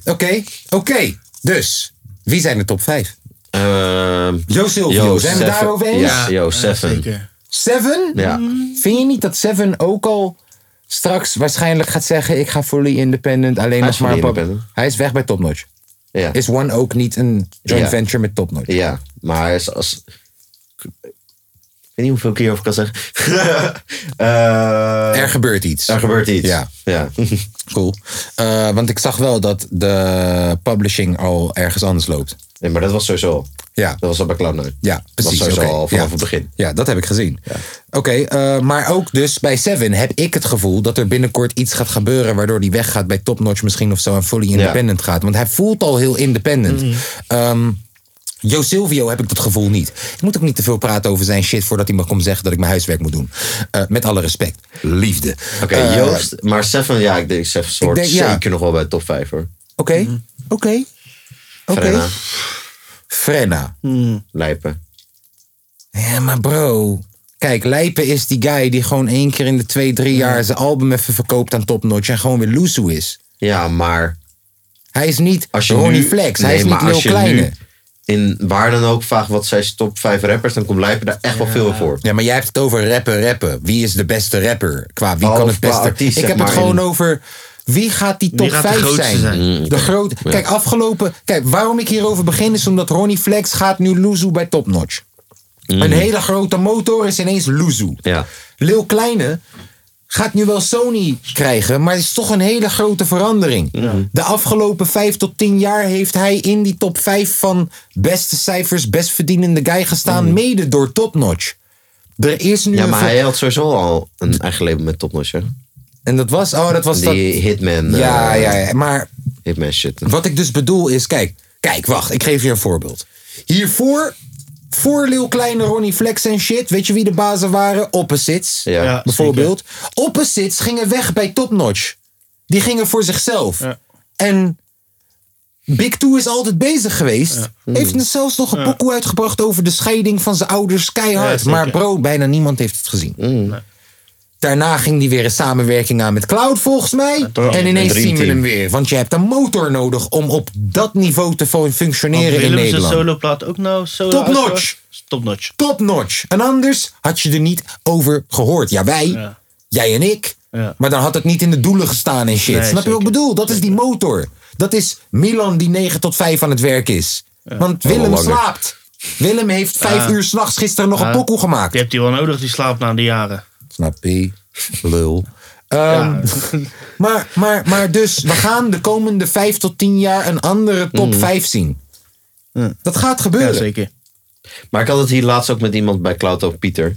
A: oké, oké. Dus, wie zijn de top 5?
B: Ehm,
A: Jo Silvio,
B: Yo,
A: zijn we
B: Seven.
A: daarover eens?
B: Ja, Yo, Seven.
C: Zeker.
A: Seven?
B: Ja.
A: Vind je niet dat Seven ook al straks waarschijnlijk gaat zeggen... ik ga fully independent, alleen
B: Hij
A: nog
B: is
A: maar...
B: fully
A: pop-
B: independent.
A: Hij is weg bij Top Notch.
B: Ja.
A: Is One ook niet een joint
B: Ja.
A: venture met Top Notch?
B: Ja, maar als, als- Ik weet niet hoeveel keer over kan zeggen. Eh,
A: Er gebeurt iets.
B: er gebeurt iets.
A: Ja.
B: ja.
A: Cool. Eh, want ik zag wel dat de publishing al ergens anders loopt.
B: Nee, maar dat was sowieso al.
A: Ja.
B: Dat was al bij Cloud9.
A: Ja, precies.
B: Dat
A: oké.
B: was sowieso al vanaf
A: ja.
B: het begin.
A: Ja, dat heb ik gezien. Oké, eh, maar ook dus bij Seven heb ik het gevoel dat er binnenkort iets gaat gebeuren waardoor hij weggaat bij Top Notch misschien of zo en fully independent gaat. Want hij voelt al heel independent.
B: Mm.
A: Ehm, Jo Silvio heb ik dat gevoel niet. Ik moet ook niet te veel praten over zijn shit voordat hij me komt zeggen dat ik mijn huiswerk moet doen. Eh, met alle respect. Liefde.
B: Oké,
A: Eh,
B: Joost. Maar Seven, ja, ik denk Seven soort
A: denk, ja.
B: zeker nog wel bij de top 5 hoor.
A: Oké, oké,
B: Frenna,
A: oké. Frenna.
B: Lijpen.
A: Ja, maar bro. Kijk, Lijpen is die guy die gewoon één keer in de twee, drie jaar zijn album even verkoopt aan topnotch en gewoon weer loesoe is.
B: Ja, maar
A: Hij is niet
B: als je
A: Ronnie
B: nu-
A: Flex, hij
B: Nee,
A: is niet
B: maar
A: Lil
B: als je
A: Kleine.
B: nu in waar dan ook vraagt wat zijn top 5 rappers, dan komt Lijpen daar echt wel veel voor.
A: Ja, maar jij hebt het over rappen, rappen. Wie is de beste rapper? Qua wie kan
B: Behalve
A: het
B: qua
A: beste...
B: artiest,
A: ik
B: zeg
A: heb het
B: maar,
A: gewoon
B: in-
A: over... Wie gaat die top
C: gaat de
A: 5
C: grootste
A: zijn?
C: zijn?
A: De groot... Kijk, afgelopen... Kijk, waarom ik hierover begin is omdat Ronnie Flex gaat nu loezoe bij Topnotch.
C: Mm.
A: Een hele grote motor is ineens loezoe.
B: Ja.
A: Lil Kleine gaat nu wel Sony krijgen, maar het is toch een hele grote verandering. De afgelopen vijf tot tien jaar heeft hij in die top vijf van beste cijfers, best verdienende guy gestaan, mede door Top Notch. Er is nu
B: Mm. Ja,
A: een
B: maar
A: ver-
B: hij had sowieso al een eigen label met Top Notch, hè?
A: en dat was, oh, dat was
B: Die eh, Hitman,
A: dat. Ja,
B: eh,
A: ja, ja, maar
B: Hitman shit.
A: Wat ik dus bedoel is, kijk, kijk, wacht, ik geef je een voorbeeld. Hiervoor, voor Lil Kleine, Ronnie Flex en shit, weet je wie de bazen waren? Opposites,
B: Ja. Ja,
A: bijvoorbeeld. Opposites gingen weg bij Top Notch. Die gingen voor zichzelf. En Big Two is altijd bezig geweest. Heeft er zelfs nog een pokoe uitgebracht over de scheiding van zijn ouders, keihard. maar bro, bijna niemand heeft het gezien. Daarna ging hij weer een samenwerking aan met Cloud, volgens mij. en ineens
B: Dream
A: zien we
B: Team.
A: hem weer. Want je hebt een motor nodig om op dat niveau te fun- functioneren in
C: Willem zijn
A: Nederland.
C: soloplaat ook nou solo
A: Top
C: uitgebracht?
A: notch.
C: Top notch.
A: Top notch. En anders had je er niet over gehoord. Ja, wij,
C: Ja.
A: jij en ik.
C: Ja.
A: Maar dan had het niet in de doelen gestaan en shit.
C: Nee,
A: Snap je wat ik
C: zeker.
A: bedoel? Dat is die motor. Dat is Milan die 9 tot 5 aan het werk is. Want Willem
B: langer.
A: slaapt. Willem heeft vijf uur s'nachts gisteren nog een pokoe gemaakt.
C: Die hebt hij wel nodig, die slaapt na de jaren.
A: Snap je? Lul. Ehm, maar, maar, maar dus, we gaan de komende vijf tot tien jaar een andere top
B: Mhm.
A: vijf zien. Dat gaat gebeuren.
C: zeker.
B: Maar ik had het hier laatst ook met iemand bij Cloud Pieter.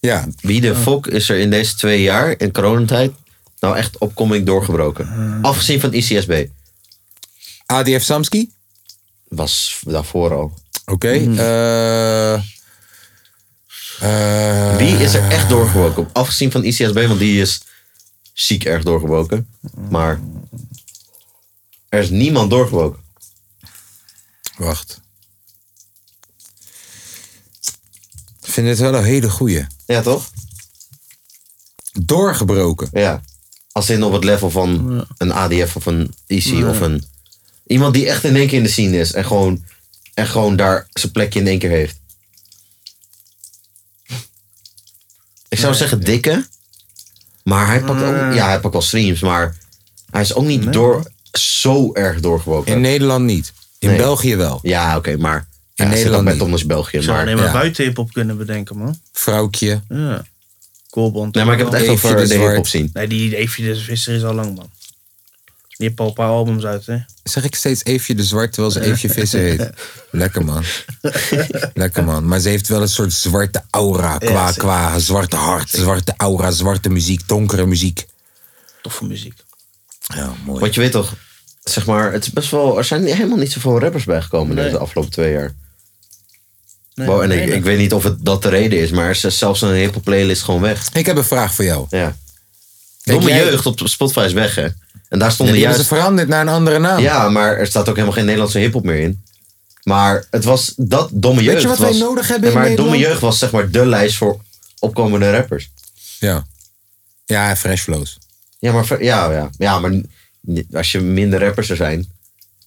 A: Ja.
B: Wie de fok is er in deze twee jaar in coronatijd nou echt opkoming doorgebroken? Afgezien van ICSB.
A: ADF Samski?
B: Was daarvoor al.
A: Oké.
B: Mhm.
A: eh, eh,
B: Wie is er echt doorgebroken? Afgezien van ICSB, want die is ziek erg doorgebroken. Maar er is niemand doorgebroken.
A: Wacht. Ik vind het wel een hele goeie.
B: Ja, toch?
A: Doorgebroken.
B: Ja. Als in op het level van een ADF of een IC of een... Iemand die echt in één keer in de scene is en gewoon, en gewoon daar zijn plekje in één keer heeft. Ik zou zeggen dikke. Maar hij pakt, ook, ja, hij pakt wel streams, maar hij is ook niet door, zo erg doorgebroken.
A: In Nederland niet. In
B: Nee.
A: België wel.
B: Ja, oké, maar
A: In
B: in
A: Nederland
B: Nederland met
A: niet.
B: Thomas België.
C: Zou
B: Maar,
C: alleen maar
A: ja.
C: buiten hiphop kunnen bedenken, man.
A: Vrouwtje.
C: Ja. Koolband.
B: nee, maar ik heb het echt
A: Eefje
B: over
A: de
B: de
A: Zwart.
B: hip-hop zien.
C: Nee, die Eefje de Visser is al lang, man. Die heeft al een paar albums uit, hè.
A: Zeg ik steeds Eefje de Zwart terwijl ze Eefje Visser heet. Lekker man. Lekker man. Maar ze heeft wel een soort zwarte aura. Qua,
C: zeker.
A: qua zwarte hart, zwarte aura, zwarte muziek, donkere muziek.
C: Toffe muziek.
A: Ja, mooi.
B: Want je weet toch, zeg maar, het is best wel, er zijn helemaal niet zoveel rappers bijgekomen
C: Nee.
B: deze afgelopen twee jaar.
C: Nee,
B: Wow, en
C: nee,
B: ik,
C: nee.
B: ik weet niet of het dat de reden is, maar er is zelfs een hip-hop playlist gewoon weg.
A: Ik heb een vraag voor jou.
B: Ja. Domme
A: jij-
B: jeugd op Spotify is weg, hè? En daar
A: Die
B: stonden
A: hebben
B: juist.
A: ze veranderd naar een andere naam.
B: Ja, maar er staat ook helemaal geen Nederlandse hip-hop meer in. Maar het was dat domme
A: je
B: jeugd.
A: wat wij
B: was-
A: nodig hebben
B: Nee,
A: in
B: maar domme
A: Nederland?
B: jeugd was zeg maar de lijst voor opkomende rappers.
A: Ja, ja Fresh Flows.
B: Ja, maar, ver- ja, ja. ja, maar n- als je minder rappers er zijn,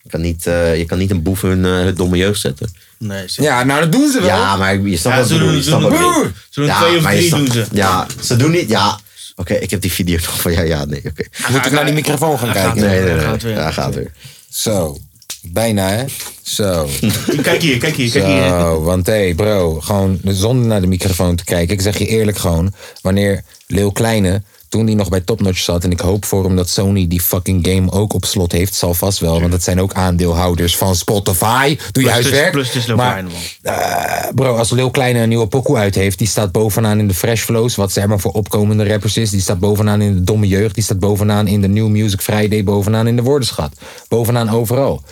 B: je kan niet, eh, je kan niet een boef hun eh, domme jeugd zetten.
C: Nee, zeker.
A: Ja, nou dat doen ze wel.
B: Ja, maar je snapt
C: Ja,
B: wat
C: ze
B: ik bedoel.
C: doen-
B: je
C: ze
B: snapt
C: doen-
B: wat ik bedoel.
C: ze doen twee of
B: maar je
C: drie
B: snapt-
C: doen ze.
B: Ja, ze doen niet, ja. Oké, ik heb die video nog van, ja, ja, nee, oké.
A: Moet ik naar die microfoon gaan
C: Hij gaat
A: kijken?
B: Nee,
C: weer.
B: nee,
C: Daar
B: nee,
C: gaat
B: nee.
C: weer.
B: Daar gaat weer.
A: Zo, bijna hè. Zo,
C: Kijk hier, kijk hier, kijk hier.
A: zo. Want hé hey, bro, gewoon zonder naar de microfoon te kijken. Ik zeg je eerlijk gewoon, wanneer Leeuw Kleine, toen die nog bij Topnotch zat... en ik hoop voor hem dat Sony die fucking game ook op slot heeft. Zal vast wel, want dat zijn ook aandeelhouders van Spotify. Doe je
B: dus-
C: Plus, plus,
A: huiswerk.
C: plus is Lil
A: Maar-
C: Kleine, man.
A: Eh, bro, als Lil Kleine een nieuwe pokoe uit heeft, die staat bovenaan in de Fresh Flows, wat zeg maar voor opkomende rappers is. Die staat bovenaan in de Domme Jeugd, die staat bovenaan in de New Music Friday, bovenaan in de Woordenschat. Bovenaan overal.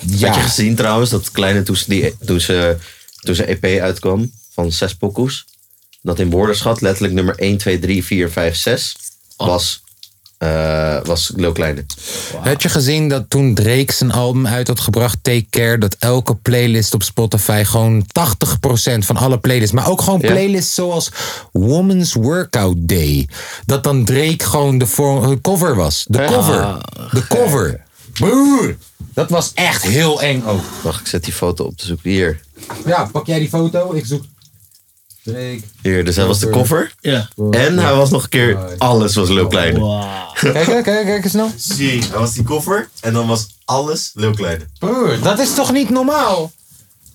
B: Had je
A: Ja,
B: gezien trouwens dat kleine toen ze, die, toen ze, toen ze EP uitkwam van zes pokoes? Dat in woordenschat letterlijk nummer 1, 2, 3, 4, 5, 6 was, eh was Lil Kleine.
A: had je gezien dat toen Drake zijn album uit had gebracht, Take Care, dat elke playlist op Spotify gewoon 80% van alle playlists, maar ook gewoon
B: Ja.
A: playlists zoals Woman's Workout Day, dat dan Drake gewoon de voor- cover was. De cover. De cover. Broer, dat was echt heel eng ook.
B: Wacht, ik zet die foto op te zoeken. Hier.
A: Ja, pak jij die foto? Ik zoek. Drake.
B: Hier, dus hij was de cover.
C: Ja.
B: En hij was nog een keer, alles was Lil Kleine.
A: Kijk, kijk, kijk, kijk eens nou.
B: Zie, hij was die koffer en dan was alles Lil Kleine.
A: Broer, dat is toch niet normaal?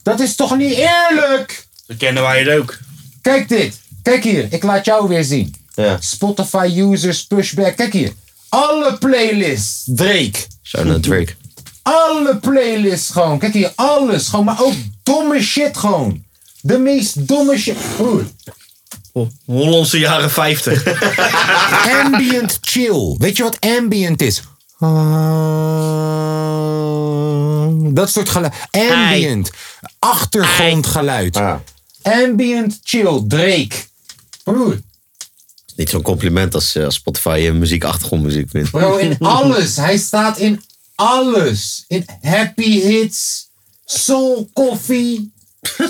A: Dat is toch niet eerlijk?
C: Dat kennen wij het ook.
A: Kijk dit. Kijk hier, ik laat jou weer zien.
B: Ja,
A: Spotify users pushback. Kijk hier. Alle playlists. Drake.
B: shout out Drake.
A: Alle playlists gewoon. Kijk hier, alles gewoon. Maar ook domme shit gewoon. De meest domme shit. Broer.
C: Oh, Hollandse jaren 50.
A: ambient chill. Weet je wat ambient is? Dat soort geluid. Ambient. Achtergrondgeluid.
B: Ja.
A: Ambient chill. Drake. Broer.
B: Niet zo'n compliment als eh, als Spotify je muziek achtergrondmuziek vindt.
A: Bro, in alles. Hij staat in alles. In happy hits. Soul coffee.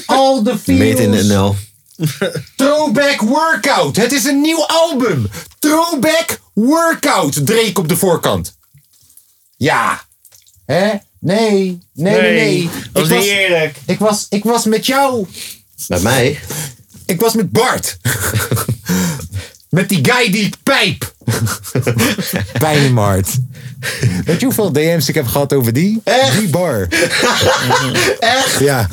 A: All the
B: Made in
A: feels.
B: NL.
A: Throwback workout. Het is een nieuw album. Throwback workout. Drake op de voorkant. Ja. Hè? Nee. Nee, nee, nee.
C: Dat is
A: Ik,
C: niet
A: was,
C: eerlijk.
A: ik, was, ik was met jou.
B: Bij mij?
A: Ik was met Bart. Met die guy die pijp. Pijn in mijn hart. Weet je hoeveel DM's ik heb gehad over die? Die bar. Echt? Ja.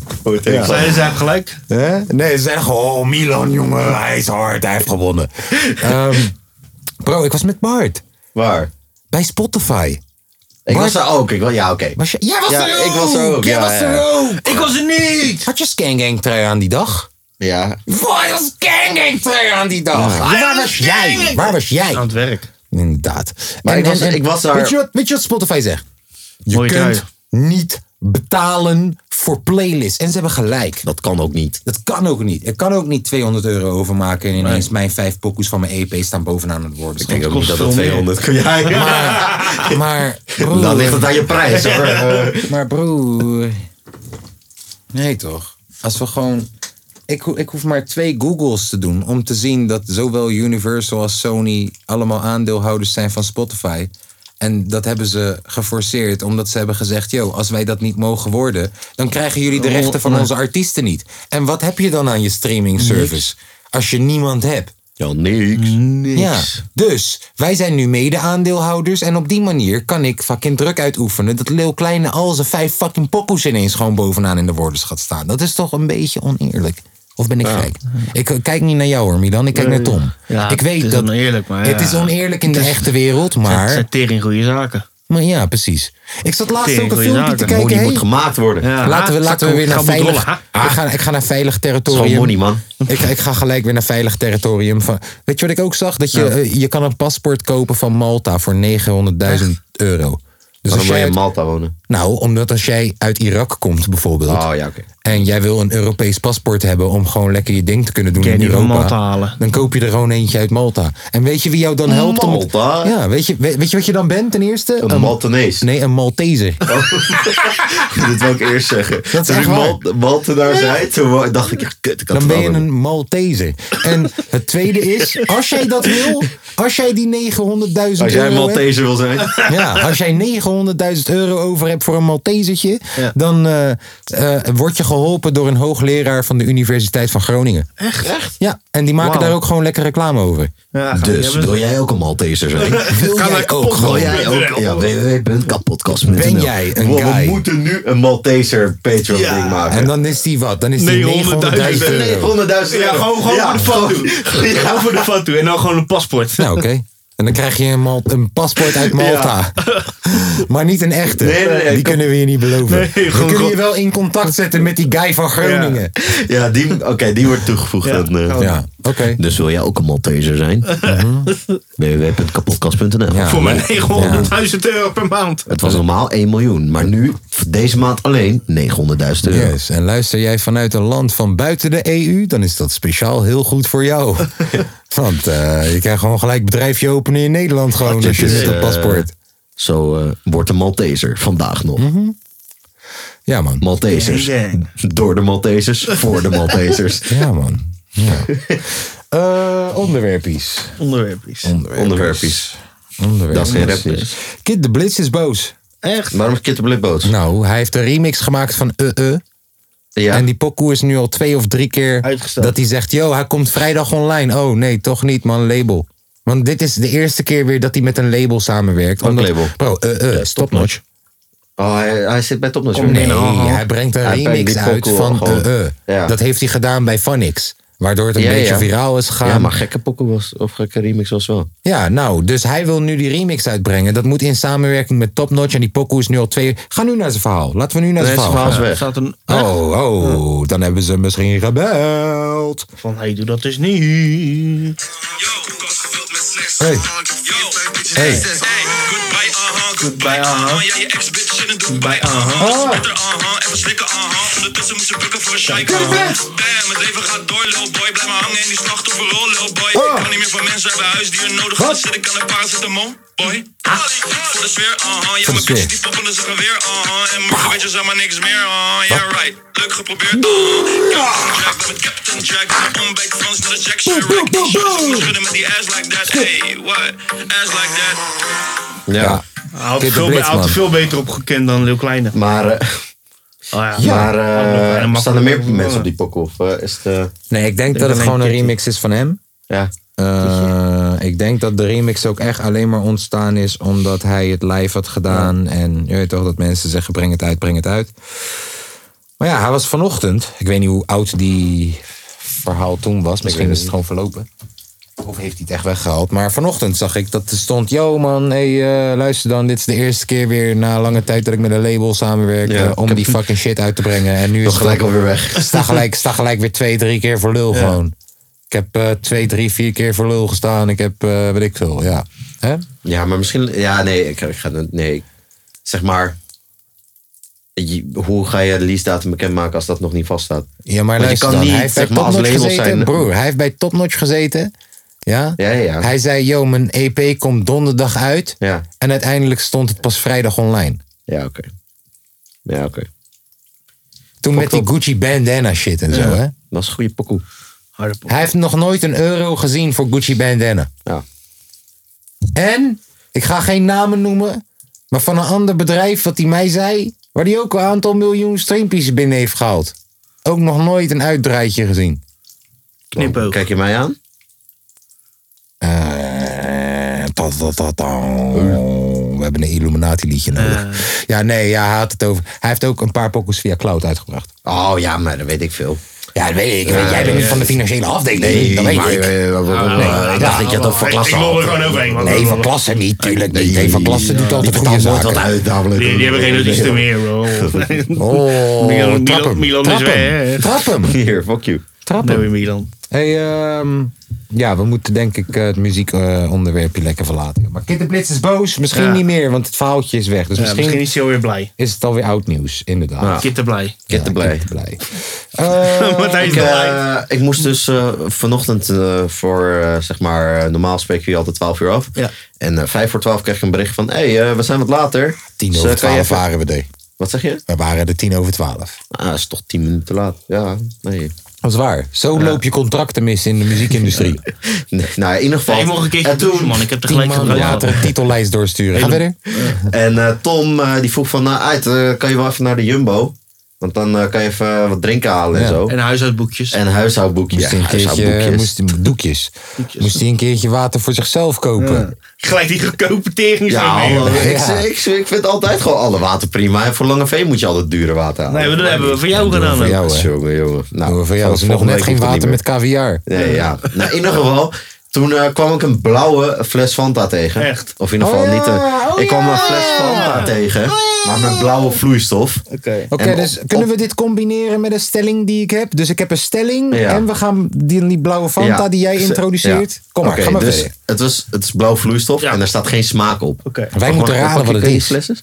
A: ja.
C: Zijn ze eigenlijk gelijk?
A: Hè? Nee, ze zeggen gewoon, oh, Milan, jongen, hij is hard, hij heeft gewonnen. Ehm, bro, ik was met Bart.
B: Waar?
A: Bij Spotify.
B: Ik
A: Waar-
B: was daar ook. Ik wa- ja, oké.
A: Was je, jij was
B: Ja,
A: er ook!
B: ik was er ook,
A: Jij
B: ja,
A: was
B: ja.
A: er ook!
C: Ik was er niet!
A: Had je skangang trui aan die dag?
B: Ja.
A: Wat was skangang trui aan die dag? Waar was jij? Waar was jij?
C: Aan het werk.
A: Inderdaad.
B: Maar ik was- ik was daar-
A: Weet je, wat, weet je wat Spotify zegt? Je
C: Mooie
A: kunt
C: trui.
A: niet betalen voor playlists. En ze hebben gelijk.
B: Dat kan ook niet.
A: Dat kan ook niet. Ik kan ook niet 200 euro overmaken en ineens mijn vijf pokoes van mijn EP staan bovenaan het woord.
B: Ik denk ook niet
C: kost
B: dat dat
C: veel meer.
B: 200 kun jij.
A: Maar, maar
C: Oh.
B: Dan ligt
A: broer,
B: het aan je prijs hoor. Eh,
A: maar broer. Nee toch? Als we gewoon. Ik, ho- ik hoef maar twee Googles te doen om te zien dat zowel Universal als Sony allemaal aandeelhouders zijn van Spotify. En dat hebben ze geforceerd omdat ze hebben gezegd: yo, als wij dat niet mogen worden, dan krijgen jullie de rechten van onze artiesten niet. En wat heb je dan aan je streaming service als je niemand hebt?
B: Ja, niks.
A: Ja, dus wij zijn nu mede-aandeelhouders. En op die manier kan ik fucking druk uitoefenen. Dat Lil Kleine al zijn vijf fucking poppels ineens gewoon bovenaan in de woordenschat gaat staan. Dat is toch een beetje oneerlijk. Of ben ik gek? Ik eh, kijk niet naar jou hoor, Milan. Ik kijk naar Tom.
C: Ja,
A: ik weet
C: het is
A: dat
C: oneerlijk, maar
A: het
C: ja.
A: is oneerlijk in de echte wereld,
C: Het
A: maar,
C: zijn tering goede zaken.
A: maar ja, precies. Ik zat laatst
C: Tering
A: ook een
C: goeie
A: filmpje te
C: zaken.
A: kijken.
B: Money
A: hey,
B: moet gemaakt worden.
C: Ja.
A: laten we,
C: Ah,
A: laten we
C: zak-
A: weer naar
C: gaan we
A: veilig.
C: rollen,
A: Ik ga, ik ga naar veilig territorium.
B: Gewoon money, man.
A: Ik, ik ga gelijk weer naar veilig territorium. Van, weet je wat ik ook zag? Dat je, eh, je kan een paspoort kopen van Malta voor 900.000 euro. Dus
B: Dan
A: als
B: wil je
A: jij
B: in
A: uit-
B: Malta wonen.
A: nou, omdat als jij uit Irak komt bijvoorbeeld.
C: Ah.
B: Oh ja, oké.
A: En jij wil een Europees paspoort hebben om gewoon lekker je ding te kunnen doen
C: Kun je
A: in
C: die van
A: Europa.
C: Malta halen?
A: Dan koop je er gewoon eentje uit Malta. En weet je wie jou dan helpt? om het-
B: Malta?
A: ja, weet je, weet, weet je wat je dan bent ten eerste?
B: Een Maltanees.
A: Nee, een Malteser.
B: Dit wil ik eerst zeggen.
A: Dat is
B: toen
A: echt
B: ik Mal- Maltenaar zei, toen wa- dacht ik echt, kut, ik had
A: Dan
B: het
A: ben je
B: wel
A: een Malteser. En het tweede is, als jij dat wil, als jij die 900.000 euro
B: Als jij een
A: hebt-
B: Malteser wil zijn.
A: Ja, als jij 900.000 euro over hebt voor een Maltesertje, dan eh, eh, word je geholpen door een hoogleraar van de Universiteit van Groningen.
C: Echt? Echt?
A: Ja, en die maken
C: Wauw.
A: daar ook gewoon lekker reclame over.
C: Ja, gaan we
B: Dus
C: die hebben.
B: wil jij ook een Malteser zijn?
A: Wil
C: Ga
A: jij
C: maar
A: ook
C: kapot,
A: gewoon?
B: Wil jij ook? Ja, www.kapotkast.nl.
A: Ben jij een
B: Wow,
A: guy?
B: We moeten nu een Malteser Patreon
C: Ja.
B: ding maken.
A: En dan is die wat? Dan is eh, die 900.000
C: 900.000
A: euro.
B: 900.000 euro.
C: Ja, gewoon, gewoon
B: Ja,
C: voor de foto.
B: gewoon-
C: Ja. Gewoon voor de foto en dan gewoon een paspoort.
A: Nou, oké. En dan krijg je een, Mal- een paspoort uit Malta. Maar niet een echte.
B: Nee, nee, nee,
A: die
B: kom-
A: kunnen we je niet beloven.
C: Nee,
A: we
C: gewoon-
A: kunnen je wel in contact zetten met die guy van Groningen.
B: Ja, die, oké, die wordt toegevoegd.
C: Ja.
B: aan, eh,
A: Ja, oké.
B: Dus wil jij ook een Malteser zijn? www.kapotkast.nl
A: Ja.
C: Voor mijn 900.000 euro per maand.
B: Het was normaal 1 miljoen, maar nu, voor deze maand alleen, 900.000 euro.
A: Yes, en luister jij vanuit een land van buiten de EU, dan is dat speciaal heel goed voor jou. Want eh, je kan gewoon gelijk bedrijfje openen in Nederland gewoon
B: Dit
A: als je
B: is,
A: met een
B: eh,
A: paspoort.
B: Zo eh, wordt een Malteser vandaag nog.
A: Mhm. Ja man.
B: Maltesers.
C: Gang, gang.
B: Door de Maltesers, voor de Maltesers.
A: Ja man. Ja. Eh, onderwerpies.
C: Onderwerpjes.
B: Onderwerpjes.
A: Onderwerpies.
B: Dat is geen rapnieuws.
A: Kid de Blitz is boos.
C: Echt?
B: Waarom is Kit de Blitboot?
A: Nou, hij heeft een remix gemaakt van Eh Eh.
B: Ja.
A: En die pokoe is nu al twee of drie keer
C: Uitgesteld.
A: dat hij zegt... Yo, hij komt vrijdag online. Oh nee, toch niet man, label. Want dit is de eerste keer weer dat hij met een label samenwerkt.
B: Welk label?
A: Bro, eh eh, stopnotch.
B: Oh, hij, hij zit bij Topnotch. weer.
A: Nee, hij brengt een
B: Hij brengt
A: remix
B: die
A: uit
B: pokoe
A: van
B: gewoon.
A: eh eh.
B: Ja.
A: Dat heeft hij gedaan bij Phonix. Waardoor het een
B: Ja,
A: beetje
B: ja.
A: viraal is gegaan.
B: Ja, maar gekke pokken was, of gekke remix was wel.
A: Ja, nou, dus hij wil nu die remix uitbrengen. Dat moet in samenwerking met Top Notch. En die pokoe is nu al twee... Ga nu naar zijn verhaal. Laten we nu naar
B: Nee,
A: zijn
B: zijn
A: verhaal
B: verhaal
A: gaan.
B: is
C: Er staat een...
A: Oh, oh, dan hebben ze misschien gebeld.
C: Van, hey, doe dat dus niet.
A: Hey. Hey.
C: Bij aha. Bij aha.
A: Ah.
G: Damn, het leven gaat door, lil boy. Blijf maar hangen in die slachtofferrol, lil boy.
A: Oh.
G: Ik kan niet meer van mensen hebben huis die hun nodig hebben. Zit ik aan de paracetamol, boy.
A: Ah.
G: Voor de sfeer, aha. Ja,
A: Voor de
G: mijn
A: sfeer.
G: bitches die poppen, dus ze gaan weer, aha. En mijn weet je, zeg maar niks meer, aha. Ja, right. Leuk geprobeerd, aha. Captain Jack, ben met Captain Jack. Ombeek Frans naar de Jack Chirac. Schudden met die ass like that, hey, what? Ass like that.
B: Ja.
A: Ja.
C: Hij had
A: Kid
C: er
A: de
C: veel,
A: Blitz,
C: be- hij had er
A: man.
C: veel beter opgekend dan Leeuw Kleine. Oh,
B: Maar, eh,
C: ja.
B: maar
C: Leeuw Kleine
B: eh,
C: mag
B: staan er
C: wel
B: meer
C: even
B: mensen op
C: wonen.
B: die pokken? Of eh, is het... eh,
A: Nee, ik denk dat het
C: alleen
A: gewoon een
C: Kitty.
A: remix is van hem.
B: ja.
A: Eh, ik denk dat de remix ook echt alleen maar ontstaan is omdat hij het live had gedaan. En je weet toch dat mensen zeggen: breng het uit, breng het uit. Maar ja, hij was vanochtend. Ik weet niet hoe oud die verhaal toen was. Misschien is het gewoon verlopen. Of heeft hij het echt weggehaald. Maar vanochtend zag ik dat er stond... Yo man, hey, eh, luister dan. Dit is de eerste keer weer na lange tijd dat ik met een label samenwerk...
B: Ja,
A: eh,
B: ik
A: om
B: heb-
A: die fucking shit uit te brengen. En nu is
B: Nog
A: het
B: gelijk
A: ook-
B: alweer weg.
A: Sta gelijk, sta gelijk weer twee, drie keer voor lul gewoon. Ik heb eh, twee, drie, vier keer voor lul gestaan. Ik heb, eh weet ik veel, ja. Hè?
B: Ja, maar misschien. Ja, nee, ik, ik ga. Nee. Zeg maar. je- hoe ga je de lease datum bekendmaken als dat nog niet vaststaat?
A: Ja, maar
B: Want je
A: luister
B: kan
A: dan,
B: niet,
A: hij heeft
B: zeg
A: bij
B: maar, als
A: Topnotch
B: label
A: gezeten.
B: zijn-
A: Broer, hij heeft bij Topnotch gezeten. Ja?
B: Ja, ja, ja.
A: Hij zei, yo, mijn EP komt donderdag uit.
B: Ja,
A: En uiteindelijk stond het pas vrijdag online.
B: ja oké. Ja, oké.
A: Toen met die Gucci bandana shit en zo, hè?
B: Dat is een goede pokoe.
C: Harde pop.
A: Hij heeft nog nooit een euro gezien voor Gucci bandana.
B: Ja.
A: En, ik ga geen namen noemen, maar van een ander bedrijf wat hij mij zei, waar hij ook een aantal miljoen streampjes binnen heeft gehaald. Ook nog nooit een uitdraaitje gezien.
C: Knipoog.
B: Kijk je mij aan?
A: Eh, ta- ta- ta- ta. We hebben een Illuminati liedje nodig. Ja, nee, ja, hij had het over. Hij heeft ook een paar pokus via cloud uitgebracht.
B: Oh ja, maar dat weet ik veel.
A: Ja, dat weet ik. jij bent niet van de financiële afdeling. dat weet
B: maar,
A: ik. Ah,
B: eh, eh, eh,
A: Nee, ja.
B: ik dacht dat je het over
C: Ik
B: klasse
C: wil er
B: had.
C: gewoon overheen. want-
A: Nee, van klasse niet, tuurlijk niet. Nee, van klasse doet altijd
B: Ik
A: goede
B: betaal nooit wat
A: zaken.
B: uit, namelijk.
C: Die, die hebben geen artiesten meer, bro.
A: Oh,
C: Milan-
A: trap hem.
C: Milan- Milan is
A: trap hem.
C: weg.
A: Trap hem.
B: Hier, fuck you.
A: Trap hem.
C: Nee, Milan.
A: Hey, ehm, ja, we moeten denk ik eh, het muziekonderwerpje lekker verlaten. Maar Kid de Blitz is boos. Misschien
C: Ja.
A: niet meer, want het verhaaltje is weg. Dus
C: Ja,
A: misschien,
C: misschien is hij alweer blij.
A: is het alweer oud nieuws, inderdaad. Ja.
C: Kitten blij.
B: Get the blij.
A: Kid de Blij. Eh,
C: Want hij is
B: Ik, eh,
C: blij.
B: ik moest dus eh, vanochtend eh, voor, eh, zeg maar, eh, normaal spreken we je altijd 12 uur af.
C: Ja.
B: En eh, vijf voor 12 kreeg ik een bericht van, hé, hey, eh, we zijn wat later.
A: tien
B: Dus,
A: over
B: eh, kan je
A: twaalf waren
B: even-
A: we er.
B: Wat zeg je?
A: We waren er tien over twaalf.
B: Ah, dat is toch tien minuten te laat. Ja, nee.
A: Dat is waar. Zo loop je contracten mis in de muziekindustrie.
B: nee nou, in ieder geval.
C: Nee, je mocht een keertje
B: en
C: douchen,
B: toen,
C: man. Ik heb
A: Tien
C: tegelijk
A: maanden later een titellijst doorsturen. Ga verder.
B: en eh, Tom eh, die vroeg van, nou, uit, eh, kan je wel even naar de Jumbo? Want dan eh, kan je even eh, wat drinken halen
A: Ja.
B: en zo.
C: En huishoudboekjes.
B: En huishoudboekjes.
A: Moest hij een keertje,
B: huishoudboekjes.
A: moest, hij- doekjes. Moest hij een keertje water voor zichzelf kopen.
C: Gelijk die goedkope tering
B: Ja,
C: zijn
B: man,
C: mee.
B: ik,
A: Ja.
B: ik, ik vind altijd gewoon alle water prima. En voor Lange Veen moet je altijd dure water halen.
C: Nee, maar dat hebben we voor jou gedaan.
A: voor
C: ook.
A: jou, hè.
B: Jongen, jongen. Nou,
A: Nou, voor jou
B: vanaf
A: is er nog
B: volgende
A: net
B: week
A: geen
B: hoeft het
A: water
B: niet
A: met caviar.
B: meer. Nee, ja. Nou, in ieder geval, toen eh, kwam ik een blauwe fles Fanta tegen.
C: Echt?
B: Of in ieder
A: Oh
B: geval niet een... ik kwam een fles Fanta tegen, maar met blauwe vloeistof.
C: Oké.
A: Oké,
B: En
A: dus
B: op-
A: kunnen we dit combineren met een stelling die ik heb? Dus ik heb een stelling
B: Ja.
A: en we gaan die, die blauwe Fanta
B: Ja.
A: die jij
B: Dus, eh,
A: introduceert.
B: ja.
A: Kom maar,
B: Oké,
A: ga maar
B: dus
A: verder.
B: Het, was, het is blauw vloeistof
C: Ja.
B: en er staat geen smaak op.
C: Oké.
A: Wij moeten
B: Gewoon-
A: raden wat het
B: pak je
A: is.
B: flesjes?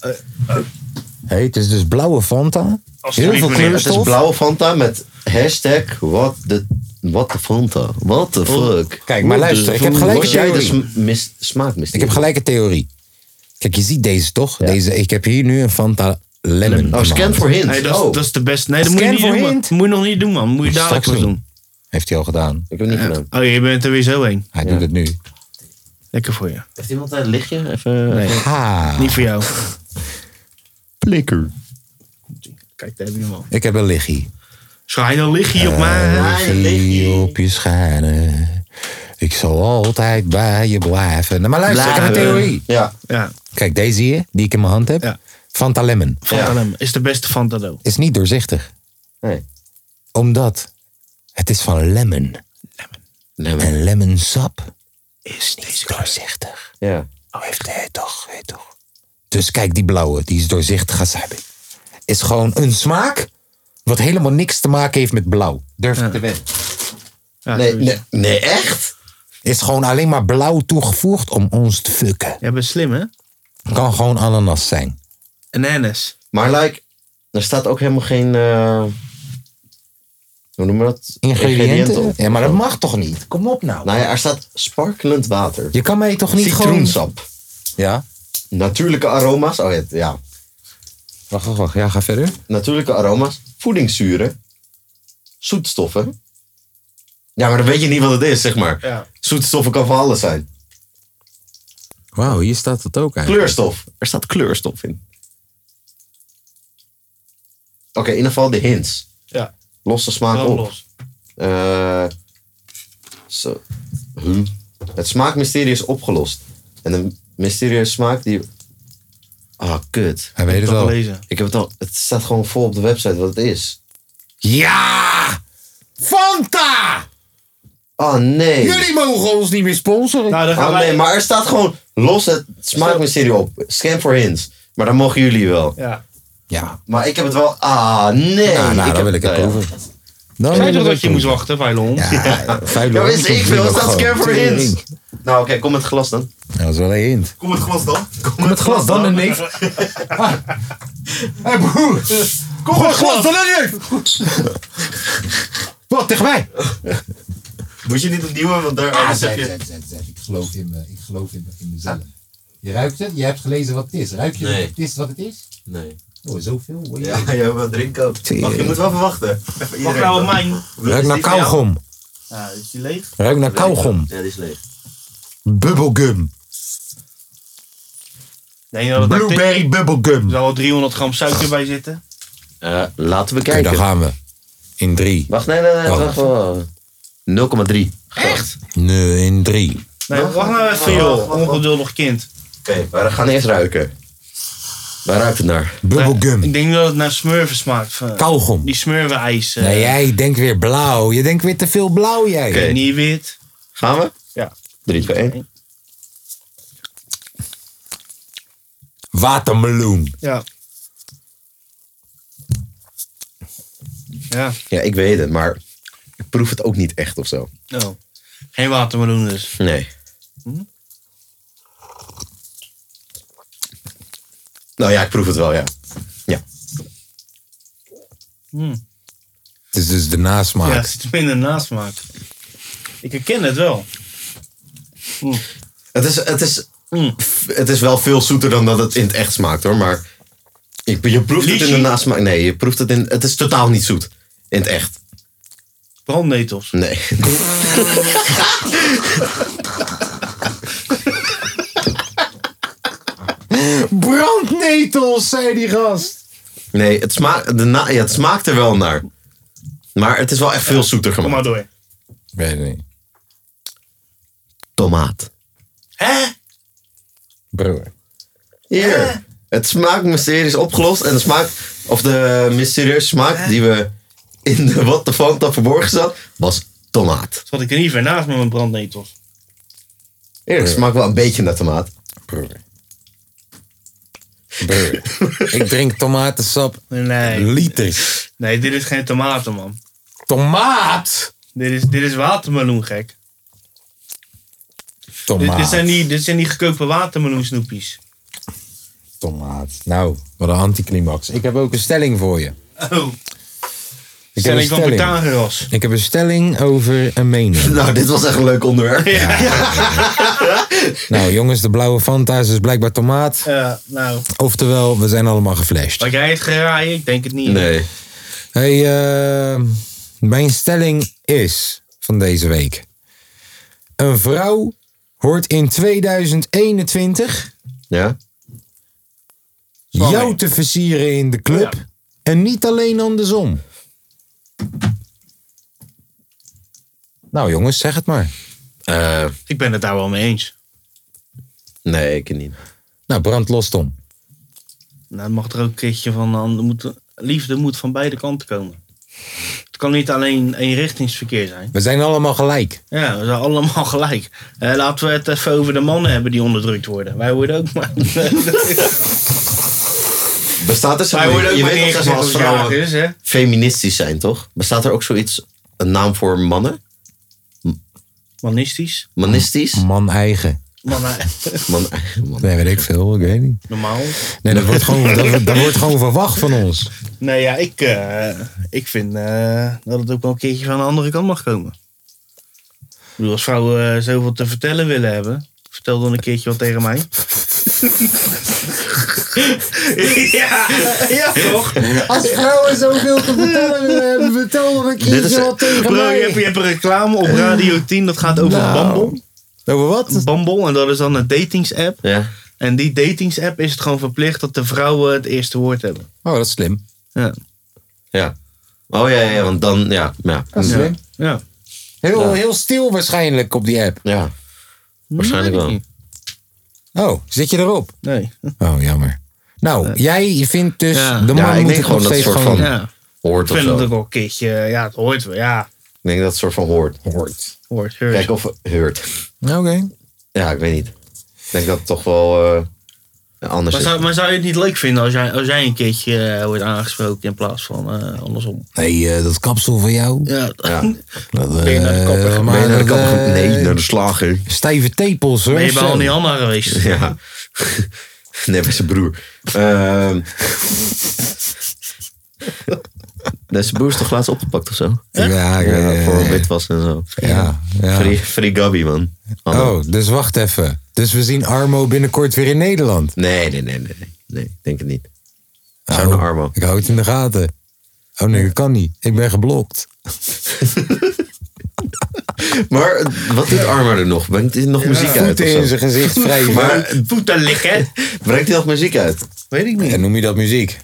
A: Hey, het is dus blauwe Fanta. Heel
C: Alsjeblieft,
A: veel
C: meneer.
B: Het is
A: kleurstof.
B: blauwe Fanta met hashtag what the, what the Fanta. What the fuck.
A: Oh, Kijk, maar luister, ik heb gelijk
B: Was jij
A: theorie.
B: dus mis, smaak mis?
A: Ik heb gelijk een theorie. Kijk, je ziet deze toch? Deze, ik heb hier nu een Fanta Lemon. in
B: Oh,
A: mijn
B: scan
A: hand.
B: voor hint.
C: Nee, dat is,
B: oh,
C: dat is de beste. Nee, dat moet je
A: Scan
C: niet
A: voor
C: doen, man.
A: hint.
C: Moet je nog niet doen, man. Moet je
A: Moet je
C: dadelijk
A: straks
C: maar doen.
A: Heeft hij al gedaan.
B: ik heb het niet gedaan.
C: Oh, je bent er weer zo heen.
A: Hij doet het nu.
C: Lekker voor je.
B: Heeft iemand een lichtje? Even, even-
A: Ha.
C: Niet voor jou. Kijk, daar heb je hem al.
A: Ik heb een liggie.
C: Schijn dan lig je op mij.
A: Liggie op je schijnen. Ik zal altijd bij je blijven. Nou, maar luister, ik heb een
B: Blaren.
A: theorie.
B: Ja.
C: Ja,
A: Kijk, deze hier, die ik in mijn hand heb.
C: Ja.
A: Fanta Lemon.
C: Fanta
B: Ja.
C: Lemon is de beste Fanta Do.
A: Is niet doorzichtig.
B: Nee.
A: Omdat het is van lemon.
B: Nee, maar-
A: En lemonsap is niet doorzichtig.
B: Ja.
A: Oh, heeft hij toch, hij toch. Dus kijk, die blauwe, die is doorzichtig wasabi. Is gewoon een smaak wat helemaal niks te maken heeft met blauw. Durf ik te wedden.
C: Ja,
B: Nee,
C: sowieso.
B: nee, nee, echt?
A: Is gewoon alleen maar blauw toegevoegd om ons te fucken.
C: Jij bent slim, hè?
A: Kan gewoon ananas zijn.
C: Een NS.
B: Maar like, er staat ook helemaal geen... eh, hoe noemen we dat?
A: Ingrediënten?
B: op.
A: Ja, maar dat mag toch niet? Kom op nou.
B: Nou ja, er staat sparkelend water.
A: Je kan mij toch niet gewoon...
B: Citroensap.
A: Ja?
B: Natuurlijke aroma's. Oh ja, ja.
A: Wacht, wacht, wacht. Ja, ga verder.
B: natuurlijke aroma's, voedingszuren, zoetstoffen. Ja, maar dan weet je niet wat het is, zeg maar.
C: Ja.
B: Zoetstoffen kan van alles zijn.
A: Wauw, hier staat dat ook eigenlijk.
B: Kleurstof. Er staat kleurstof in. Oké, in ieder geval de hints.
C: Ja.
B: Losse smaak
C: Gewoon
B: op.
C: los.
B: Eh, zo. Hm. Het smaakmysterie is opgelost. En de mysterieuze smaak die... Ah, kut.
A: Hij weet het al.
C: Lezen.
B: Ik heb het al... Het staat gewoon vol op de website wat het is.
A: Ja! Fanta!
B: Ah, nee.
A: Jullie mogen ons niet meer sponsoren.
C: Nou, dan gaan
B: Ah,
C: wij...
B: nee, maar er staat gewoon los het smaakmysterie op. Scan voor hints. Maar dan mogen jullie wel.
C: Ja.
A: ja,
B: Maar ik heb het wel... Ah, nee.
A: nou, nou, dan wil ik het
B: ja.
A: proeven. Dan
C: Ik zei
A: wil
C: toch
A: ik
C: dat
A: het
C: je moest wachten, Veilon?
A: proeven. Ja, vuile
B: Ja,
A: hond,
B: weet ik
A: dat
B: veel.
A: wil
B: Er staat
A: gewoon.
B: scan voor hints.
A: Tering.
B: Nou, oké. kom met glas dan.
A: Ja, Dat is wel één hint.
H: Kom het glas dan.
A: Kom het glas dan, een neef.
D: Hé broer!
H: Kom het glas dan.
D: Wat, tegen mij?
H: Moet je niet opnieuw hebben, want daar anders heb je...
D: Ik geloof in, me, ik geloof in, me- in mezelf. Je ruikt het? Je hebt gelezen wat het is. Ruik je
H: Nee.
D: wat het is wat het is?
H: Nee.
D: Oh, zoveel? hoor je.
H: Ja, jij wil drinken ook. Wacht, je moet wel verwachten. Even
C: Wacht
H: iedereen
C: nou op
H: dan.
C: mijn...
A: Ruik naar
H: die van jou?
A: kauwgom.
C: Ja, is die leeg?
A: Ruik naar kauwgom.
H: Ja, die is leeg.
A: Bubblegum.
C: Denk je dat er Er
A: Blueberry bubblegum.
C: zal wel 300 gram suiker bij zitten.
B: Eh, laten we
A: Kijk,
B: kijken.
A: daar gaan we. In drie.
B: Wacht, nee, nee, nee.
A: Wacht.
B: wacht, wacht, wacht. 0,3. Echt?
A: Nee, in drie.
C: Nee, wacht nou even, joh. Ongeduldig kind.
B: Oké, maar we gaan eerst ruiken. Waar ruikt het naar?
C: Ik
A: Bubblegum.
C: denk dat het naar smurven smaakt. eh,
A: Kauwgom.
C: Die smurven ijs. eh,
A: Nee, jij denkt weer blauw. Je denkt weer te veel blauw, jij.
B: Oké.
C: Niet wit.
B: Gaan we?
C: Ja.
B: 3, 2, 1.
A: Watermeloen.
C: Ja. Ja.
B: Ja, ik weet het, maar ik proef het ook niet echt of zo.
C: Oh. Geen watermeloen dus.
B: Nee.
C: Hm?
B: Nou ja, ik proef het wel, ja.
A: Het is dus de
C: Ja,
A: nasmaak.
C: het zit minder nasmaak. Ik herken het wel.
B: Het is, het, is,
C: Mm.
B: f- het is wel veel zoeter dan dat het in het echt smaakt, hoor. Maar ik, je proeft het in
C: Lychee.
B: de nasmaak. Nee, je proeft het in... Het is totaal niet zoet. In het echt.
C: Brandnetels.
B: Nee.
A: Brandnetels, zei die gast.
B: Nee, het, sma de na ja, het smaakt er wel naar. Maar het is wel echt veel zoeter
C: Kom maar
B: gemaakt.
C: door.
A: Weet het niet.
B: Tomaat.
C: Hè?
A: Broer.
B: Hier. Het smaakmysterie is opgelost. En de smaak, of de mysterieuze smaak die we in de What the Fanta verborgen zat, was tomaat.
C: Zat ik er niet ver naast met mijn brandnetels.
B: Eerlijk, het smaakt wel een beetje naar tomaat.
A: Broer. Broer. Ik drink tomatensap.
C: Nee.
A: Liters.
C: Nee, dit is geen tomaten, man.
A: Tomaat!
C: Dit is, dit is watermeloen, gek. Dit, dit, zijn
A: Tomaat.
C: die, dit zijn die gekookte watermeloensnoepjes.
A: Tomaat. Nou, wat een anticlimax. Ik heb ook een stelling voor je.
C: Oh,
A: Ik heb een
C: stelling van
A: stelling.
C: Pythagoras.
A: Ik heb een stelling over een mening.
B: Nou, dit was echt een leuk onderwerp.
A: Nou, jongens, de blauwe Fanta is dus blijkbaar tomaat.
C: Eh, nou,
A: Oftewel, we zijn allemaal geflasht.
C: had jij het geraaien? Ik denk het niet.
B: Nee.
A: Hey, eh, mijn stelling is van deze week. Een vrouw hoort in 2021
B: Ja?
A: jou te versieren in de club. En niet alleen andersom. Nou jongens, zeg het maar.
B: Eh,
C: Ik ben het daar wel mee eens.
B: nee, ik niet.
A: Nou, brand los Tom.
C: Nou, het mag er ook een keertje van. aan- er Moet, liefde moet van beide kanten komen. Het kan niet alleen eenrichtingsverkeer zijn.
A: We zijn allemaal gelijk.
C: Ja, we zijn allemaal gelijk. Eh, laten we het even over de mannen hebben die onderdrukt worden. Wij worden ook maar.
B: Bestaat er
C: Wij
B: zo'n...
C: worden ook
B: Je
C: maar
B: weet toch
C: neergezet
B: dat als
C: als jagers,
B: vrouwen
C: hè?
B: feministisch zijn, toch? Bestaat er ook zoiets, een naam voor mannen?
C: Manistisch.
B: Manistisch?
A: Man eigen.
C: Mannen,
B: Man, man.
A: Nee, weet ik veel. Ik weet niet.
C: normaal.
A: Nee, dat wordt gewoon, dat, wordt- dat wordt gewoon verwacht van ons.
C: Nee, ja, ik, eh, ik vind eh, dat het ook wel een keertje van de andere kant mag komen. Ik bedoel, als vrouwen eh, zoveel te vertellen willen hebben, vertel dan een keertje wat tegen mij. ja, ja, toch?
D: Als vrouwen zoveel te vertellen willen hebben, vertel dan een
B: Dit is-
D: keertje wat tegen
C: Bro, je hebt, je
D: mij.
C: hebt een reclame op Radio 10, dat gaat over Bumble.
A: Over wat?
C: Bumble, en dat is dan een datingsapp.
B: Ja.
C: En die datingsapp is het gewoon verplicht dat de vrouwen het eerste woord hebben.
A: Oh, dat is slim.
C: Ja,
B: Ja. Oh ja, ja, want dan, ja. Ja.
A: Dat is slim.
C: ja.
A: Heel, heel stil waarschijnlijk op die app.
B: ja. Waarschijnlijk
C: weet ik
B: wel.
C: niet.
A: Oh, zit je erop?
C: Nee.
A: Oh, jammer. Nou, jij vindt dus
C: Ja.
A: de man
B: Ja, ik denk
A: moet het
B: gewoon
A: nog
B: dat
A: steeds
B: soort
A: gewoon...
B: van-
C: Ja.
B: Hoort
C: Ik
B: of
C: vind
B: zo.
C: het ook wel een keertje, ja, het hoort wel, ja.
B: Ik denk dat het soort van hoort.
A: Hoort.
C: Hoort, hoort.
B: Kijk of heurt.
A: Oké.
B: Ja, ik weet niet. Ik denk dat het toch wel eh, anders
C: maar,
B: is.
C: zou, maar zou je het niet leuk vinden als jij, als jij een keertje eh, wordt aangesproken in plaats van eh, andersom?
A: hey, eh, dat kapsel van jou.
C: Ja.
B: Ja.
A: Dat,
C: Ben je naar de kapper
A: eh,
C: gegaan?
A: maar
B: Ben je naar de
A: dat,
B: kapper
A: eh,
B: ge- Nee, naar de slager.
A: Stijve tepels, hoor.
C: Ben je bij
A: Zo.
C: Annie Hanna geweest?
B: Ja. Nee, bij zijn broer. Ehm. nee, zijn broer is toch laatst opgepakt of zo?
A: Ja, ja,
B: Ja,
A: ja,
B: voor
A: ja.
B: wit was en zo.
A: Ja, ja.
B: Free, free Gabby, man. Hallo.
A: Oh, dus wacht even. Dus we zien Armo binnenkort weer in Nederland.
B: Nee, nee, nee, nee, nee. Nee, ik denk het niet. Zou naar Armo.
A: Ik hou het in de gaten. Oh nee, dat kan niet. Ik ben geblokt.
B: Maar eh, wat doet Armo er nog? Brengt hij nog muziek uit of
A: Voeten in
B: zo?
A: zijn gezicht vrij.
B: Maar eh,
C: Voeten likken.
B: brengt hij nog muziek uit?
C: Weet ik niet.
A: En noem je dat muziek?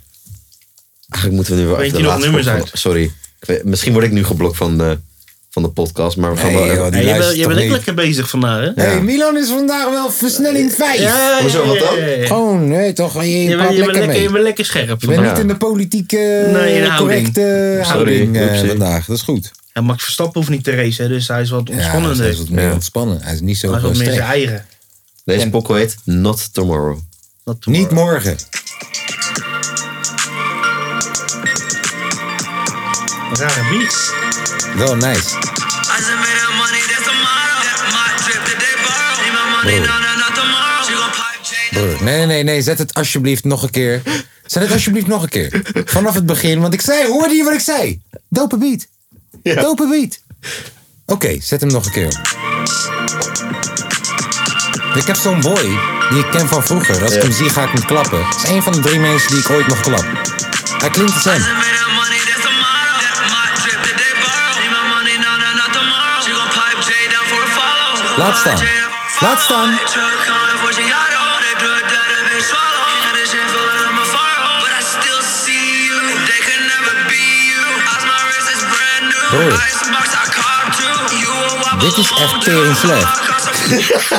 B: Eigenlijk moeten we nu wel
C: Brengt
B: even de
C: hij nog
B: laatste
C: nummers
B: van-
C: uit?
B: Sorry. Ik weet- misschien word ik nu geblokt van de, van de podcast, maar we gaan
A: Nee,
B: wel...
A: joh, die
C: Hey, je bent-
A: luistert
C: je
A: toch
C: bent ook
A: niet.
C: lekker bezig vandaag, hè?
A: hey, Milan is vandaag wel versnelling 5.
B: Hoezo, wat dan?
A: Gewoon, nee, toch? Je,
C: Je
A: praat
C: bent je bent
A: lekker
C: lekker,
A: mee.
C: je bent lekker scherp.
A: Je bent
C: vandaag.
A: niet
B: Ja.
A: in de politieke
C: Nee, in de houding.
A: correcte houding, eh,
B: oepsie.
A: vandaag. Dat is goed.
C: En Max Verstappen hoeft niet te racen, hè, dus hij is wat
A: Ja,
C: ontspannender.
A: hij is wat meer
B: Ja.
A: ontspannen. Hij is niet zo
C: hij is wat meer
A: sterk.
C: zijn eigen.
B: Deze pokkel heet Not Tomorrow.
C: Dat doen
A: Niet
C: we.
A: morgen.
C: Rare beats.
A: Wel
G: I
A: nice.
G: just made that money, that's the motto. That's my drip that they borrow. Need my money, no, no, not tomorrow. She gon' pipe chain.
A: Broer, Nee, nee, nee, nee. Zet het alsjeblieft nog een keer. Zet het alsjeblieft nog een keer. Vanaf het begin, want ik zei, hoorde je wat ik zei? Dope beat. Dope beat. Oké, zet hem nog een keer. Ik heb zo'n boy die ik ken van vroeger. Als ik hem zie, ga ik hem klappen. Het is een van de drie mensen die ik ooit nog klap. Hij klinkt als
G: I
A: hem.
G: just made that money, that's the motto. That's my drip that they borrow. Need my money, no, no, not tomorrow. She gon' pipe chain down for a follow. She gon'
A: Laat
G: pipe J
A: staan.
G: down for a
A: Laat
G: follow.
A: staan.
G: They try to come in for she got on. They do it that a bitch swallow. And this shit feelin' I'm a fire. But I still see you. They could never be you. Eyes my wrist is brand new.
A: Broer.
G: Icebox I carved you. You a wobble.
A: Dit is echt tering slecht.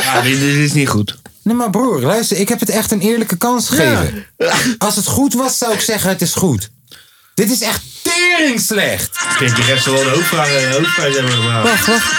C: Ja, dit, dit is niet goed.
A: Nee, maar broer, luister, ik heb het echt een eerlijke kans gegeven. Als het goed was, zou ik zeggen, het is goed. Dit is echt tering slecht.
C: Ik vind die resten wel de hoofdprijs, eh, hoofdprijs hebben gebracht.
A: Wacht, wacht.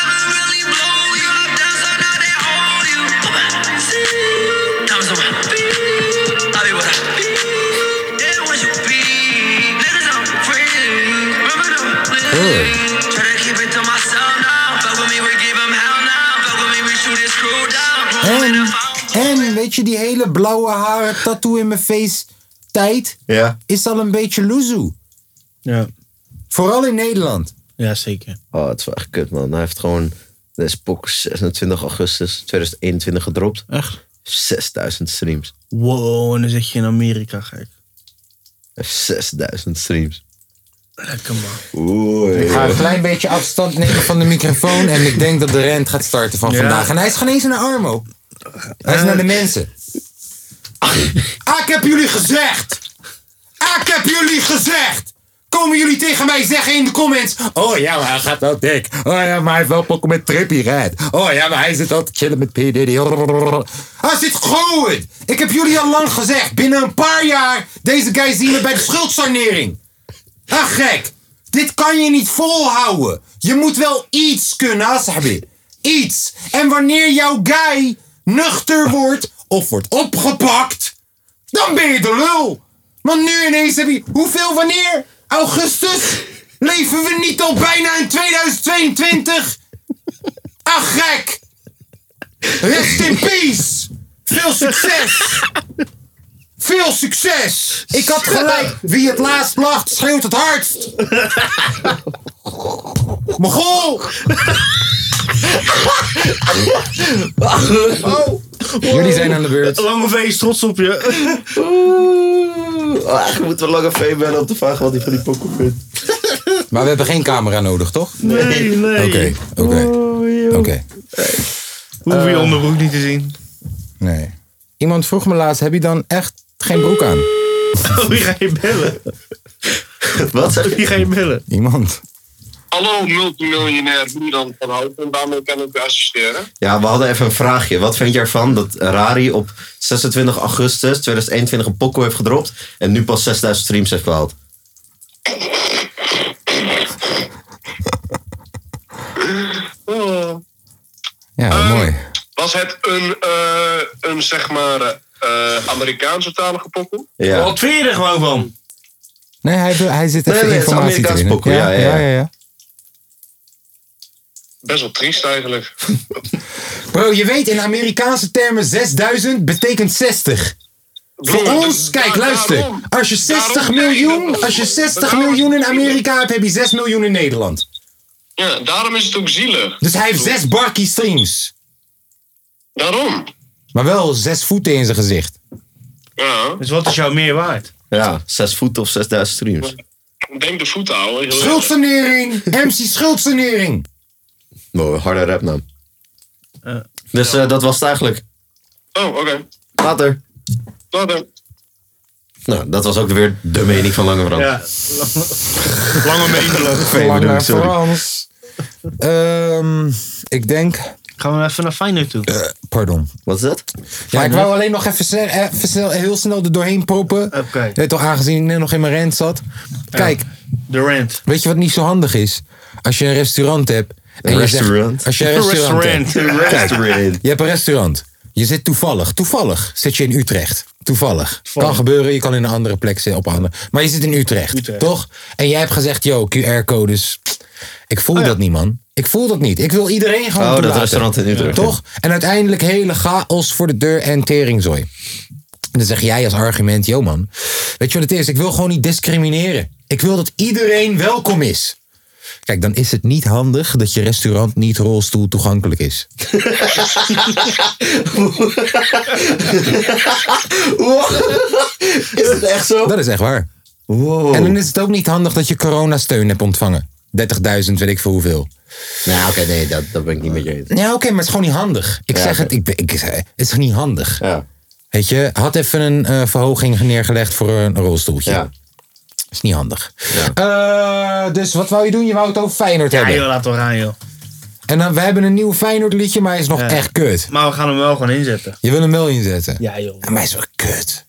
A: En, en, weet je, die hele blauwe haren, tattoo in mijn face tijd
B: Ja.
A: is al een beetje loezoe.
C: Ja.
A: Vooral in Nederland.
C: ja, zeker.
B: Oh, het is wel echt kut, man. Hij heeft gewoon de Spock 26 augustus 2021 gedropt.
C: Echt?
B: 6000 streams.
C: Wow, en dan zit je in Amerika gek.
B: Hij heeft 6000 streams.
C: Lekker man.
A: Ik ga een klein beetje afstand nemen van de microfoon en ik denk dat de rent gaat starten van
C: Ja.
A: vandaag. En hij is geen eens naar Armo. Hij is naar de mensen. Eh. Ah, ik heb jullie gezegd! Ah, ik heb jullie gezegd! Komen jullie tegen mij zeggen in de comments... Oh ja, maar hij gaat wel dik. Oh ja, maar hij heeft wel pokken met Trippy Red. Oh ja, maar hij zit altijd chillen met P. Diddy. Hij zit goed! Ik heb jullie al lang gezegd. Binnen een paar jaar... Deze guy zien we bij de schuldsanering. Ah, gek. Dit kan je niet volhouden. Je moet wel iets kunnen, Ashabi. Iets. En wanneer jouw guy nuchter wordt of wordt opgepakt, dan ben je de lul. Want nu ineens heb je... Hoeveel wanneer? Augustus? Leven we niet al bijna in 2022? Ach, gek. Rest in peace. Veel succes. Veel succes. Ik had gelijk. Wie het laatst lacht, schreeuwt het hardst. Mogol. Jullie zijn aan de beurt.
C: Lange V is trots op je.
B: Oh, eigenlijk moeten we Lange V bellen om te vragen wat hij van die pokoe vindt.
A: Maar we hebben geen camera nodig, toch?
C: Nee, nee.
A: Oké, oké. Oké.
C: Hoef
B: Eh.
C: je onderbroek niet te zien.
A: Nee. Iemand vroeg me laatst, heb je dan echt geen broek aan?
C: Oh, wie ga je bellen?
B: Wat zeg je?
C: Wie ga je bellen?
A: Iemand.
E: Hallo multimiljonair Milan van Hout en daarmee kan ik u assisteren.
B: Ja, we hadden even een vraagje. Wat vind jij ervan dat Rari op 26 augustus 2021 een pokoe heeft gedropt en nu pas 6000 streams heeft gehaald?
E: Oh.
A: Ja,
E: Eh,
A: mooi.
E: Was het een, eh, een zeg maar, eh Amerikaanse talige pokoe?
B: Ja.
C: Wat vind je er gewoon van?
A: Nee, hij, wil- hij zit even
B: Nee, nee, het is
A: informatie te
B: Amerikaans
A: winnen.
B: pokoe, ja, ja, ja.
E: Best wel triest eigenlijk.
A: Bro, je weet in Amerikaanse termen 6000 betekent 60. Voor
E: Broer,
A: ons,
E: da-
A: kijk,
E: da-
A: luister.
E: daarom.
A: Als je 60
E: Daarom-
A: miljoen, als je 60
E: Daarom-
A: miljoen in Amerika hebt, heb je 6 miljoen in Nederland.
E: Ja, daarom is het ook zielig.
A: Dus hij heeft 6 barkie streams.
E: Daarom.
A: Maar wel 6 voeten in zijn gezicht.
E: Ja.
C: Dus wat is jouw meerwaarde?
B: Ja, 6 voet of 6000 streams.
E: Denk de voeten houden. heel erg.
A: Schuldsanering! MC schuldsanering!
B: Wow, een harde rapnaam.
C: Eh.
B: dus eh, dat was het eigenlijk.
E: Oh, oké.
B: Later.
E: Nou, dan.
B: Nou, dat was ook weer de mening van Lange Frans.
C: Ja. Lange meegelopen.
B: Nee, bedoel ik,
A: Lange
B: sorry.
A: Frans. Ehm, ik denk...
C: Gaan we even naar Feyenoord toe.
A: Pardon.
B: Wat is dat?
A: Ja, ik wou alleen nog even, snel, eh, even snel, heel snel er doorheen proppen.
C: Oké.
A: Je Weet toch, aangezien ik net nog in mijn rent zat. Kijk,
C: Durant.
A: weet je wat niet zo handig is? Als je een restaurant hebt... En je zegt-
B: Restaurant.
A: als je een restaurant, hebt.
C: Durant.
B: Restaurant.
A: Je hebt een restaurant. Je zit toevallig, toevallig zit je in Utrecht. Toevallig. Kan gebeuren, je kan in een andere plek zitten op een andere. Maar je zit in Utrecht,
C: Utrecht.
A: toch? En jij hebt gezegd, yo, QR-codes. Ik voel dat niet, man. Ik voel dat niet. Ik wil iedereen gewoon
B: Oh, dat
A: toelaten.
B: restaurant in Utrecht, ja.
A: Toch? En uiteindelijk hele chaos voor de deur en teringzooi. En dan zeg jij als argument, yo man, weet je wat het is? Ik wil gewoon niet discrimineren. Ik wil dat iedereen welkom is. Kijk, dan is het niet handig dat je restaurant niet rolstoel toegankelijk is.
B: Is het echt zo?
A: Dat is echt waar. En dan is het ook niet handig dat je coronasteun hebt ontvangen. 30.000, weet ik veel hoeveel.
B: Nou, oké, nee, dat, dat ben ik niet met je eens.
A: Ja, oké, maar het is gewoon niet handig. Ik
B: Ja,
A: zeg
B: oké.
A: het, ik, ben- ik, het is niet handig.
B: Ja.
A: Weet je, had even een eh, verhoging neergelegd voor een rolstoeltje.
B: Ja.
A: Is niet handig. Eh, dus wat wou je doen? Je wou het over Feyenoord
C: Ja,
A: hebben.
C: joh, laat wel gaan, joh.
A: En dan, we hebben een nieuw Feyenoord liedje, maar hij is nog
C: Ja.
A: echt kut.
C: Maar we gaan hem wel gewoon inzetten.
A: Je wil hem wel inzetten.
C: Ja, joh.
A: Maar hij is wel kut.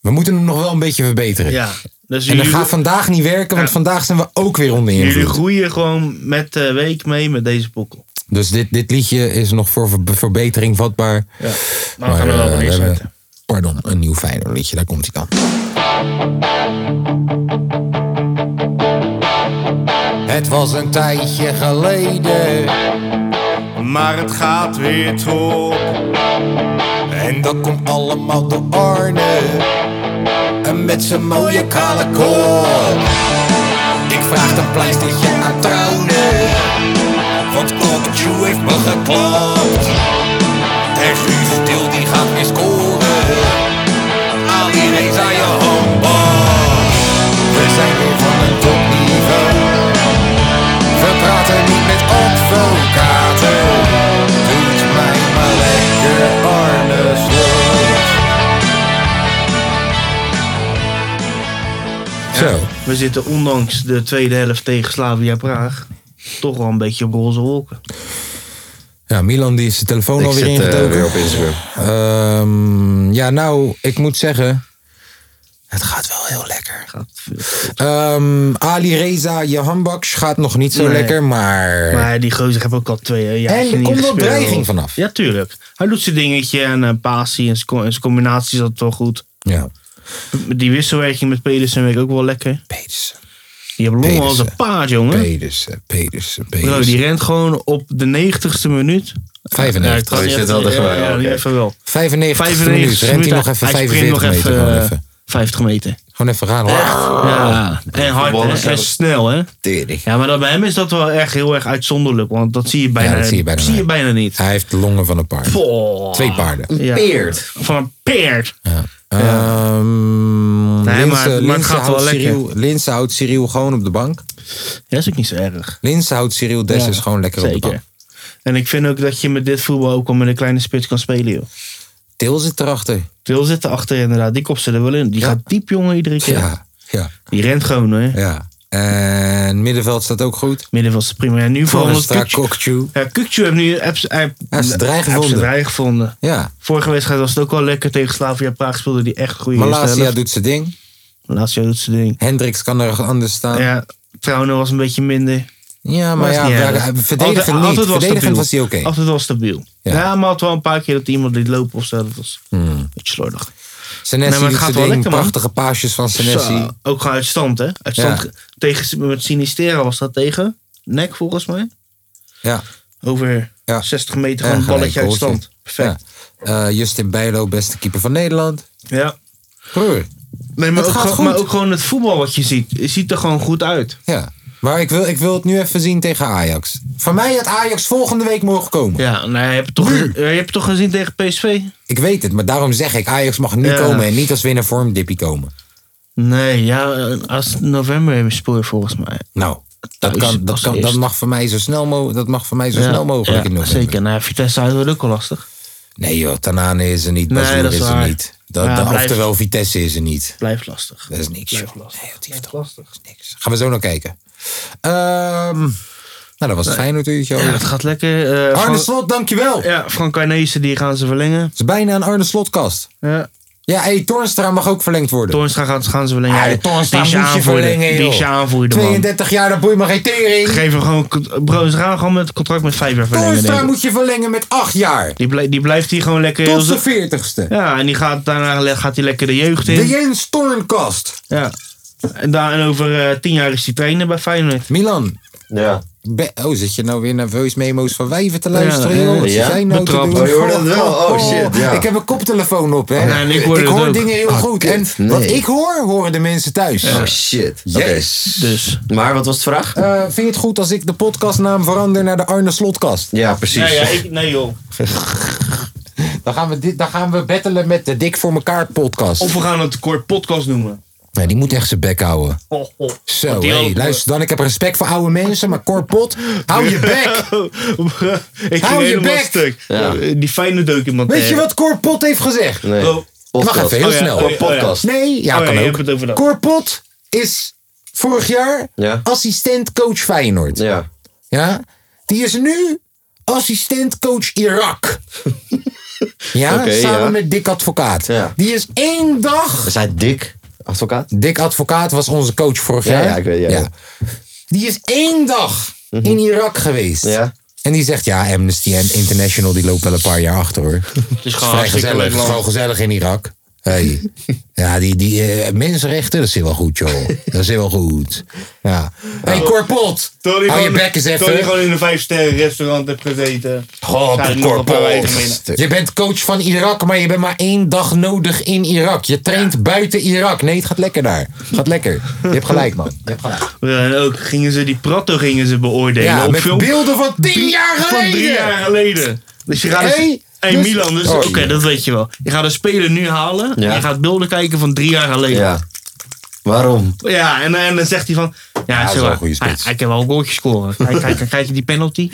A: We moeten hem nog wel een beetje verbeteren.
C: Ja. Dus
A: En dat
C: jullie,
A: gaat vandaag niet werken, want
C: Ja.
A: vandaag zijn we ook weer onder invloed.
C: jullie groeien gewoon met de week mee met deze pokkel.
A: Dus dit, dit liedje is nog voor ver- verbetering vatbaar.
C: Ja. Maar
B: Oh,
C: we gaan hem wel
A: eh,
C: gewoon
A: we hebben-
C: inzetten.
A: Pardon, een nieuw Feyenoord liedje, daar komt hij dan. Het was een tijdje geleden,
I: Maar het gaat weer trop.
A: en dat komt allemaal door Arne. En met zijn mooie kale kop. Ik vraag een pleistertje aan Trouwne, want Kokju heeft me geklapt. En Guus Stil die gaat weer scoren. Ali Reza je handbal. We zijn weer van een topniveau. We praten niet met advocaten. Doet mij maar lekker Arne Zo.
C: We zitten ondanks de tweede helft tegen Slavia Praag toch wel een beetje op roze wolken.
A: Ja, Milan die is zijn telefoon
B: Ik
A: alweer
B: zit eh,
A: ingetoken.
B: weer op Instagram.
A: Ehm, ja, nou, ik moet zeggen. Het gaat wel heel lekker. Ehm, Ali Reza, je handbaks gaat nog niet zo
C: Nee.
A: lekker, maar.
C: Maar die gozer heeft ook al twee eh, jaar
A: en er komt wel dreiging vanaf.
C: Ja, tuurlijk. Hij doet zijn dingetje en eh passie en zijn co- en zijn combinatie zat wel goed.
A: Ja,
C: Die wisselwerking met Pedersen werkt ook wel lekker.
A: Pedersen.
C: Die hebben longen als
A: Pedersen.
C: een paard, jongen.
A: Pedersen, Pedersen,
C: Bro,
A: Pedersen.
C: Oh, die rent gewoon op de 90ste minuut. Ja, ik
A: 95.
C: had
B: Oh, je
C: niet
B: zit
C: echt-
B: wel dichtbij,
C: ja,
B: ja,
C: ja, die
B: oké.
C: even wel.
A: 95
C: 95
A: minuten. Rent hij nog even
C: hij sprint
A: 45 meter. Gewoon
C: eh,
A: even,
C: 50 meter.
A: gewoon even gaan.
C: Ja, en hard
B: Ballen
C: hè, en
B: zelf.
C: snel hè.
B: Tering.
C: Ja, maar dat, bij hem is dat wel echt heel erg uitzonderlijk. Want dat zie je bijna,
A: dat zie je bijna niet.
C: niet.
A: Hij heeft longen van een paard.
C: Boah.
A: Twee paarden.
C: Ja.
B: Peert.
C: Van een peert.
A: Ehm,
C: Nee,
A: Linse-
C: maar- maar het
A: Linse
C: gaat wel
A: houdt
C: lekker.
A: Cyril- Linse houdt Cyril gewoon op de bank.
C: Ja, is ook niet zo erg.
A: Linse houdt Cyril Dessers
C: Ja,
A: gewoon lekker op de bank.
C: Zeker. En ik vind ook dat je met dit voetbal ook al met een kleine spits kan spelen, joh.
A: Til zit erachter.
C: Til zit erachter inderdaad. Die kopt ze er wel in. Die
A: Ja.
C: gaat diep, jongen, iedere keer.
A: Ja, ja,
C: Die rent gewoon, hè.
A: ja. En middenveld staat ook goed.
C: Middenveld staat prima. En nu voor ons
A: Forrest
C: Kukcu.
A: Kokchu.
C: Ja, Kukcu heeft nu hij heeft- hij
A: Hij is
C: heeft
A: de draai gevonden.
C: draai gevonden.
A: Ja.
C: Vorige wedstrijd was het ook wel lekker tegen Slavia Praag. Speelde die echt goede eerste
A: Malasia
C: helft.
A: doet zijn ding.
C: Malasia doet zijn ding.
A: Hendricks kan er anders staan. Ja,
C: Ja, Trouwen was een beetje minder.
A: Ah. maar
C: Was
A: ja,
C: niet
A: ja,
C: erg. Altijd-
A: verdedigend niet.
C: altijd wel
A: Verdedigend
C: stabiel.
A: was hij oké.
C: Altijd wel stabiel.
A: Ja. Hmm.
C: Ja. maar had wel een paar keer dat iemand liet lopen of zo. Dat was een beetje slordig.
A: Senesi
C: Nee, maar
A: doet
C: het gaat
A: zijn
C: wel
A: ding.
C: lekker, man.
A: Prachtige paasjes van Senesi.
C: Zo, ook gewoon uit stand, hè? Uit stand
A: Ja.
C: tegen, met Sinistera was dat tegen. Nek volgens mij.
A: Ja.
C: Over
A: Ja.
C: 60 meter
A: Ja,
C: gewoon een balletje
A: gelijk
C: uit
A: goaltje.
C: stand. Perfect.
A: Ja. Eh, Justin Bijlo, beste keeper van Nederland.
C: Ja.
A: Broer.
C: Nee, maar
A: Het
C: ook,
A: gaat
C: gewoon,
A: goed.
C: maar ook gewoon het voetbal wat je ziet. Het ziet er gewoon goed uit.
A: Ja. Maar ik wil, ik wil het nu even zien tegen Ajax. Van mij had Ajax volgende week mogen komen.
C: Ja, nou, je, hebt toch, je hebt toch gezien tegen PSV?
A: Ik weet het, maar daarom zeg ik: Ajax mag nu
C: Ja.
A: komen en niet als winnaar vormdippie komen.
C: Nee, ja, eh, als november hebben we spoor volgens mij.
A: Nou, dat,
C: Thuis
A: kan, dat,
C: als
A: kan, dat
C: eerste.
A: mag voor mij zo snel, mo dat mag voor mij zo
C: Ja,
A: snel mogelijk
C: ja,
A: in november.
C: Zeker, nou, Vitesse uit wordt ook wel lastig.
A: Nee joh, Tanane is er niet,
C: Nee,
A: Basur
C: dat is
A: is, er
C: waar.
A: niet. Dat,
C: Ja,
A: dat-
C: blijf.
A: oftewel, Vitesse is er niet.
C: Blijft lastig.
A: Dat is niks joh.
C: Blijft lastig.
A: Nee, joh, die heeft
C: Blijft
A: toch
C: lastig.
A: niks. Gaan we zo naar kijken. Ehm, nou, dat was het Feyenoord uurtje
C: Ja,
A: alweer.
C: het gaat lekker. eh,
A: Arne
C: Frank-
A: Slot, dankjewel. Het
C: ja, Frank Arnezen, die gaan ze verlengen.
A: is bijna een Arne Slotkast.
C: Ja.
A: Ja, hey, Tornstra mag ook verlengd worden.
C: Toornstra gaan, gaan ze verlengen.
A: Ah,
C: Ja,
A: Toornstra
C: die is
A: moet je
C: aanvoerder.
A: verlengen,
C: Die
A: joh.
C: is je aanvoerder, man.
A: 32 jaar, dat boeit me geen tering.
C: Geef hem gewoon... Bro, ze gaan gewoon met het contract met vijf jaar verlengen.
A: Tornstra
C: denk ik.
A: moet je verlengen met 8 jaar.
C: Die, blij- die blijft hier gewoon lekker... heel
A: Tot zijn
C: zo-
A: 40ste.
C: Ja, en die gaat, daarna le- gaat hij lekker de jeugd in.
A: De Jens Tornkast.
C: ja. En, daar, en over eh, tien jaar is hij trainer bij Feyenoord.
A: Milan,
B: Ja.
A: Be- oh, zit je nou weer naar voice memo's van wijven te luisteren?
C: Ja,
A: joh? Wat
B: ja.
A: zit jij nou te
C: Betrapt.
A: doen?
B: Oh, je hoorde het wel. Oh, shit, ja.
A: Ik heb een koptelefoon op, hè?
C: Ja, en ik hoorde het
A: hoor
C: ook.
A: dingen heel goed. En
B: Nee.
A: wat ik hoor, horen de mensen thuis.
B: Oh shit. Oké.
C: Dus.
B: Maar wat was de vraag?
A: Eh, vind je het goed als ik de podcastnaam verander naar de Arne Slotkast?
B: Ja, precies.
C: Ja, ja, ik, nee joh.
A: Dan gaan we, dit, dan gaan we battelen met de Dik voor mekaar podcast.
C: Of we gaan het kort podcast noemen.
A: Nee, die moet echt zijn bek houden.
C: Oh, oh.
A: Zo,
C: Want die
A: hey,
C: hadden-
A: luister dan. Ik heb respect voor oude mensen, maar Corpot, hou je bek.
C: ik
A: Hou
C: ging
A: je
C: helemaal
A: bek!
C: stuk.
B: Ja.
C: Die fijne documentaire.
A: Weet je wat Corpot heeft gezegd?
B: Nee.
C: Oh.
A: Wacht even, heel
C: Oh ja,
A: snel.
C: oh ja, oh ja.
B: Podcast.
A: Nee, ja,
C: Oh ja,
A: kan
C: je
A: ook.
C: hebt het over dat.
A: Corpot is vorig jaar
B: Ja.
A: assistent coach Feyenoord. Ja.
B: Ja.
A: Die is nu assistent coach Irak. ja,
B: Oké,
A: samen
B: ja.
A: met Dick Advocaat.
B: Ja.
A: Die is één dag...
B: Is hij dik? Advocaat?
A: Dick Advocaat was onze coach vorig
B: Ja,
A: jaar.
B: ja, ik weet- ja, ja.
A: Die is één dag in Irak geweest.
B: Ja.
A: En die zegt, ja, Amnesty International die loopt wel een paar jaar achter hoor.
C: Het is
A: Het is
C: gewoon
A: vrij
C: hartstikke
A: gezellig.
C: leuk
A: Het is
C: man.
A: gewoon gezellig in Irak. Hey. Ja, die, die eh, mensenrechten, dat zit wel goed, joh. Dat zit wel goed. Ja. hey, Corpot.
C: Tony
A: Hou je
C: gewoon-
A: bek eens
C: Tony
A: even.
C: gewoon in een vijfsterren restaurant hebt gezeten.
A: Goh,
C: Ga ik nog een paar weken binnen.
A: Corpot. Je bent coach van Irak, maar je bent maar één dag nodig in Irak. Je traint buiten Irak. Nee, het gaat lekker daar. Het gaat lekker. Je hebt gelijk, man. Je hebt gelijk.
C: Ja, en ook gingen ze die pratto gingen ze beoordelen
A: Ja,
C: op
A: met
C: film
A: beelden van tien jaar
C: van drie jaar
A: geleden.
C: geleden. Dus je gaat dus-
A: Hey,
C: hey,
A: dus-
C: Milan, dus,
A: Oh,
C: oké,
A: ja.
C: dat weet je wel. Je gaat een speler nu halen
B: Ja.
C: en je gaat beelden kijken van drie jaar geleden. Ja,
B: Ja. Waarom?
C: en, en dan zegt hij van, ja,
A: is
C: zo,
A: wel een goede
C: hij,
A: spits.
C: hij kan wel een goaltje scoren. Kijk, kijk, kijk je die penalty?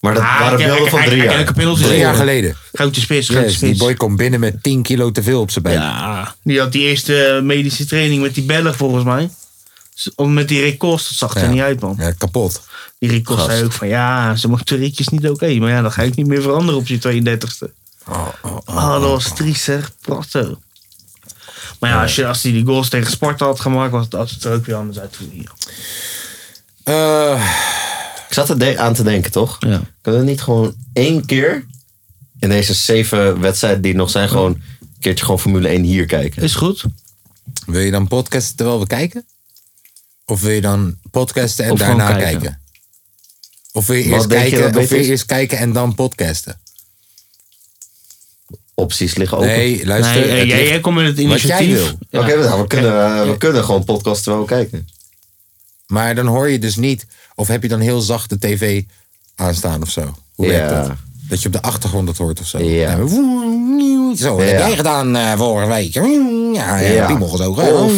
B: Maar dat
C: Ah,
B: waren
C: hij-
B: beelden
C: hij-
B: van
C: hij-
B: drie
C: hij-
B: jaar.
C: hij- hij- penalty
A: Drie jaar
C: scoren.
A: geleden.
C: Grote spits, grote
A: Yes, die
C: spits.
A: boy komt binnen met 10 kilo te veel op zijn been.
C: Ja, die had die eerste eh, medische training met die bellen volgens mij. Z- Om met die records, dat zag er
A: Ja.
C: niet uit, man.
A: Ja, kapot.
C: Die records zei ook van ja, ze mochten ritjes niet oké. maar ja, dan ga ik niet meer veranderen op je 32e. Oh, dat was triest, zeg. Prachtig. Maar ja, als hij als die, die goals tegen Sparta had gemaakt, was het, had het er ook weer anders uit.
A: Eh,
B: Ik zat er de- aan te denken, toch?
C: Ja.
B: Kunnen we niet gewoon één keer in deze zeven wedstrijden die er nog zijn, gewoon een keertje gewoon Formule 1 hier kijken?
C: Is goed.
A: Wil je dan podcasten terwijl we kijken? Of wil je dan podcasten en
C: Of gewoon
A: daarna kijken?
C: kijken.
A: Of wil je
B: Wat
A: eerst
B: denk je
A: kijken,
B: dat
A: of
B: beter
A: wil je
B: is?
A: eerst kijken en dan podcasten?
B: Opties liggen open.
A: Nee, luister.
C: Nee, eh,
A: het
C: jij,
A: ligt-
C: jij komt met het
A: wat jij
C: initiatief.
A: wil.
C: Ja.
B: Oké, nou, we, kunnen, we kunnen gewoon podcast terwijl we kijken.
A: Maar dan hoor je dus niet. Of heb je dan heel zacht de tv aanstaan of zo? Hoe werkt
B: Ja.
A: dat? Dat je op de achtergrond dat hoort of zo.
B: Ja.
A: En we- Zo, wat heb
B: Ja.
A: jij gedaan eh, vorige week? Ja, ja,
B: Ja.
A: piemel gezogen.
B: Of-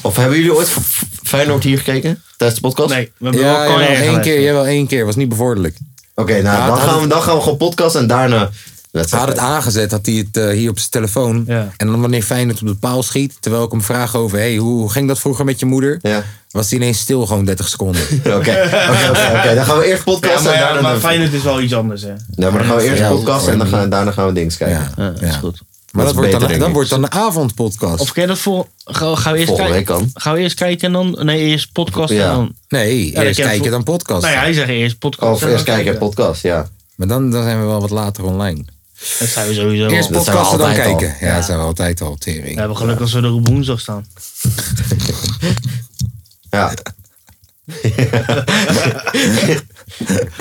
B: Of hebben jullie ooit F- Feyenoord hier gekeken? Tijdens de podcast?
C: Nee, we hebben
A: Ja,
C: wel
A: jawel,
C: Kanye
A: één
C: geluisterd.
A: keer. Jawel, één keer. Was niet bevorderlijk.
B: Oké, nou,
A: Ja,
B: dan,
A: dat-
B: gaan we, dan gaan we gewoon podcast en daarna
A: Hij had het aangezet, had hij het eh, hier op zijn telefoon. En dan wanneer Feyenoord op de paal schiet, terwijl ik hem vraag over... Hey, hoe hoe ging dat vroeger met je moeder? Was hij ineens stil gewoon 30 seconden. Oké,
B: oké, oké. Dan gaan we eerst podcasten
C: Ja, maar,
B: en
C: ja,
B: daarna
C: maar
B: doen we-
C: Feyenoord is wel iets anders, hè?
B: Nee, maar dan gaan we eerst
C: Ja,
B: een podcast en dan
C: hoor.
B: gaan, daarna gaan we dings kijken.
A: Ja,
C: dat is goed.
A: Maar dat, wordt, dan,
B: beter,
A: dan
B: denk
A: wordt dan een avondpodcast.
C: Of ken je dat voor... Gaan gaan we eerst
A: Volgende
C: kijken?
A: week dan.
C: Gaan we eerst kijken en dan... Nee, eerst podcast
A: Ja.
C: en dan...
A: Nee,
C: dan
A: eerst
C: ken je
A: kijken,
C: vo-
A: dan podcast.
C: Nou ja, hij zegt eerst podcast.
A: Of
C: en
A: eerst
C: dan
A: kijken,
B: podcast, ja.
A: Maar dan, dan zijn we wel wat later online.
C: Dat zijn we sowieso
A: Eerst
C: al.
A: podcasten, dan kijken. Ja,
C: Ja.
A: dat zijn we altijd al, tering.
C: We hebben geluk als we er op woensdag staan.
B: Ja. Ja,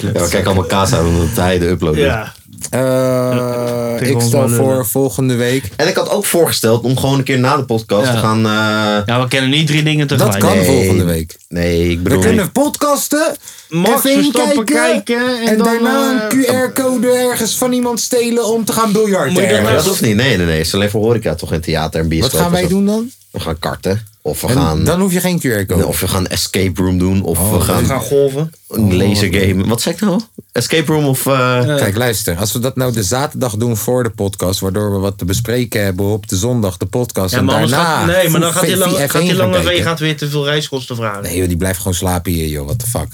B: we kijken allemaal kaas aan omdat hij de upload doet.
A: Ja. Eh, ik
B: ons
A: stel
B: wel
A: voor
B: lullen.
A: volgende week.
B: En ik had ook voorgesteld om gewoon een keer na de podcast
A: Ja.
B: te gaan... eh
C: Ja, we kennen niet drie dingen tegelijk.
A: Dat kan volgende week.
B: Nee, ik bedoel...
A: We kunnen podcasten,
C: Max
A: even kijken,
C: Verstappen kijken
A: en,
C: en dan, eh,
A: daarna een QR-code ergens van iemand stelen om te gaan biljarten.
B: Nee, maar
A: ergens.
B: dat hoeft niet. Nee, nee, nee. Het is alleen voor horeca toch in theater en bioscoop.
A: Wat gaan
B: en
A: wij
B: zo.
A: doen dan?
B: We gaan karten. Of we
A: En Oh,
B: gaan...
A: dan hoef je geen QR-code.
B: Of we gaan escape room doen. Of we gaan...
C: golven.
A: Oh,
B: Een lasergame. Wat zeg ik nou? Escape room of... eh,
A: Kijk, luister. Als we dat nou de zaterdag doen voor de podcast, waardoor we wat te bespreken hebben op de zondag, de podcast.
C: Ja,
A: en
C: maar anders
A: daarna.
C: gaat, nee, maar dan
A: voor
C: gaat die, lang,
A: VF1
C: gaat die
A: gaan
C: lange
A: kijken.
C: wee gaat weer te veel reiskosten vragen.
A: Nee, joh, die blijft gewoon slapen hier, joh. What the fuck.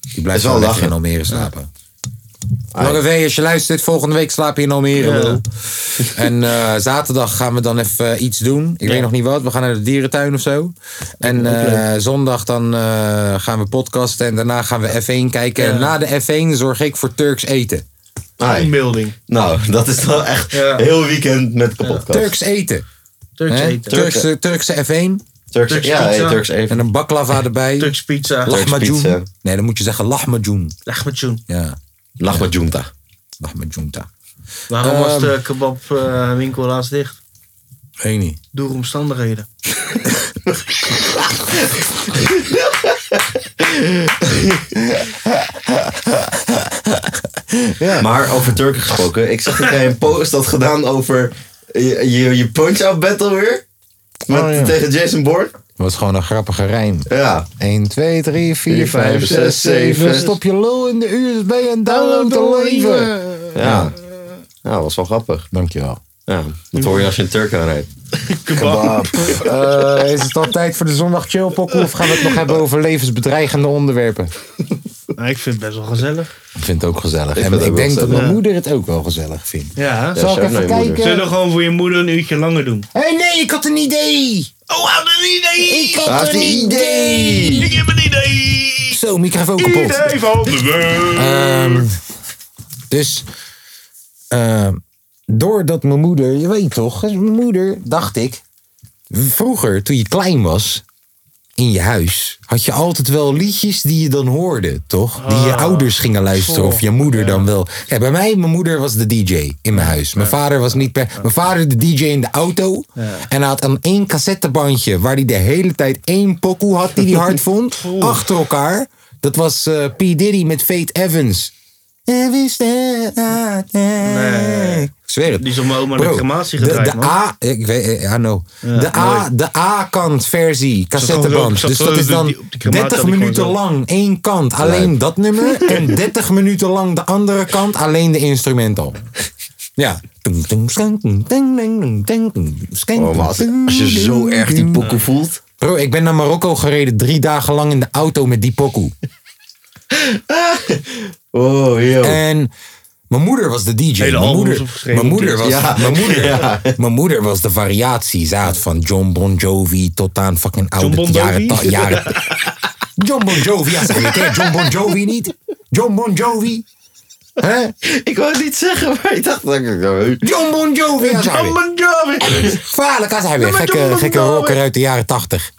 A: Die
B: is
A: blijft
B: wel
A: gewoon lekker in
B: lachen.
A: Almere slapen. Lange W, als je luistert, volgende week slaap je in Almere.
B: Ja.
A: lul. En eh, zaterdag gaan we dan even eh, iets doen. Ik weet nog niet wat. We gaan naar de dierentuin of zo. En
C: Ook leuk.
A: eh, zondag dan eh, gaan we podcasten. En daarna gaan we F1 kijken. En na de F1 zorg ik voor Turks eten.
C: Teambuilding.
B: Nou, dat is wel echt
C: Ja.
B: heel weekend met de podcast.
A: Turks eten.
C: Turks
A: Hè?
C: eten.
A: Turkse, Turkse F1.
B: Turkse-
C: Turks ja, pizza. Turks
A: En een baklava erbij. Turks
C: pizza.
B: Turks pizza.
A: Lahmacun. Nee, dan moet je zeggen lahmacun.
C: Lahmacun.
A: Ja.
B: Lahmacunta.
A: Lahmacunta.
C: Waarom
A: Ehm,
C: was de kebabwinkel laatst dicht?
A: Weet niet.
C: Door omstandigheden.
B: Maar over Turken gesproken. Ik zag dat jij een post had gedaan over je, je, je punch-out battle weer. Met,
A: Oh, ja.
B: Tegen Jason Bourne.
A: was gewoon een grappige rijm.
B: Ja.
A: 1, 2, 3, 4, 5, 6, 7. Stop je lul in de dus USB en download de leven.
B: Ja. Ja, dat was wel grappig.
A: Dankjewel.
B: Ja, dat hoor je als je een Turk aanrijdt.
A: Kebab. Eh, is het al tijd voor de zondag chillpokken of gaan we het nog hebben over levensbedreigende onderwerpen?
C: Nou, ik vind het best wel gezellig.
A: Ik vind het ook gezellig. en
C: Ik vind het
A: ik
C: ook
A: denk
C: wel
A: dat mijn
C: gezellig.
A: moeder het ook wel gezellig vindt.
C: Ja, hè?
A: Zal ik even kijken?
C: Zullen we gewoon voor je moeder een uurtje langer doen?
A: Hé hey, nee, ik had een idee!
C: Oh, hij had een idee!
A: Ik had een idee!
C: Ik heb een idee!
A: Zo, microfoon kapot.
C: Idee van de
A: Ehm, dus ehm, doordat mijn moeder, je weet toch, dat is mijn moeder, dacht ik. Vroeger, toen je klein was, in je huis, had je altijd wel liedjes die je dan hoorde, toch? Die
C: Ah.
A: je ouders gingen luisteren of je moeder dan wel. Ja, bij mij, mijn moeder was de DJ in mijn huis. Mijn vader was niet per. Mijn vader de DJ in de auto. En hij had dan één cassettebandje waar hij de hele tijd één pokoe had die hij hard vond. Achter elkaar. Dat was eh, P. Diddy met Fate Evans. Nee. Ik zweer het.
C: Die is om mijn oma de
A: Bro,
C: crematie
A: de,
C: gedraaid,
A: de
C: man.
A: A, ik weet, eh, I know.
C: Ja,
A: de, A,
C: mooi.
A: de A-kant versie,
C: gewoon
A: cassetteband.
C: zo-
A: Dus
C: zo-
A: dat is
C: die-
A: dan
C: die- op die crematie
A: 30
C: had ik
A: minuten
C: gewoon zo.
A: lang één kant, alleen
C: Lijp.
A: dat nummer. En 30 minuten lang de andere kant, alleen de instrumental. Ja.
B: Oh, maar als, als je zo erg die pokoe voelt.
A: Bro, ik ben naar Marokko gereden drie dagen lang in de auto met die pokoe.
B: Oh, joh.
A: En mijn moeder was de DJ.
C: Hele
A: mijn
C: albums
A: moeder,
C: opgeschreven
A: mijn moeder, was,
C: natuurlijk. Ja.
A: mijn, moeder,
C: Ja.
A: mijn moeder was de variatie. Ze had van John Bon Jovi tot aan fucking oude
C: Bon
A: jaren,
C: Jovi?
A: ta- jaren. John Bon Jovi, ja, zeg je, ken je John Bon Jovi niet? John Bon Jovi? Hè?
B: Ik wou het niet zeggen, maar ik dacht dat ik...
A: John Bon Jovi, ja, zeg je.
C: Oh Jovi!
A: Gevaarlijk als hij weer. Gekke, gekke rocker uit de jaren tachtig.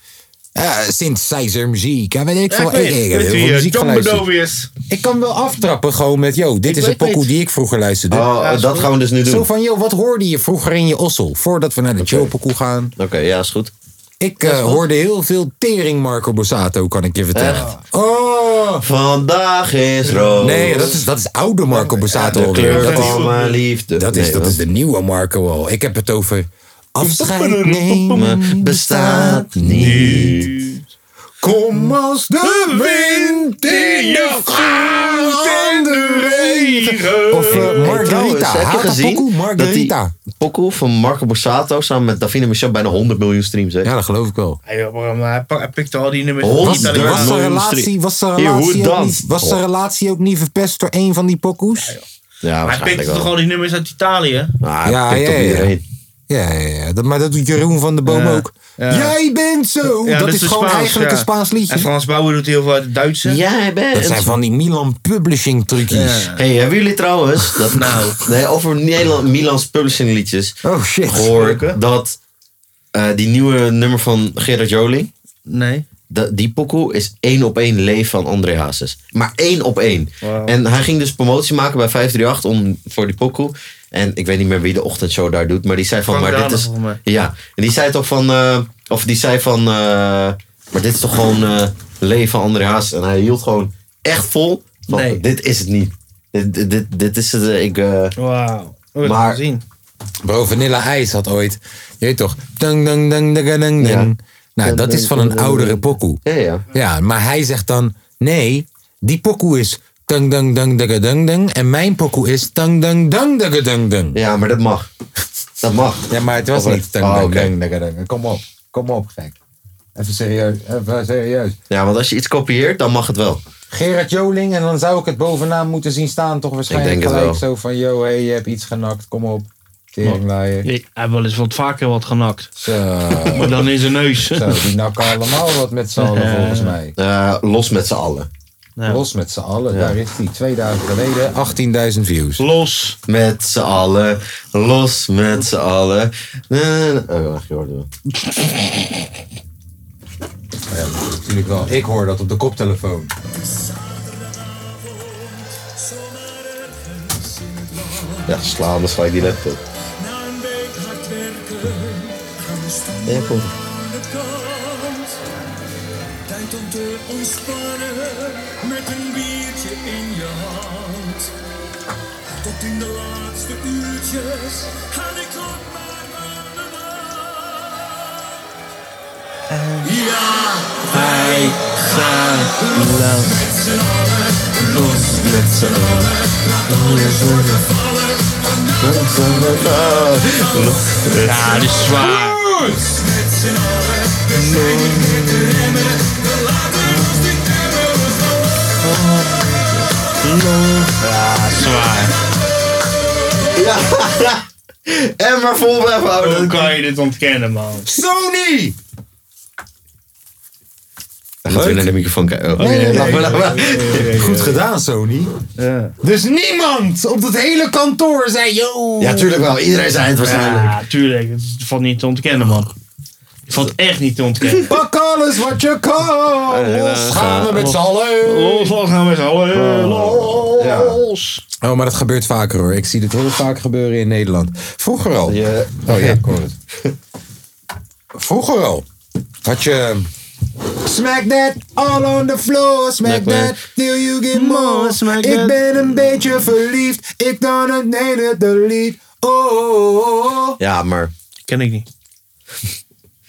A: Ja, synthesizer muziek. Ja, weet ik
C: Ja,
A: veel.
C: ik weet,
A: Ik- ik- ik heb
C: weet
A: heel veel
C: wie eh,
A: muziek
C: John
A: geluisterd.
C: Bedovi is.
A: Ik kan wel aftrappen gewoon met, yo, dit
C: Ik
A: is een
C: weet
A: pokoe
C: het.
A: die ik vroeger luisterde.
C: Ah.
B: Oh, Ja, is dat goed. gaan we dus nu doen.
A: Zo van, yo, wat hoorde je vroeger in je ossel? Voordat we naar de chill pokoe gaan.
B: Oké, ja, is goed.
A: Ik eh, hoorde heel veel tering Marco Borsato, kan ik je vertellen. Oh!
B: Vandaag is rood.
A: Nee, dat is, dat is oude Marco Borsato
B: Oh. De
A: alweer.
B: kleur
A: Dat is,
B: van mijn liefde.
A: dat, is,
B: Nee,
A: dat
B: wat-
A: is de nieuwe Marco al. Ik heb het over afscheid nemen
B: Bestaat niet.
D: Kom als de wind in je groot en de regen. Of eh,
B: Hey,
D: Margarita.
B: trouwens, heb je
D: Haat dat pokoe?
B: gezien dat die
D: Margarita.
B: pokoe van Marco Borsato samen met Davina Michel bijna 100 miljoen streams heeft?
A: Ja, dat geloof ik wel.
C: Hij, eh, hij, pak- hij pikte al die nummers.
A: Oh,
B: Honderd.
C: niet alleen maar-
B: Wat?
D: Was zijn
B: Miljoen
D: relatie,
B: stream.
D: was zijn
B: Hier, hoe
D: relatie, ook
B: dan?
D: niet, was zijn
B: Oh.
D: relatie ook niet verpest door een van die pokoes?
B: Ja,
C: Hij pikte
B: waarschijnlijk
C: toch
B: wel.
C: al die nummers uit Italië?
B: Ah,
A: Ja,
B: pikt op
A: ja, ja.
B: iedereen.
A: Ja, ja, ja. Dat, maar dat doet Jeroen van de Boom
C: Ja,
A: ook.
C: ja.
A: Jij bent zo!
C: Ja,
A: dat,
C: dat
A: is
C: is
A: gewoon
C: Spaans,
A: eigenlijk
C: ja.
A: een Spaans liedje.
C: En Frans Bauer doet heel veel uit het Duitse.
B: Jij bent...
A: Dat zijn van die Milan Publishing trucjes.
B: Hey, hebben jullie trouwens, dat, nou, nee, over Nederland, Milans publishing liedjes,
A: Oh shit.
B: gehoord dat eh, die nieuwe nummer van Gerard Joling,
C: Nee.
B: da- die pokoe is één op één leef van André Hazes. Maar één op één. En hij ging dus promotie maken bij 538 om, voor die pokoe. En ik weet niet meer wie de ochtendshow daar doet, maar die zei van,
C: Frank
B: maar dit
C: Dane,
B: is...
C: volgens mij.
B: Ja, en die zei toch van, eh, of die zei van, eh, maar dit is toch gewoon eh leef van André Hazes. En hij hield gewoon echt vol van,
C: Nee.
B: dit is het niet. Dit, dit, dit, dit is het, eh, ik... eh,
C: Wauw. Oh,
B: Maar-
C: maar... Gezien.
A: Bro, Vanilla Ice had ooit. Je weet toch? Dung, dung, dung, dung, dung, dung. Nou, dat is van een oudere pokoe.
B: ja, ja.
A: Ja, maar hij zegt dan: nee, die pokoe is. Dung, dung, dung, dung, dung, dung, en mijn pokoe is. Dung, dung, dung, dung, dung, dung.
B: Ja, maar dat mag. Dat mag.
A: Ja, maar het was
B: Of-
A: niet. Dung,
B: Oh,
A: dung,
B: oké.
A: dung, dung, dung. Kom op, kom op, gek. Even serieus, even serieus.
B: Ja, want als je iets kopieert, dan mag het wel.
A: Gerard Joling, en dan zou ik het bovenaan moeten zien staan, toch waarschijnlijk
B: Ik denk het
A: gelijk
B: wel.
A: zo van: yo, hey, je hebt iets genakt, kom op. Teringlaaier.
C: Nee, hij heeft wel eens wat vaker wat genakt.
A: Zo,
C: Maar dan in zijn neus.
A: zo, die nakken allemaal wat met z'n allen volgens mij.
B: Eh, los met z'n allen.
C: Ja.
A: Los met z'n allen, daar is hij. Twee dagen geleden 18.000 views.
C: Los.
B: Met z'n allen. Los met z'n allen. Eh, Oh, wacht, je hoort het wel.
A: Natuurlijk wel. Ik hoor dat op de koptelefoon.
B: Ja, sla anders gelijk die laptop. Ja, kom.
C: Ja, dit is zwaar. Ja, zwaar.
B: En maar vol blijven
C: Hoe
B: houden.
C: kan je dit ontkennen, man?
A: Sony!
B: Dan moeten we naar de microfoon kijken. Oh. Nee, laat maar, laat maar.
A: Goed gedaan, Sony.
C: Ja,
A: Dus niemand op dat hele kantoor zei: yo.
B: Ja, tuurlijk wel. Iedereen zei het waarschijnlijk.
C: ja tuurlijk. Het is- valt niet te ontkennen, man. Het valt echt niet te ontkennen.
A: Pak alles wat je kan. Los gaan we met z'n allen.
C: Los, los gaan we zo. Los.
A: Oh, maar dat gebeurt vaker hoor. Ik zie dit heel vaak gebeuren in Nederland. Vroeger al.
B: Je-
A: Oh ja, ik hoor het. Vroeger al had je. Smack that all on the floor. Smack
B: Smack me.
A: that till you get more.
C: Smack
A: ik
C: that.
A: ben een beetje verliefd. Ik dan het hele deliet. Oh, oh, oh, oh.
B: Ja, maar...
C: Ken ik niet.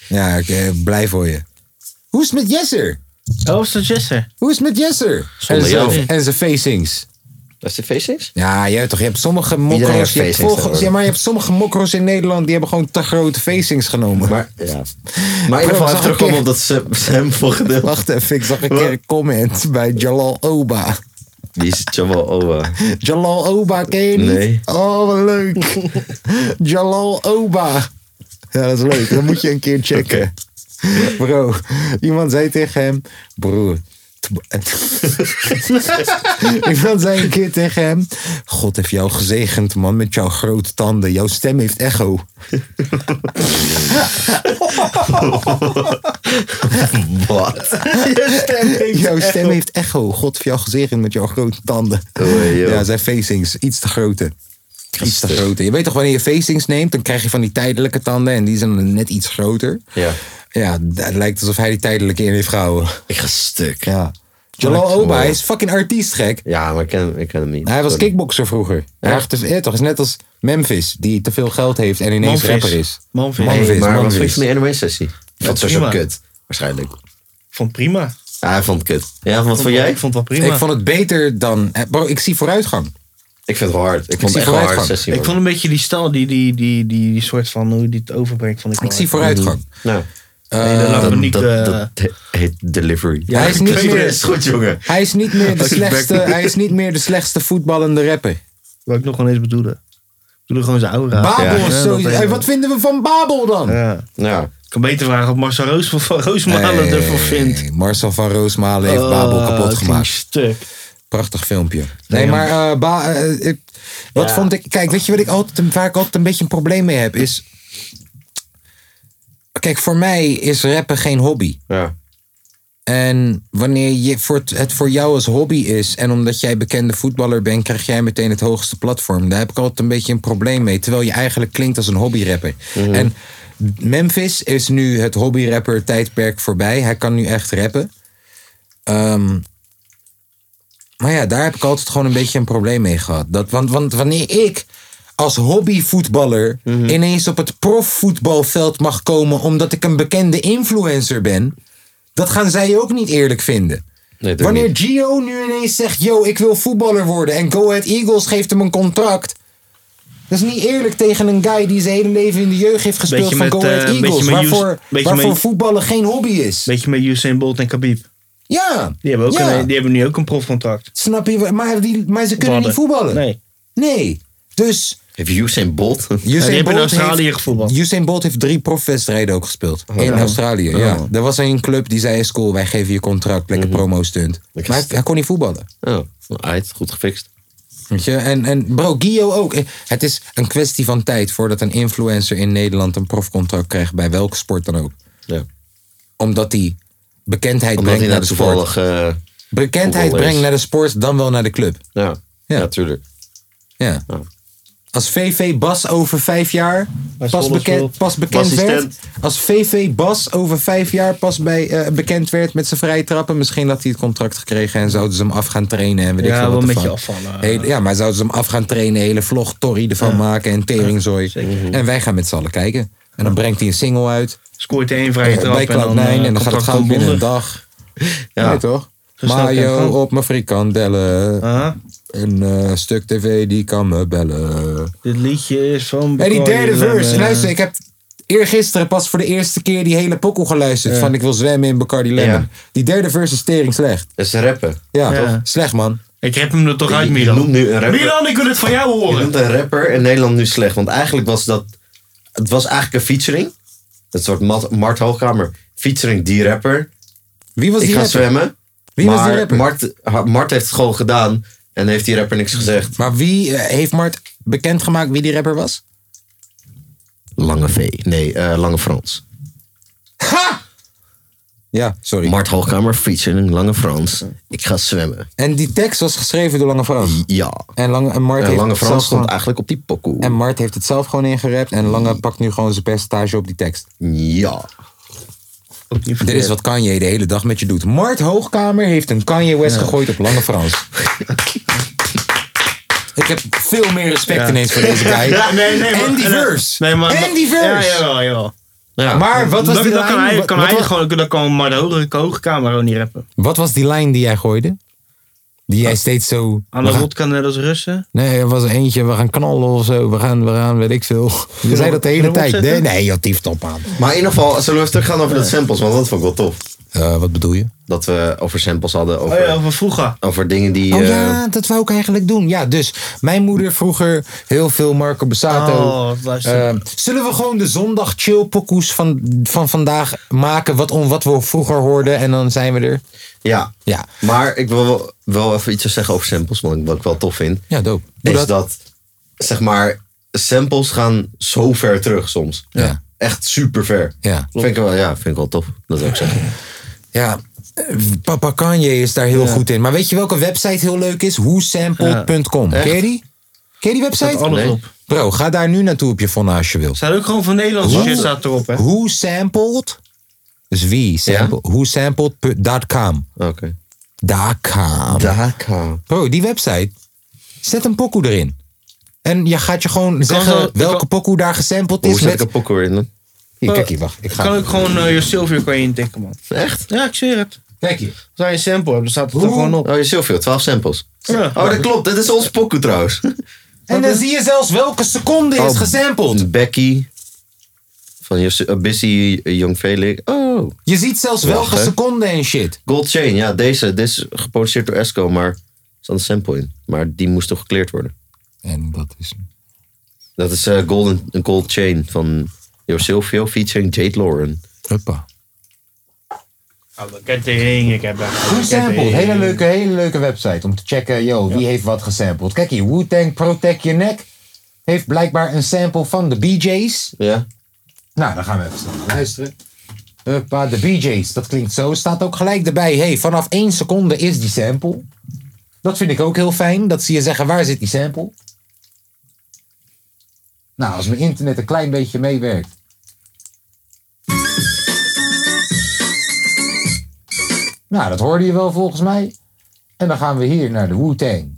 A: Ja, ik eh, blij voor je. Hoe is het met Jesser?
C: Oh, is dat Jesse?
A: Hoe is het met Jesser?
B: Zonder
A: en zijn-
B: jou.
A: En zijn facings.
B: Was de feestings?
A: Ja, jij toch, je hebt sommige
B: Iedereen
A: mokro's.
B: heeft
A: Je hebt
B: facings
A: volgens- ja,
B: tegenwoordig.
A: maar je hebt sommige mokro's in Nederland die hebben gewoon te grote facings genomen.
B: Maar, ja. maar in ieder geval
A: zag
B: even
A: een
B: terugkomen
A: keer-
B: op dat Sam- Sam gedeelte.
A: Wacht even, ik zag een keer een comment bij Jalal Oba.
B: Die is Jamal Owa.
A: Jalal Oba ken je niet?
B: Nee.
A: Oh, wat leuk. Jalal Oba. Ja, dat is leuk. Dat moet je een keer checken. Bro, iemand zei tegen hem... Broer... iemand zei een keer tegen hem... God heeft jou gezegend, man, met jouw grote tanden. Jouw stem heeft echo.
B: Wat?
A: Jouw stem heeft echo. God heeft jou gezegend met jouw grote tanden.
B: Oei, joh.
A: ja, zijn facings. Iets te grote. Iets te
B: Stuk.
A: grote. Je weet toch, wanneer je facings neemt, dan krijg je van die tijdelijke tanden. En die zijn net iets groter.
B: Ja.
A: Ja, d- het lijkt alsof hij die tijdelijke in heeft gehouden.
B: Ik ga stuk. Ja,
A: Ja. Jalal
B: Wow.
A: Oba hij is fucking artiest gek.
B: maar ik ken, hem- ik ken hem niet.
A: Hij was
B: Sorry.
A: kickboxer vroeger. Hij had te- ja, toch, is net als Memphis, die te veel geld heeft en ineens
C: Manvis.
A: rapper is.
C: Manvis.
B: Hey,
A: Manvis,
B: maar wat
A: Manvis.
B: vond je van de anime sessie? Dat was zo
C: prima.
B: kut. Waarschijnlijk.
C: vond het prima.
B: Ja, hij vond het kut. Ja, wat vond
C: wel-
B: jij?
C: Ik vond het wel prima.
A: Ik vond het beter dan... eh, Bro, ik zie vooruitgang.
B: Ik vind het wel hard. Ik, vond
A: zie
B: het echt wel hard.
A: vooruitgang.
B: sessie,
C: Ik
B: man.
C: vond een beetje die stal, die, die, die, die, die soort van hoe die het overbrengt. Vond ik,
A: Ik
C: wel
A: zie
C: leuk.
A: vooruitgang.
B: Nou,
C: Nee, de laconiek,
B: dat,
C: eh,
B: dat, dat heet delivery.
A: Ja, hij is niet meer...
B: is goed, jongen.
A: Hij is niet meer de slechtste, hij is niet meer de slechtste voetballende rapper.
C: wat ik nog wel eens bedoelde. Ik bedoelde gewoon zijn aura.
A: Babel
C: Ja,
A: is
C: dat
A: sowieso.
C: weet
A: Hey,
C: ik.
A: wat vinden we van Babel dan?
C: Ja.
B: Ja.
C: Ik kan beter vragen wat Marcel Roos van Roosmalen
A: Nee,
C: ervan vindt.
A: Marcel van Roosmalen heeft Babel
C: Ah,
A: kapot
C: het ging
A: gemaakt.
C: stuk.
A: Prachtig filmpje. Nee, maar eh, Ba- eh, ik- wat vond ik. Kijk, weet je wat ik altijd, waar ik altijd een beetje een probleem mee heb? Is. Kijk, voor mij is rappen geen hobby.
B: Ja.
A: En wanneer je voor het, het voor jou als hobby is en omdat jij bekende voetballer bent, krijg jij meteen het hoogste platform. Daar heb ik altijd een beetje een probleem mee. Terwijl je eigenlijk klinkt als een hobbyrapper. En Memphis is nu het hobbyrapper tijdperk voorbij. Hij kan nu echt rappen. Ehm, maar ja, daar heb ik altijd gewoon een beetje een probleem mee gehad. Dat, want, want wanneer ik als hobbyvoetballer
B: Mhm.
A: ineens op het profvoetbalveld mag komen omdat ik een bekende influencer ben, dat gaan zij ook niet eerlijk vinden.
B: Nee, dat
A: Wanneer
B: niet.
A: Gio nu ineens zegt, yo, ik wil voetballer worden en Go Ahead Eagles geeft hem een contract. Dat is niet eerlijk tegen een guy die zijn hele leven in de jeugd heeft gespeeld
C: Beetje
A: van
C: met,
A: Go Ahead
C: eh, beetje
A: Eagles.
C: met Us-
A: waarvoor
C: beetje
A: waarvoor
C: met-
A: voetballen geen hobby is.
C: Beetje met Usain Bolt en Khabib.
A: Ja,
C: Die hebben, ook
A: ja.
C: een, die hebben nu ook een profcontract.
A: snap je? wat- Maar, die, maar ze kunnen
C: Hadden.
A: niet voetballen.
C: Nee.
A: Nee. Dus
B: Heeft Usain Bolt?
A: Usain,
C: hebben in
A: Bolt
C: Australië
A: heeft,
C: gevoetbald.
A: Usain Bolt heeft drie profwedstrijden ook gespeeld. in Australië, Oh,
C: Oh.
A: ja. Er was een club die zei, school, wij geven je contract, lekker
C: Mhm.
A: promo-stunt. Maar hij, hij kon niet voetballen.
B: Oh, uit. Goed gefixt.
A: Weet je? En, en bro, Guillaume ook. Eh, Het is een kwestie van tijd voordat een influencer in Nederland een profcontract krijgt, bij welke sport dan ook.
B: Ja.
A: Omdat hij bekendheid
B: Omdat hij
A: brengt
B: nou
A: naar de sport.
B: toevallig... eh,
A: Bekendheid
B: voetballer is.
A: brengt naar de sport, dan wel naar de club.
B: ja.
A: Ja.
B: Ja, tuurlijk.
A: Ja.
B: Ja.
A: Als VV Bas over vijf jaar pas,
C: Zwolle
A: bekend,
C: speelt.
A: pas bekend werd.
B: Assistent.
A: Als VV Bas over vijf jaar pas bij, eh, bekend werd met zijn vrije trappen. Misschien had hij het contract gekregen en zouden ze hem af gaan trainen. En weet ik
C: Ja,
A: veel
C: wel
A: wat
C: een beetje
A: ervan.
C: afvallen.
A: Hele- ja, maar zouden ze hem af gaan trainen. Hele vlog Torrie ervan maken en teringzooi. en wij gaan met z'n allen kijken. En dan brengt hij een single uit.
C: Scoort één vrije trap.
A: bij Cloud9 en dan,
C: eh,
A: gaat het
C: contract
A: gauw binnen een
C: ontbonden.
A: dag. Ja.
B: Ja.
A: toch?
C: snel kan het
A: Mayo
C: gaan.
A: op mijn frikandellen.
C: Aha.
A: Een eh, stuk tv die kan me bellen.
C: Dit liedje is van...
A: En die derde
C: Bacardi
A: verse,
C: Lemon.
A: luister, ik heb eergisteren pas voor de eerste keer die hele pokkel geluisterd. Van ik wil zwemmen in Bacardi Lemon.
B: Ja.
A: Die derde verse is tering slecht.
B: Dat is rappen.
A: Ja,
C: Ja.
A: toch? Slecht man.
C: Ik heb hem er toch uit,
B: Je noemt
C: Milan.
B: nu een rapper.
C: Milan, ik wil het van jou
B: Je
C: horen.
B: noemt een rapper in Nederland nu slecht. Want eigenlijk was dat... Het was eigenlijk een featuring. Dat soort Mat- Mart Hoogkamer. Featuring die rapper.
A: Wie was
B: Ik
A: die
B: ga
A: rapper?
B: zwemmen.
A: Wie was die
B: maar
A: rapper?
B: Mart, ha- Mart heeft het gewoon gedaan. En heeft die rapper niks gezegd.
A: Maar wie eh, heeft Mart bekendgemaakt wie die rapper was?
B: Lange V. Nee, eh, Lange Frans.
A: Ja, sorry.
B: Mart Hoogkamer featuring Lange Frans. Ik ga zwemmen.
A: En die tekst was geschreven door Lange Frans.
B: Ja.
A: En, Lange, en, Mart
B: En
A: heeft
B: Lange
A: het
B: Frans
A: zelf
B: stond
A: gewoon-
B: eigenlijk op die pokoe.
A: en Mart heeft het zelf gewoon ingerept. En Lange pakt nu gewoon zijn percentage op die tekst.
B: Ja.
A: Dit is wat Kanye de hele dag met je doet. Mart Hoogkamer heeft een Kanye West gegooid op Lange Frans. Ik heb veel meer respect ineens voor deze guy.
C: Ja, nee, nee,
A: en
C: maar-
A: die verse.
C: Nee, maar,
A: en die
C: Ja,
A: verse.
C: jawel, jawel.
B: ja.
A: Maar wat was,
C: Dan,
A: die
C: dan kan
A: lijn,
C: hij,
A: wat-
C: kan
A: wat,
C: hij
A: was-
C: gewoon, dan kan maar de hoge, hoge kamer gewoon niet rappen.
A: wat was die lijn die jij gooide? Die jij steeds zo...
C: Aan
A: we
C: de
A: gaan-
C: rot kan net als Russen.
A: nee, er was er eentje, we gaan knallen of zo. We gaan, we gaan, weet ik veel. Je zei dat de hele
C: Kunnen we
A: tijd. Nee,
C: opzetten?
A: nee, joh, tief top aan.
B: Maar in ieder geval, zullen we even teruggaan over dat samples? Want dat vond ik wel tof.
A: Eh, wat bedoel je?
B: Dat we over samples hadden. Over,
C: Oh ja, van vroeger.
B: over dingen die...
A: Oh
B: eh,
A: ja, dat wou ik eigenlijk doen. Ja, dus mijn moeder vroeger heel veel Marco Bassato.
C: Oh, luister.
A: Ehm, zullen we gewoon de zondag chill pokoes van, van vandaag maken? Wat, om, wat we vroeger hoorden en dan zijn we er.
B: ja.
A: Ja,
B: Maar ik wil wel, wel even iets zeggen over samples. Want wat ik wel tof vind.
A: ja dope. Doe
B: is
A: dat.
B: dat. zeg maar, samples gaan zo ver terug soms.
A: Ja.
B: Echt super ver.
A: Ja.
B: Vind ik wel, ja, vind ik wel tof. Dat zou ik zeggen.
A: Ja, eh, Papa Kanye is daar heel goed in. Maar weet je welke website heel leuk is? Whosampled.com. Ken je die? Ken je die website?
C: Alles
B: nee.
C: op.
A: Bro, ga daar nu naartoe op je fonna als je wil.
C: Staat ook gewoon van Nederlandse shit staat erop, hè?
A: Who sampled? Dus wie? Sample, Who sampled.com.
B: Oké.
A: Daka.
B: Daka.
A: Bro, die website. Zet een pokoe erin. En je gaat je gewoon zeggen
C: zo- ik
A: welke
C: kan-
A: pokoe daar gesampled
B: Hoe
A: is.
B: zet ik
A: Met,
B: een pokoe in?
A: Hier, kijk hier, wacht. Ik ga...
C: kan ook gewoon eh, je Sylvia kan je intikken, man.
B: Echt?
C: Ja, ik zweer het.
A: Kijk hier.
C: Als hij een sample hebt, dan staat het er gewoon op.
B: Oh, je zoveel, 12 samples.
C: Ja.
B: Oh, dat klopt. Dit is ons pokoe trouwens.
A: En dan zie je zelfs welke seconde is
B: Oh,
A: gesampled.
B: Becky. Van Jesse- uh, Busy, uh, Young Felix. Oh,
A: Je ziet zelfs
B: Wacht,
A: welke
B: hè.
A: seconde en shit.
B: Gold Chain. Ja, deze. Dit is geproduceerd door Esco, maar er zat een sample in. Maar die moest toch gecleared worden.
A: En dat is...
B: Dat is eh, Golden, een Gold Chain van Yo Silvio featuring Jade Lauren.
A: Huppa.
C: Oh, Ketting, ik heb
D: Gesampled. Hele
C: eh,
D: leuke, hele leuke website om te checken, yo, wie heeft wat gesampled. Kijk hier, Wu-Tang Protect Your Neck heeft blijkbaar een sample van de BJ's.
B: Ja?
D: Nou, dan gaan we even snel naar luisteren. Huppa, de BJ's, dat klinkt zo. Staat ook gelijk erbij, hey, vanaf één seconde is die sample. Dat vind ik ook heel fijn, dat ze je zeggen, waar zit die sample? Nou, als mijn internet een klein beetje meewerkt. Nou, dat hoorde je wel volgens mij. En dan gaan we hier naar de Wu-Tang.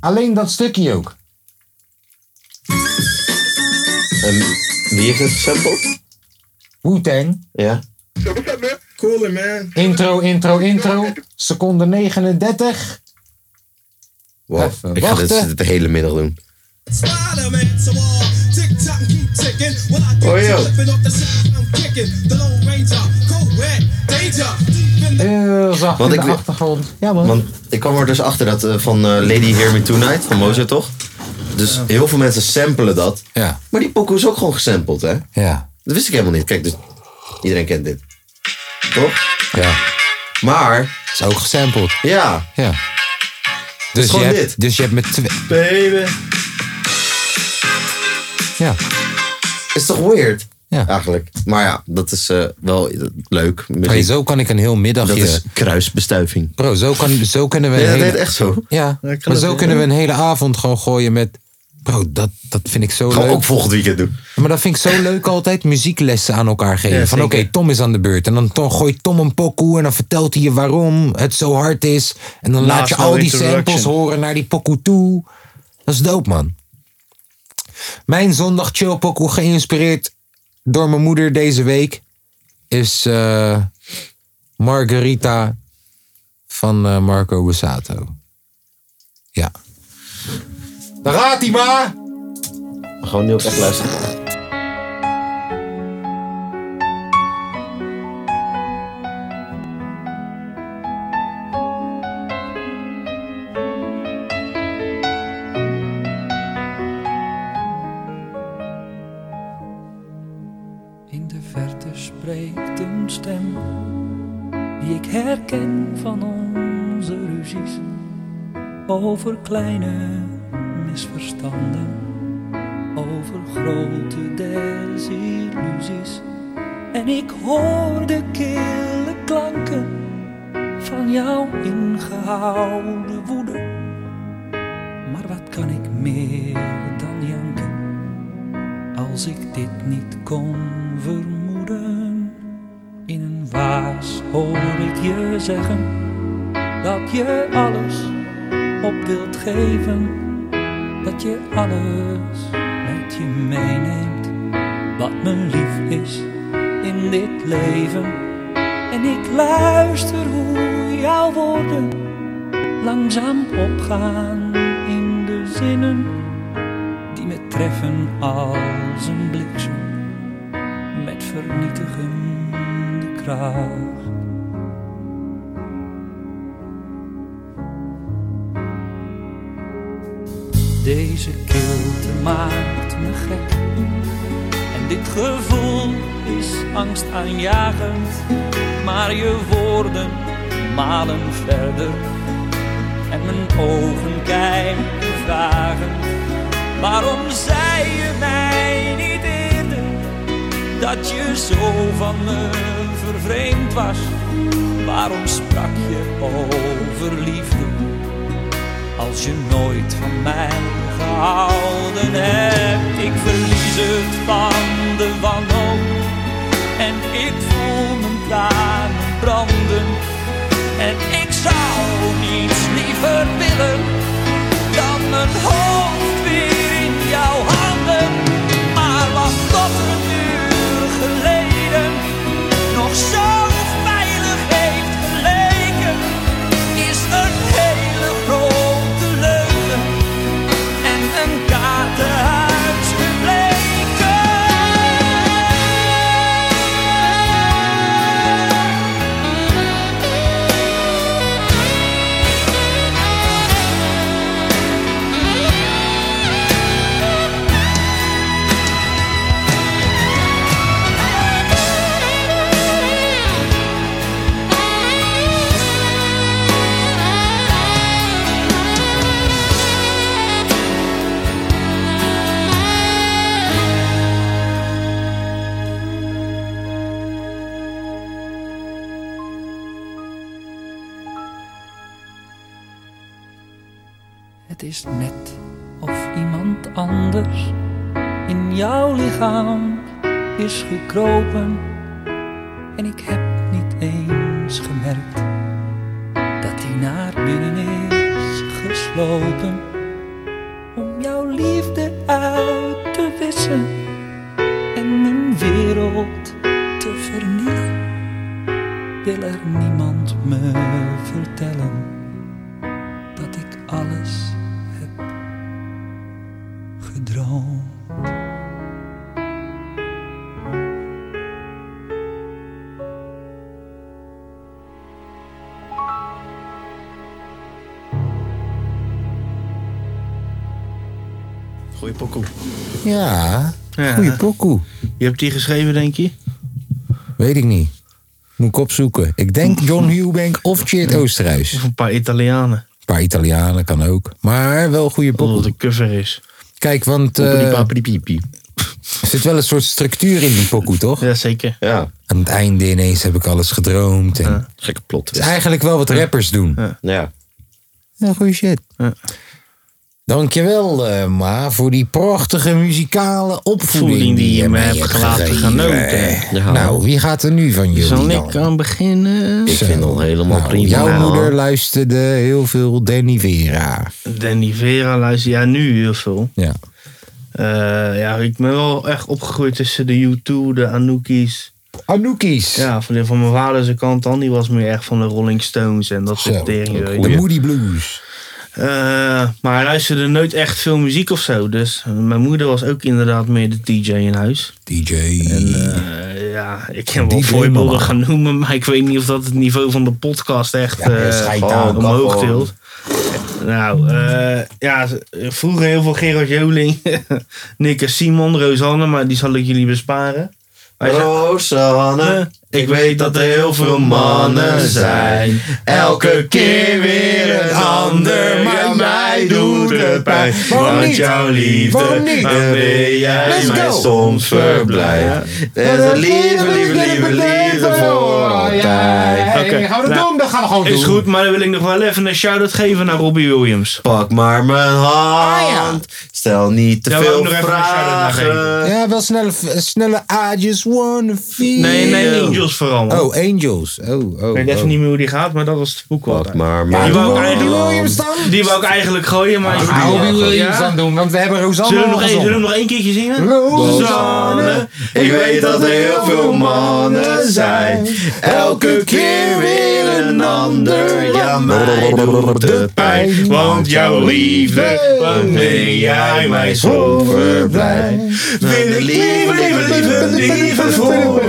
D: Alleen dat stukje ook.
B: En wie heeft het gesampled?
D: Wu-Tang.
B: Ja.
D: Intro, intro, intro. Seconde 39.
B: Wow.
D: Even
B: Ik ga
D: wachten.
B: dit de hele middag doen.
G: Oh
B: yo.
D: Heel zacht
B: Want
D: Eh, in
B: ik
D: de
B: wil-
D: achtergrond. Ja man.
B: Want ik kwam er dus achter dat eh, van eh, Lady Hear Me Tonight, van Mozart toch? Dus heel veel mensen samplen dat.
A: Ja,
B: Maar die pokoe is ook gewoon gesampled, hè?
A: ja,
B: Dat wist ik helemaal niet. Kijk, dus iedereen kent dit. Toch?
A: ja.
B: Maar,
A: Is ook gesampled.
B: ja.
A: Ja. Dus je,
B: gewoon
A: hebt,
B: dit.
A: dus je hebt met twee...
C: Baby.
A: Ja,
B: Is toch weird?
A: Ja.
B: Eigenlijk. Maar ja, dat is eh, wel eh, leuk. Muziek.
A: Hey, zo kan ik een heel
B: dat
A: middagje...
B: is kruisbestuiving.
A: Bro, zo, kan, zo kunnen we...
B: Nee,
A: een
B: dat
A: hele-
B: deed echt zo.
A: Ja,
C: Ja, ik kan
A: maar
C: het
A: zo
C: wel.
A: kunnen we een hele avond gewoon gooien met... Bro, dat, dat vind ik zo
B: Gaan we
A: leuk.
B: ook volgend weekend doen.
A: Maar dat vind ik zo leuk altijd, muzieklessen aan elkaar geven.
C: Ja,
A: van oké,
C: zeker.
A: Tom is aan de beurt. En dan to- gooit Tom een pokoe en dan vertelt hij je waarom het zo hard is. En dan laat
C: Last
A: je al
C: no
A: die
C: introduction.
A: samples horen naar die pokoe toe. Dat is dope, man. Mijn zondag chill pokoe, geïnspireerd door mijn moeder deze week, is eh, Margarita van eh, Marco Bussato. Ja.
D: Daar gaat hij maar.
B: We gaan nu ook echt luisteren.
J: In de verte spreekt een stem die ik herken van onze ruzies over kleine misverstanden, over grote desillusies. En ik hoor de kille klanken van jouw ingehouden woede. Maar wat kan ik meer dan janken? als ik dit niet kon vermoeden. In een waas hoor ik je zeggen dat je alles op wilt geven, dat je alles met je meeneemt, wat me lief is in dit leven. En ik luister hoe jouw woorden langzaam opgaan in de zinnen die me treffen als een bliksem met vernietigende kracht. Deze kilte maakt me gek en dit gevoel is angstaanjagend, maar je woorden malen verder en mijn ogen kijken vragen. Waarom zei je mij niet eerder dat je zo van me vervreemd was? Waarom sprak je over liefde als je nooit van mij gehouden hebt? Ik verlies het van de wanhoop en ik voel mijn tranen branden. En ik zou niets liever willen dan mijn hoofd weer in Het is net of iemand anders in jouw lichaam is gekropen. En ik heb niet eens gemerkt dat hij naar binnen is geslopen. Om jouw liefde uit te wissen en mijn wereld te vernielen. Wil er niemand me vertellen dat ik alles heb gedroomd.
C: Goeie pokoe.
A: Ja,
C: Ja.
A: goeie pokoe.
C: Je hebt die geschreven, denk je?
A: Weet ik niet. Moet ik opzoeken. Ik denk John Hubank of Cheert Oosterhuis. Of
C: een paar Italianen.
A: Een paar Italianen kan ook. Maar wel goede pokoe.
C: Omdat het een cover is.
A: Kijk, want...
C: Poepie,
A: eh,
C: papie,
A: er zit wel een soort structuur in die pokoe, toch?
C: Ja, zeker.
B: Ja.
A: Aan het einde ineens heb ik alles gedroomd. En...
B: Gekke plot.
A: Het is eigenlijk wel wat rappers doen.
B: Ja.
A: Ja, goeie shit. Dankjewel, eh Ma, voor die prachtige muzikale opvoeding die je me hebt
C: laten
A: gegeven.
C: genoten.
B: Ja.
A: Nou, wie gaat er nu van jullie
C: Zal
A: dan?
C: ik eh, aan beginnen?
B: Ik vind al helemaal
A: Nou,
B: prima.
A: jouw moeder luisterde heel veel Danny Vera.
C: Danny Vera luister ja, nu heel veel.
A: Ja.
C: Eh, ja, ik ben wel echt opgegroeid tussen de U2, de Anoukis.
A: Anoukis?
C: Ja, van, de- van mijn vader zijn kant dan. Die was meer echt van de Rolling Stones en dat soort dingen. weet
A: De
C: je.
A: Moody Blues.
C: Eh, maar hij luisterde nooit echt veel muziek of zo. Dus eh, mijn moeder was ook inderdaad meer de DJ in huis.
A: DJ.
C: En, eh, ja, ik kan wel
A: DJ
C: voorbeelden
A: mama.
C: gaan noemen, maar ik weet niet of dat het niveau van de podcast echt
A: Ja,
C: eh,
A: schijt aan,
C: omhoog
A: kap aan.
C: tilt. Nou, eh, ja, vroeger heel veel Gerard Joling, Nikke Simon, Rosanne, maar die zal ik jullie besparen. Wij zijn-
B: Rosanne, ik weet dat er heel veel mannen zijn. Elke keer weer een ander, maar mij doet het pijn.
G: Waarom
B: Want
G: niet?
B: jouw liefde,
G: Waarom niet?
B: waarmee jij
G: Let's
B: mij
G: go.
B: soms verblijft.
C: Eh,
B: En dat lieve, lieve, lieve, liefde voor
A: Ah,
B: altijd.
C: Oké, nou, Is goed, maar dan wil ik nog wel even een shout-out geven naar Robbie Williams.
B: Pak maar mijn hand, stel niet te
C: Daar wou ik
B: veel
C: nog even een
B: vragen.
A: Ja, wel snelle, snelle I just wanna feel.
C: Nee, nee,
B: eh,
A: you.
C: Angels vooral. man.
A: Oh, Angels. Oh, oh.
C: Ik weet even
A: oh.
C: niet meer hoe die gaat, maar dat was het boek wel.
B: Maar,
A: Ja,
B: maar,
A: doe
C: wou ik
A: maar
C: eigenlijk-
A: Robbie Williams dan?
C: Die wou ik eigenlijk gooien, maar...
A: Ah, Robbie Williams dan doen, want we hebben Rosanne
C: Zullen we, nog
A: al
C: één, zullen we
A: gezongen.
C: nog één keertje zingen?
A: Rosanne,
B: Ik weet dat er heel veel mannen zijn. Elke keer weer een ander. Ja, mij doet het pijn. Want jouw liefde, waarmee jij mij zo verblijft. Vind ik lieve, lieve, lieve, lieve voor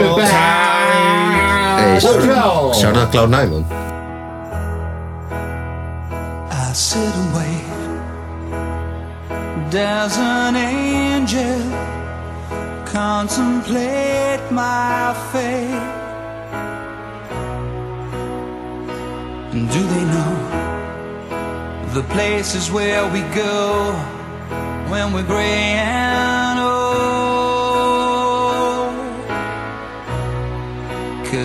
B: Hey, Shout out Cloud9, man.
J: I sit and wait. There's an angel contemplate my fate. And do they know the places where we go when we're gray and old?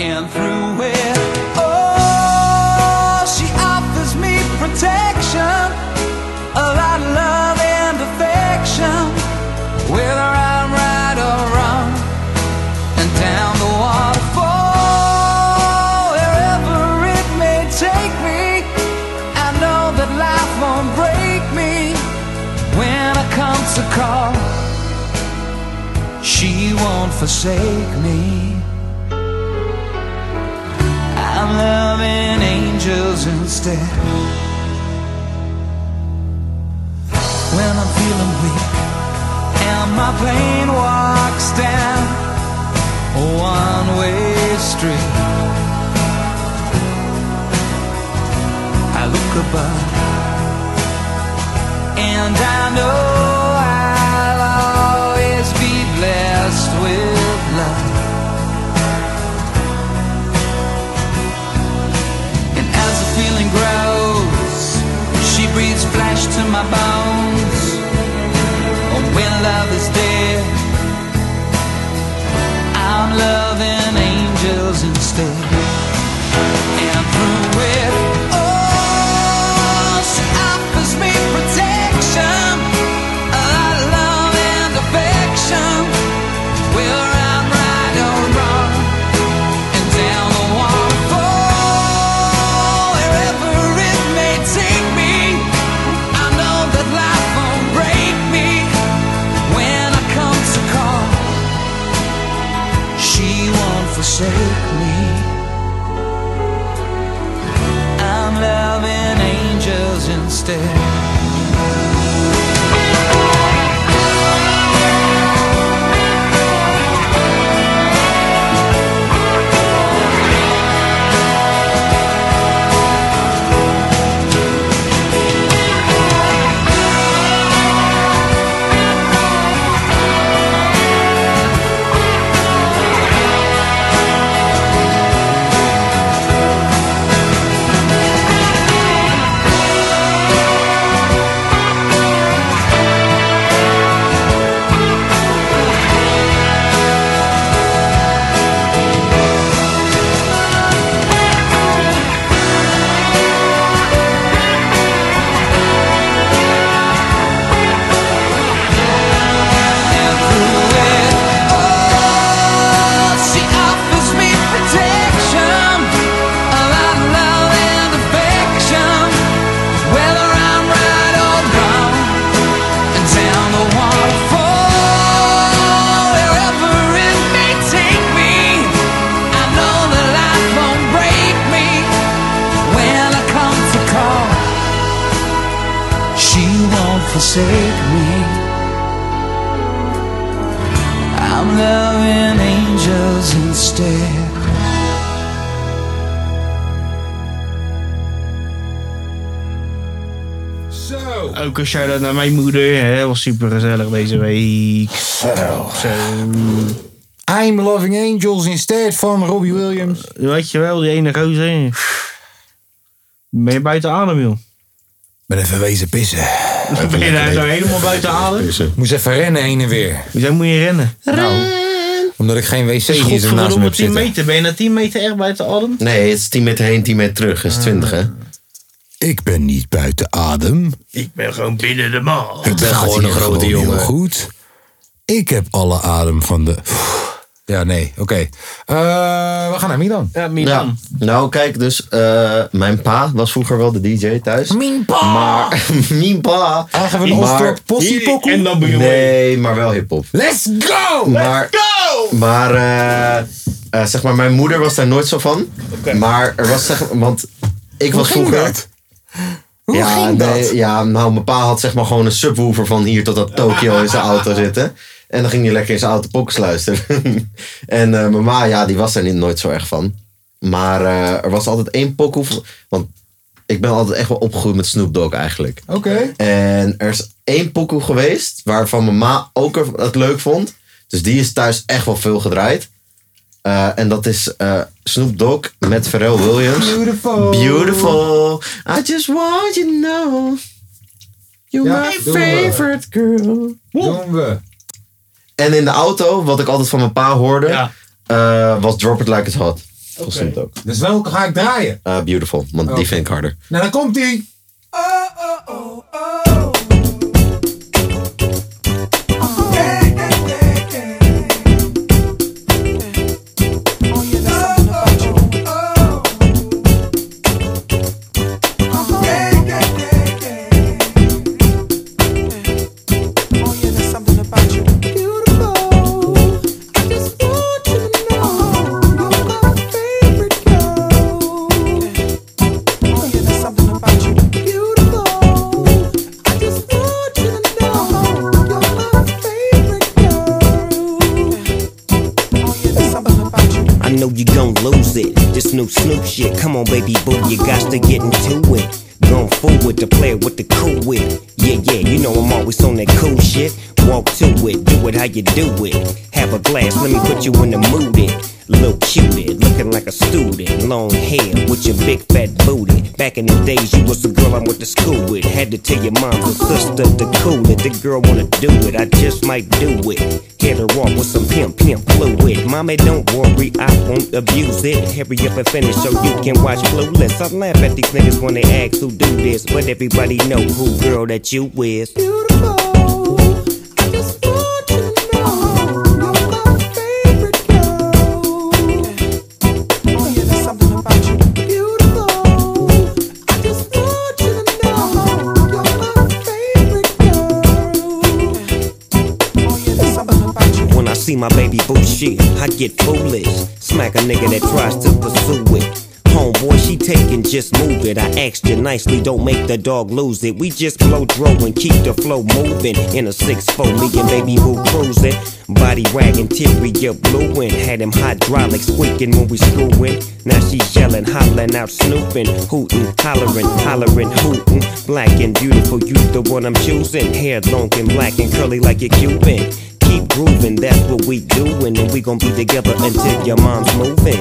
J: And through it, oh, she offers me protection, a lot of love and affection, whether I'm right or wrong. And down the waterfall, wherever it may take me, I know that life won't break me. When I come to call, she won't forsake me. I'm loving angels instead. When I'm feeling weak and my plane walks down a one way street, I look above and And I know I'll always be blessed with love. And as the feeling grows, she breathes flesh to my bones. And when love is dead, I'm loving angels instead. And through it all, she offers me protection, a lot of love and affection. Whether I'm right or wrong, and down the waterfall, wherever it may take me, I know that life won't break me when I come to call. She won't forsake me. I'm loving angels instead. She offers me protection, a lot of love and affection, whether I'm right or wrong. And down the waterfall, wherever it may take me, I know that life won't break me when I come to call. She won't forsake me. I'm loving angels instead.
D: Zo.
C: Ook een shout-out naar mijn moeder. Hè. Was super gezellig deze week. Zo.
D: I'm Loving Angels instead van Robbie Williams.
C: Weet je wel, die ene gozer. Ben je buiten adem, joh.
A: Ben even wezen pissen.
C: Ben je daar nou helemaal buiten adem?
A: Moest even rennen heen en weer.
C: Hoezo moet je rennen?
A: Nou, Omdat ik geen wc
C: Is
A: hier naast me
C: godverdomme
A: heb
C: 10
A: zitten.
C: meter. Ben je na 10 meter echt buiten adem?
B: Nee, het is 10 meter heen, 10 meter terug. Het is 20, hè?
A: Ik ben niet buiten adem.
C: Ik ben gewoon binnen de maal.
A: Ik ben gewoon een grote jongen. goed. Ik heb alle adem van de... Ja, nee. Oké. Eh, we gaan naar Milan.
C: Ja,
B: Ja.
C: Milan.
B: Nou, kijk, dus eh, mijn pa was vroeger wel de DJ thuis.
A: Mijn pa!
B: Maar, mijn pa.
A: Eigen van Osdorp Possiepokoe?
C: En dan ben je
B: Nee, maar wel hip-hop.
A: Let's go!
B: Maar, maar, eh, eh, zeg maar, mijn moeder was daar nooit zo van. Maar er was, zeg want ik was
A: ging
B: vroeger.
A: dat? Hoe
B: ja,
A: ging dat?
B: nee, ja, nou, mijn pa had zeg maar gewoon een subwoofer van hier tot dat Tokio in zijn auto zitten. En dan ging hij lekker in zijn auto pokkes luisteren. en eh, mijn ma, ja, die was daar niet, nooit zo erg van. Maar eh, er was altijd één pokkoe. van- Want ik ben altijd echt wel opgegroeid met Snoop Dogg eigenlijk.
D: Oké.
B: En er is één pokoe geweest waarvan mijn ma ook er- het leuk vond. Dus die is thuis echt wel veel gedraaid. Eh, en dat is eh Snoop Dogg met Pharrell Williams.
D: Beautiful.
B: Beautiful. I just want you to know. You're
D: Ja,
B: my
D: doen we.
B: favorite girl.
D: Doen we.
B: En in de auto, wat ik altijd van mijn pa hoorde,
C: Ja.
B: eh, was Drop It Like It's Hot. Van Snoop Dogg.
D: Dus welke ga ik draaien?
B: Eh, beautiful, want die vind ik harder.
D: Nou, dan komt ie.
J: Oh, Oh, Oh,
K: I know you gon' lose it. This new Snoop shit, come on, baby boo, you got to get into it.
L: grown forward to play with the cool wit. Yeah, yeah, you know I'm always on that cool shit. Walk to it, do it how you do it. Have a glass, let me put you in the mood. It. Little cupid, looking like a student. Long hair with your big fat booty. Back in the days, you was the girl I went to school with. Had to tell your mom and sister to cool it. The girl wanna do it, I just might do it. Hit her off with some pimp, pimp fluid. Mommy, don't worry, I won't abuse it. Hurry up and finish so you can watch Clueless. I laugh at these niggas when they ask who do this, but everybody know who girl that you is.
J: Oh, Oh,
L: When I see my baby boo shit, I get foolish. Smack a nigga that tries to pursue it. Homeboy, she taking, just move it. I asked you nicely, don't make the dog lose it. We just blow throw and keep the flow moving. In a 6-4, me and baby boo cruising. Body wagging, teary up blueing. Had him hydraulic squeaking when we screwing. Now she yelling, hollering out, snooping, hooting, hollering, hollering, hooting. Black and beautiful, you the one I'm choosing. Hair long and black and curly like a Cuban. Keep grooving, that's what we doing, and we gon' be together until your mom's moving.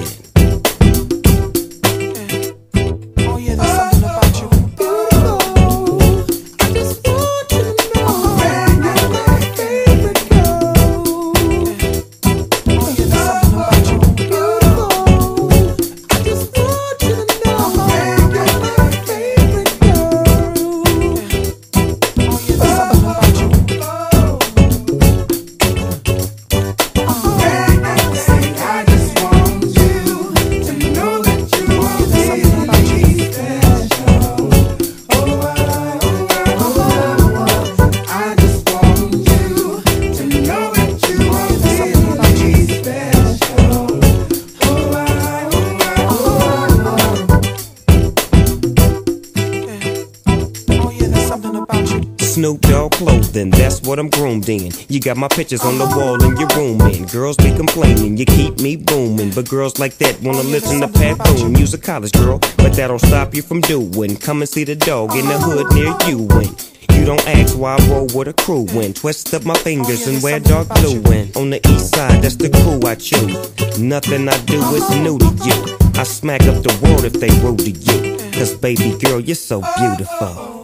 J: Oh,
L: Snoop Dogg clothing, that's what I'm groomed in. You got my pictures on the wall in your room, and girls be complaining, you keep me booming. But girls like that wanna listen to Pat Boone. You's a college girl, but that don't stop you from doing. Come and see the dog in the hood near you, and you don't ask why I roll with a crew. When twist up my fingers and wear dark blue, and on the east side, that's the crew I choose. Nothing I do is new to you. I smack up the world if they rude to you. Cause baby girl, you're so beautiful.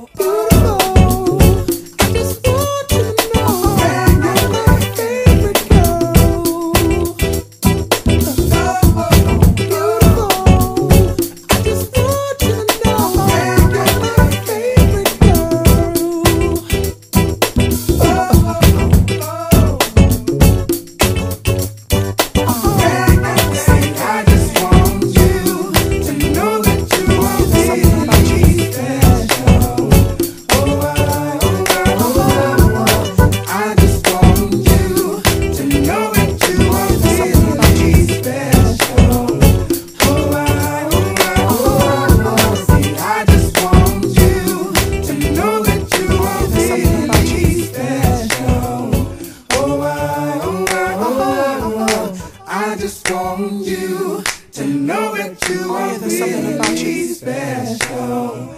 K: I just want you to know that you are really special.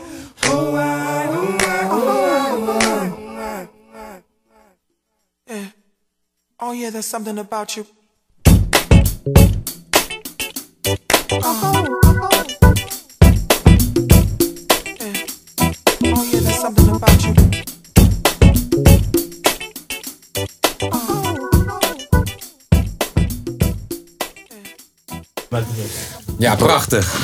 K: Oh, I, oh, I, oh, I, oh, I. Yeah. Oh, yeah, there's something about you. Uh-huh. Oh, oh. Yeah. Oh, yeah, there's something about you.
A: Ja, prachtig.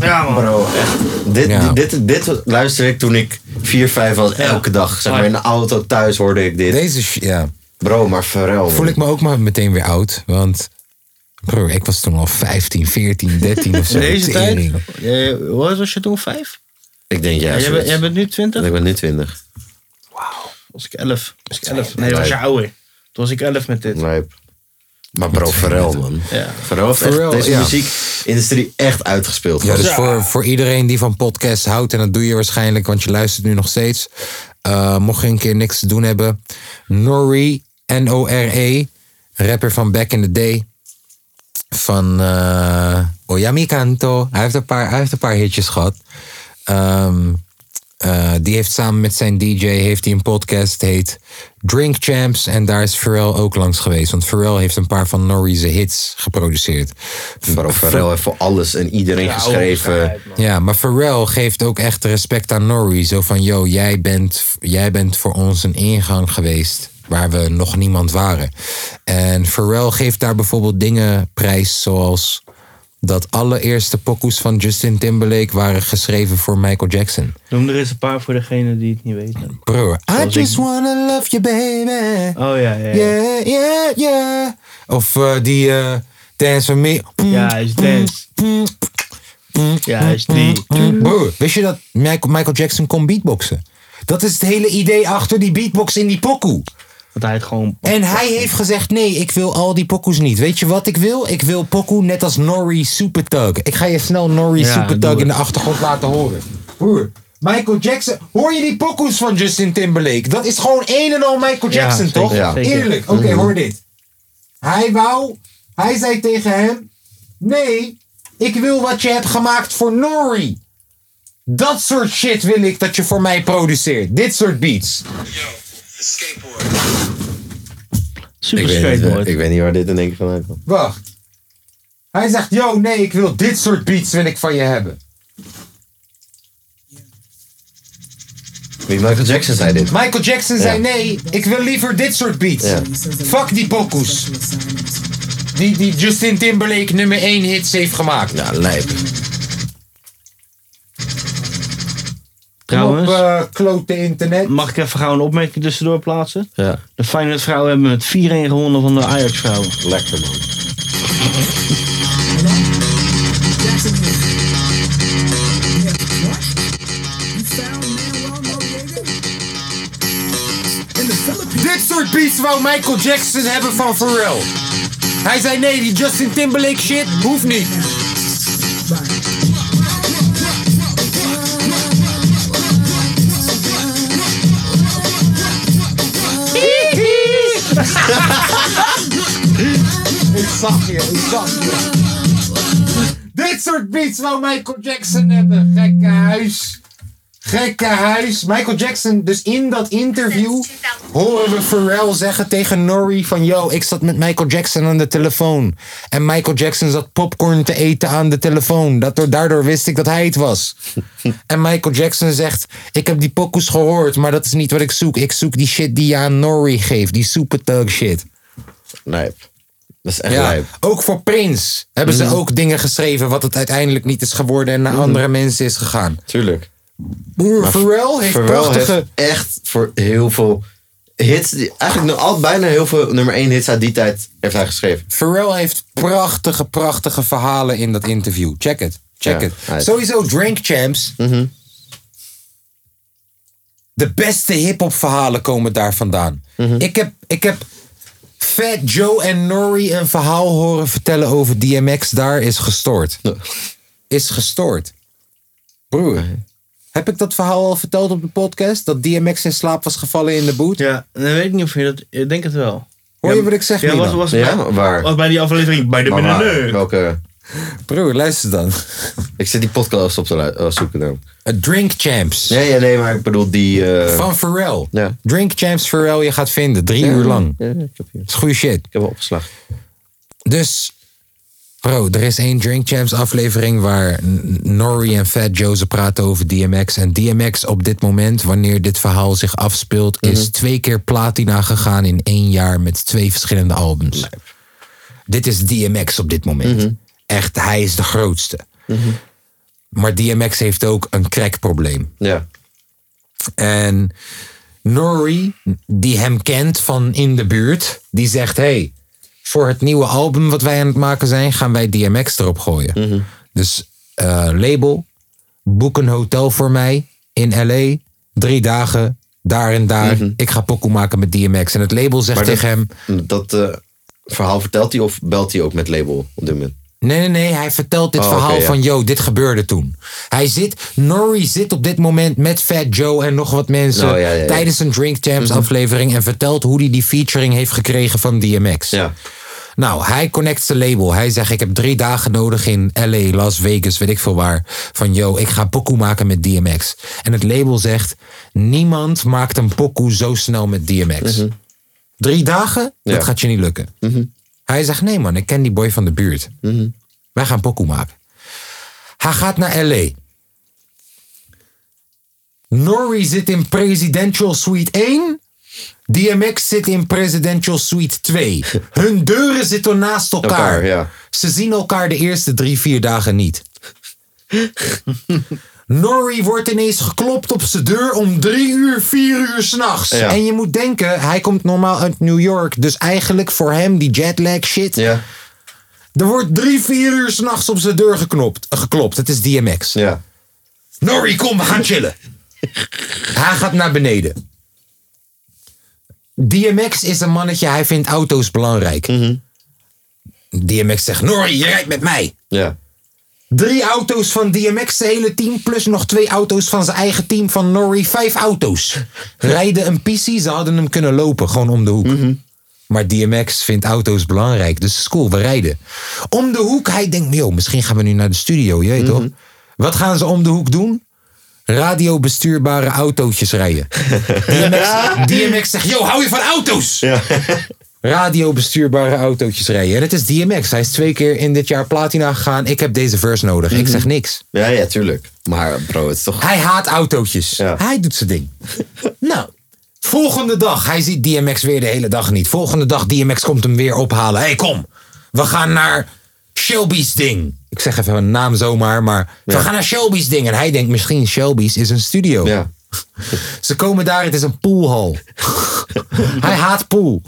C: Ja, man.
B: Bro, echt. Dit,
A: Ja.
B: dit, dit, dit luisterde ik toen ik 4, 5 was, elke dag. Zeg maar in de auto thuis hoorde ik dit.
A: Deze, sh- ja.
B: Bro, maar Pharrell.
A: Voel ik me ook maar meteen weer oud, want... Broer, ik was toen al 15, 14, 13 of zo.
C: In deze tijd?
A: Tering.
C: Jij- Hoe oud was je toen? Vijf?
B: Ik denk, ja,
C: jij, bent,
B: zoiets.
C: jij bent nu twintig?
B: Ik ben nu 20.
C: Was ik elf. Was ik elf. Nee, dat was je
B: Lijp.
C: ouder. Toen was ik elf met dit.
B: Maar bro, Pharrell, man.
C: Ja.
B: Pharrell heeft echt
A: Pharrell,
B: deze
A: ja.
B: muziekindustrie echt uitgespeeld.
A: Ja, dus
B: Ja.
A: Voor, voor iedereen die van podcasts houdt, en dat doe je waarschijnlijk, want je luistert nu nog steeds. eh, mocht je een keer niks te doen hebben. Nori, N-O-R-E, E, rapper van Back in the Day. Van eh Oyami Kanto. Hij heeft een paar, hij heeft een paar hitjes gehad. Ehm, Eh, die heeft samen met zijn DJ heeft hij een podcast, heet Drink Champs. En daar is Pharrell ook langs geweest. Want Pharrell heeft een paar van Norrie's hits geproduceerd.
B: Vooral Pharrell heeft voor alles en iedereen geschreven.
A: Ja, maar Pharrell geeft ook echt respect aan Norrie. Zo van, yo, jij bent, jij bent voor ons een ingang geweest waar we nog niemand waren. En Pharrell geeft daar bijvoorbeeld dingen prijs zoals... dat alle eerste pokoes van Justin Timberlake waren geschreven voor Michael Jackson.
C: Noem er eens een paar voor degene die het niet weten.
A: Broer, I
C: Zoals ik-
A: just wanna love you baby.
C: Oh ja, ja. ja.
A: Yeah, yeah, yeah. Of eh, die eh, Dance With Me. Mm. Ja,
C: is Dance. Ja, is die.
A: Broer, wist je dat Michael, Michael Jackson kon beatboxen? Dat is het hele idee achter die beatbox in die pokoe.
C: Dat hij het gewoon...
A: En hij heeft gezegd, nee, ik wil al die pokoes niet. Weet je wat ik wil? Ik wil pokoe net als Norrie Super Thug. Ik ga je snel Norrie
D: Ja,
A: Super
D: doe
A: Thug
D: het.
A: in de achtergrond laten horen. Broer, Michael Jackson... Hoor je die pokoes van Justin Timberlake? Dat is gewoon een en al Michael
D: Ja,
A: Jackson,
D: zeker,
A: toch?
D: ja. zeker.
A: Eerlijk. Oké,
D: Mhm.
A: hoor dit. Hij wou... Hij zei tegen hem... Nee, ik wil wat je hebt gemaakt voor Norrie. Dat soort shit wil ik dat je voor mij produceert. Dit soort beats.
B: Ik weet, niet, eh, ik weet niet waar dit in één keer vandaan komt.
A: Wacht. Hij zegt, yo, nee, ik wil dit soort beats wil ik van je hebben.
B: Wie Michael Jackson zei dit?
A: Michael Jackson zei, nee, ik wil liever dit soort beats.
B: Ja.
A: Fuck die pokoes. Die, die Justin Timberlake nummer 1 hits heeft gemaakt.
B: Ja, lijp.
C: Trouwens.
A: Op eh, klote internet.
C: Mag ik even gauw een opmerking tussendoor plaatsen?
B: Ja.
C: De Feyenoord vrouwen hebben met 4-1 gewonnen van de Ajax vrouwen.
B: Lekker man.
A: Dit soort beats wou Michael Jackson hebben van Pharrell. Hij zei, nee, die Justin Timberlake shit hoeft niet. ik zag je, ik zag je. Dit soort beats wou Michael Jackson hebben. Gekke huis. Gekke huis. Michael Jackson, dus in dat interview horen we Pharrell zeggen tegen Norrie van... Yo, ik zat met Michael Jackson aan de telefoon. En Michael Jackson zat popcorn te eten aan de telefoon. Dat- Daardoor wist ik dat hij het was. en Michael Jackson zegt... Ik heb die pokoes gehoord, maar dat is niet wat ik zoek. Ik zoek die shit die je aan Norrie geeft. Die super thug shit.
B: Lijp. Dat is echt
A: Ja,
B: lijp.
A: ook voor Prince hebben ze
B: Mhm.
A: ook dingen geschreven wat het uiteindelijk niet is geworden en naar andere mensen is gegaan.
B: Tuurlijk.
A: Broer, Pharrell heeft prachtige...
B: echt voor heel veel hits. die- Eigenlijk nu al bijna heel veel nummer 1 hits uit die tijd heeft hij geschreven.
A: Pharrell heeft prachtige, prachtige verhalen in dat interview. Check het, check
B: Ja,
A: het.
B: uit.
A: Sowieso Drink Champs. De beste hip-hop verhalen komen daar vandaan. ik, heb, ik heb Fat Joe en Nori een verhaal horen vertellen over DMX. Daar is gestoord. Is gestoord. Broer, heb ik dat verhaal al verteld op de podcast? Dat DMX in slaap was gevallen in de boot?
C: Ja, dan weet ik niet of je dat... Ik denk het wel.
A: Hoor je wat ik zeg,
C: Ja,
A: Milan?
C: was, was,
B: Ja, waar?
C: was bij die aflevering bij de
B: Maar waar?
C: benadeur.
B: Welke?
A: Broer, luister dan.
B: Ik zit die podcast op te lu- eh, zoeken dan.
A: Drink Champs.
B: Nee, ja, nee, maar ik bedoel die... eh,
A: Van Pharrell.
B: Ja.
A: Drink Champs Pharrell, je gaat vinden. Drie
B: Ja,
A: uur lang.
B: ja, ik heb
A: Dat is goede shit. Ik
B: heb wel opgeslagen.
A: Dus, bro, er is één Drink Champs aflevering waar N- Norrie en Fat Joe ze praten over DMX. En DMX op dit moment, wanneer dit verhaal zich afspeelt, is twee keer platina gegaan in één jaar met twee verschillende albums. Dit is DMX op dit moment. Echt, hij is de grootste. Maar DMX heeft ook een crackprobleem.
B: Ja.
A: En Norrie, die hem kent van in de buurt, die zegt: hey, voor het nieuwe album wat wij aan het maken zijn, gaan wij DMX erop gooien.
B: Mhm.
A: Dus eh, label, boek een hotel voor mij in LA, drie dagen, daar en daar. Ik ga pokoe maken met DMX. En het label zegt
B: Mhm. Maar dat-
A: tegen hem:
B: Dat eh, verhaal vertelt hij of belt hij ook met label op dit moment?
A: Nee, nee, nee. Hij vertelt dit
B: Oh,
A: verhaal
B: oké, ja.
A: van, yo, dit gebeurde toen. Hij zit, Norrie zit op dit moment met Fat Joe en nog wat mensen
B: Oh, ja, ja, Mhm. ja.
A: tijdens een Drink Champs aflevering en vertelt hoe hij die featuring heeft gekregen van DMX. Nou, hij connect zijn label. Hij zegt, ik heb drie dagen nodig in LA, Las Vegas, weet ik veel waar. Van, yo, ik ga pokoe maken met DMX. En het label zegt, niemand maakt een pokoe zo snel met
B: Mhm.
A: DMX. Drie dagen?
B: Ja. Mhm.
A: Dat gaat je niet lukken. Hij zegt, nee man, ik ken die boy van de buurt. Wij gaan pokoe maken. Hij gaat naar LA. Norrie zit in Presidential Suite 1. DMX zit in Presidential Suite 2. Hun deuren zitten naast elkaar.
B: Elkaar, ja.
A: Ze zien elkaar de eerste drie, vier dagen niet. Norrie wordt ineens geklopt op zijn deur om drie uur, vier uur s'nachts.
B: Ja.
A: En je moet denken, hij komt normaal uit New York. Dus eigenlijk voor hem die jetlag shit. Er wordt drie, vier uur s'nachts op zijn deur geknopt, eh, geklopt. Het is DMX.
B: Ja.
A: Norrie, kom, we gaan chillen. Hij gaat naar beneden. DMX is een mannetje, hij vindt auto's belangrijk. DMX zegt, Norrie, je rijdt met mij.
B: Ja.
A: Drie auto's van DMX, zijn hele team, plus nog twee auto's van zijn eigen team van Norrie. Vijf auto's. Rijden een pissie, ze hadden hem kunnen lopen, gewoon om de hoek. Maar DMX vindt auto's belangrijk, dus is cool, we rijden. Om de hoek, hij denkt, joh, misschien gaan we nu naar de studio, je weet toch? Wat gaan ze om de hoek doen? Radiobestuurbare autootjes rijden. DMX, DMX zegt, yo, hou je van auto's? Radiobestuurbare autootjes rijden. En het is DMX. Hij is twee keer in dit jaar platina gegaan. Ik heb deze verse nodig. Ik zeg niks.
B: Ja, ja, tuurlijk. Maar bro, het is toch...
A: Hij haat autootjes. Hij doet zijn ding. nou, volgende dag. Hij ziet DMX weer de hele dag niet. Volgende dag, DMX komt hem weer ophalen. hey, kom. We gaan naar Shelby's ding. Ik zeg even een naam zomaar, maar we gaan naar Shelby's ding. En hij denkt misschien Shelby's is een studio. Ze komen daar, het is een poolhal. hij haat pool.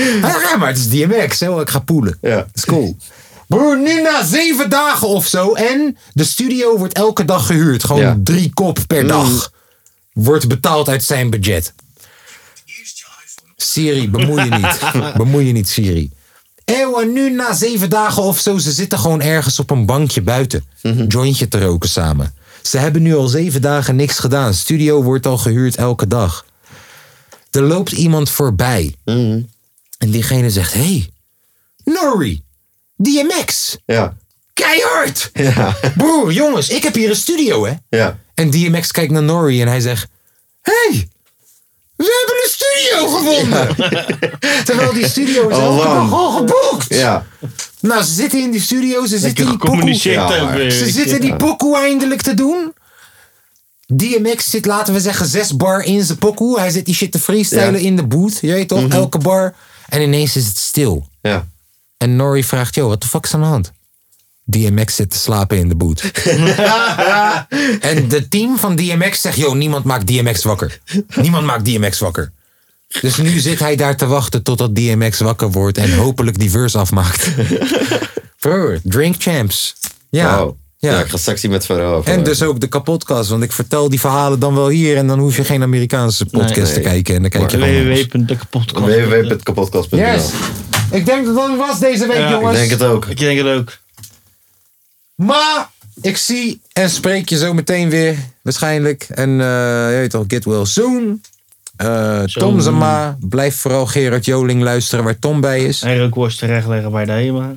A: Hij zegt, ja, maar het is DMX, hè? ik ga poelen. Ja. is cool. Broer, nu na zeven dagen of zo. En de studio wordt elke dag gehuurd. Gewoon
B: Ja.
A: drie kop per dag. Wordt betaald uit zijn budget. Siri, bemoei je niet. bemoei je niet, Siri. Eeuwen, nu na zeven dagen of zo, ze zitten gewoon ergens op een bankje buiten. Jointje te roken samen. Ze hebben nu al zeven dagen niks gedaan. Studio wordt al gehuurd elke dag. Er loopt iemand voorbij. En diegene zegt, hé, hey, Norrie, DMX.
B: Ja.
A: Keihard! Broer, jongens, ik heb hier een studio, hè?
B: Ja.
A: En DMX kijkt naar Norrie en hij zegt, hé, hey, we hebben een studio gevonden! Terwijl die studio is
B: Al
A: elke
B: lang.
A: dag al geboekt!
B: Oh, Ja.
A: Nou, ze zitten in die studio, ze zitten die pokoe...
B: gecommuniceerd ook weer.
A: ze zitten die
B: Ja.
A: pokoe eindelijk te doen. DMX zit, laten we zeggen, zes bar in zijn pokoe. Hij zit die shit te freestylen
B: Ja. Mhm.
A: in de booth, je weet toch, elke bar. En ineens is het stil.
B: Ja.
A: En Norrie vraagt, yo, wat de fuck is aan de hand? DMX zit te slapen in de boot. en de team van DMX zegt, yo, niemand maakt DMX wakker. Niemand maakt DMX wakker. Dus nu zit hij daar te wachten totdat DMX wakker wordt en hopelijk die verse afmaakt. Broer, drink champs. Ja.
B: Wauw. Ja. ik ga straks hier met het verhaal over.
A: En dus ook de kapotkast, want ik vertel die verhalen dan wel hier en dan hoef je geen Amerikaanse podcast
B: Nee, nee.
A: te kijken. En dan kijk je
B: Maar-
A: gewoon-
B: www.kapotkast.nl
A: Yes. Ik denk dat dat was deze week, jongens.
B: Ik denk het ook.
C: Ik denk het ook.
A: Maar ik zie en spreek je zo meteen weer, waarschijnlijk. En eh, je weet toch, get well soon. Eh Tom Zama, blijf vooral Gerard Joling luisteren waar Tom bij is.
C: En rookworst terechtleggen bij de HEMA.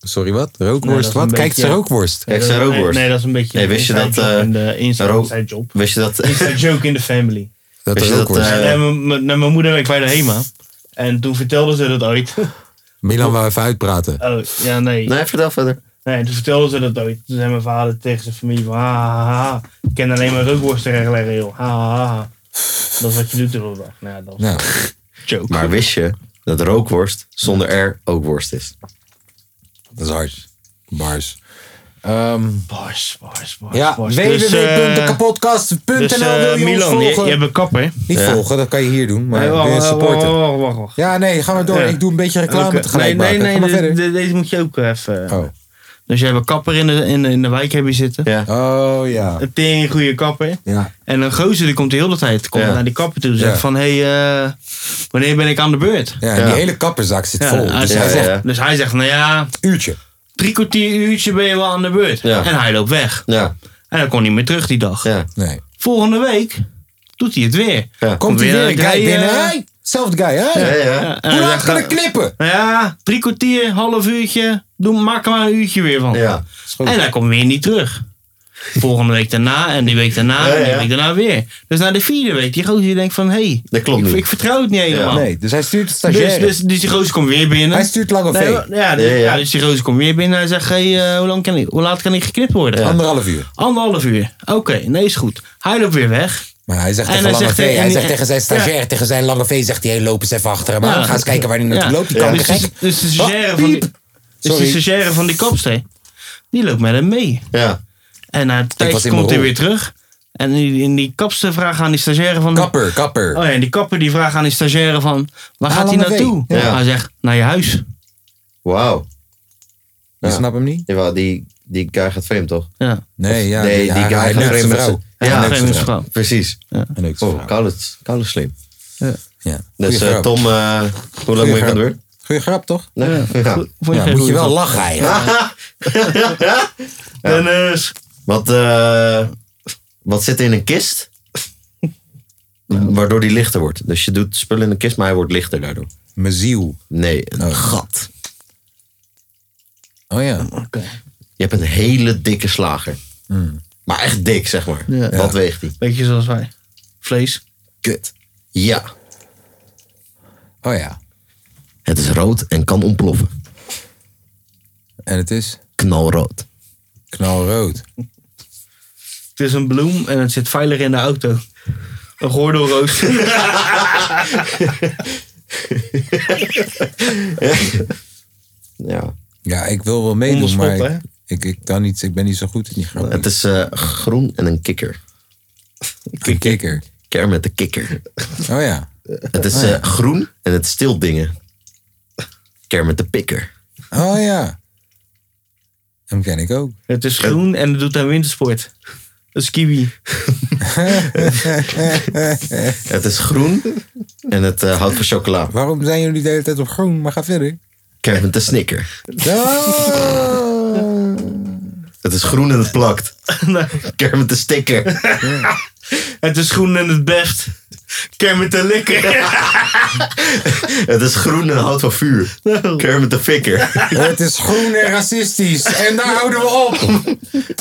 A: Sorry, wat? Rookworst? wat? Kijkt ze rookworst?
C: Kijk
B: zijn rookworst.
C: Nee, dat is een beetje
B: Nee, wist je dat...
C: inside job in de
B: eh
C: inside,
B: rook-
C: inside job.
B: Wist je dat...
C: Inside joke in the family.
A: Dat
B: Wist je dat... eh,
C: En mijn- mijn- naar mijn moeder werkt bij de HEMA. En toen vertelde ze dat ooit.
A: Milan wou even uitpraten.
C: Oh, ja, nee.
B: Nee, vertel verder.
C: Nee, toen vertelde ze dat ooit. Toen zei mijn vader tegen zijn familie van... Ha, ha, ha. Ik ken alleen maar rookworsten rechtleggen, joh. Ha, ha, ha. Dat is wat je doet de hele dag. Nou, ja, dat is
A: Nou.
C: joke.
B: Maar wist je dat rookworst zonder R ook worst is?
A: Dat is hard. Bars.
C: bars, bars, bars.
A: Ja,
C: bars. Dus, eh,
A: www.kapotkast.nl
C: dus, eh,
A: wil je
C: Milan,
A: ons
C: je-
A: volgen.
C: je hebt een kapper.
A: Niet
C: Ja.
A: volgen, dat kan je hier doen. Maar
C: Nee, wacht,
A: wil je
C: wacht,
A: supporten.
C: wacht, wacht, wacht, wacht.
A: Ja, nee, ga maar door.
C: Ja.
A: Ik doe een beetje reclame
C: Oké.
A: tegelijk.
C: Nee,
A: maken.
C: nee,
A: Ga maar
C: nee.
A: verder.
C: de- de- Deze moet je ook eh, even... Dus je hebt een kapper in de, in de, in de wijk heb je zitten.
A: Oh ja.
C: Een tering goede kapper.
A: Ja.
C: En een gozer die komt de hele tijd komt
A: Ja.
C: naar die kapper toe en zegt
A: Ja.
C: van... Hé, hey, eh, wanneer ben ik aan de beurt?
A: Ja, die hele kapperzak zit
C: Ja,
A: vol.
C: hij
A: Dus
C: zegt-
A: hij zegt,
C: dus hij zegt, nou ja...
A: Uurtje.
C: Drie kwartier uurtje ben je wel aan de beurt.
A: Ja.
C: En hij loopt weg.
B: Ja.
C: En hij kon niet meer terug die dag.
A: Nee.
C: Volgende week doet hij het weer.
A: Komt hij weer een guy
C: hey,
A: binnen?
C: eh,
A: Hey,
D: Zelfde guy, hè?
C: Ja, ja.
D: Hoe laat gaan we knippen?
C: "Nou Ja, drie kwartier, half uurtje. Doe, maak er maar een uurtje weer van. Ja, en hij komt weer niet terug. Volgende week daarna en die week daarna en die week daarna weer. Dus na de vierde week, die gozer die denkt van... Hé, hey, ik, ik vertrouw het niet helemaal.
D: Nee, dus hij stuurt de
C: Dus,
D: stagiaire.
C: dus, dus die gozer komt weer binnen.
D: Hij stuurt Lange V.
C: Nee, maar- ja, dus,
D: Ja,
C: ja,
D: ja.
C: dus die gozer komt weer binnen. Hij zegt, hey, eh, hoe, lang kan ik, hoe laat kan ik geknipt worden?
A: Ja. Anderhalf uur.
C: Anderhalf uur. Oké, nee, is goed. Hij loopt weer weg.
A: Maar hij zegt
C: En
A: tegen
C: hij
A: Lange
C: zegt
A: V,
C: tegen-
A: hij
C: en-
A: zegt tegen zijn stagiair, tegen zijn Lange V, zegt hij, hey, loop eens even achter hem aan.
C: Ja. dus-
A: Ga eens kijken waar hij
C: Ja.
A: naartoe loopt, die
C: Ja.
A: kan
C: Dus,
A: gek. Oh,
C: de- dus de stagiaire van die, dus de
A: Sorry.
C: stagiaire van die kopstee, die loopt met hem mee.
B: Ja.
C: En na een
A: was
C: tijdje
A: in mijn
C: komt hij
A: rol.
C: weer terug. En die, en die kapster vraagt aan die stagiaire van...
A: Kapper, kapper.
C: Oh ja, en die kapper die vraagt aan die stagiaire van... Waar
A: Ah,
C: gaat hij
A: Lange V.
C: naartoe?
A: Ja.
C: Hij zegt, naar je huis.
B: Wauw.
A: Je snapt hem niet?
B: Jawel, die, die guy gaat vreemd, toch?
C: Ja.
A: Nee, ja,
B: nee,
A: die-
B: die
A: hij-
B: guy
A: hij
B: gaat
A: neukt
B: vreemd
A: zijn
B: met
A: vrouw.
B: zijn-
A: Hij neukt zijn vrouw.
B: Precies.
A: En
B: Oh, koude, koude slim.
C: Ja.
A: Ja.
B: Dus
A: Goeie
B: eh,
A: grap.
B: Tom, eh, hoe lang moet je gaan doen?
A: Goeie grap, toch?
B: Nee. Ja.
A: Ja, moet je wel lachen eigenlijk.
C: Dennis.
B: Wat, eh, wat zit er in een kist? Waardoor die lichter wordt. Dus je doet spullen in een kist, maar hij wordt lichter daardoor.
A: Mijn ziel.
B: Nee, een gat.
A: Oh ja.
B: Je hebt een hele dikke slager. Maar echt dik, zeg maar.
C: Ja.
B: Wat weegt die?
C: Beetje zoals wij. Vlees.
B: Kut. Ja.
A: Oh ja.
B: Het is rood en kan ontploffen.
A: En het is?
B: Knalrood.
A: Knalrood.
C: Het is een bloem en het zit veilig in de auto. Een gordelroos.
B: Ja.
A: Ja, ik wil wel meedoen,
B: Onderschot,
A: maar
B: hè?
A: ik, ik, ik kan niet, ik ben niet zo goed in die grap.
B: Het is eh, groen en een kikker.
A: Een kikker.
B: Kermit de kikker.
A: Oh ja.
B: Het is
A: Oh ja.
B: eh, groen en het stilt dingen. Kermit de pikker.
A: Oh ja. Hem ken ik ook.
C: het is groen en het doet aan wintersport. Dat is kiwi.
B: Het is groen en het eh, houdt van chocola.
A: Waarom zijn jullie de hele tijd op groen? Maar ga verder.
B: Kermit de snicker.
A: Oh.
B: Het is groen en het plakt. Kermit de sticker.
C: Het is groen en het best. Kermit de likker.
B: Het is groen en houdt van vuur. Kermit de fikker.
A: Het is groen en racistisch. En daar houden we op.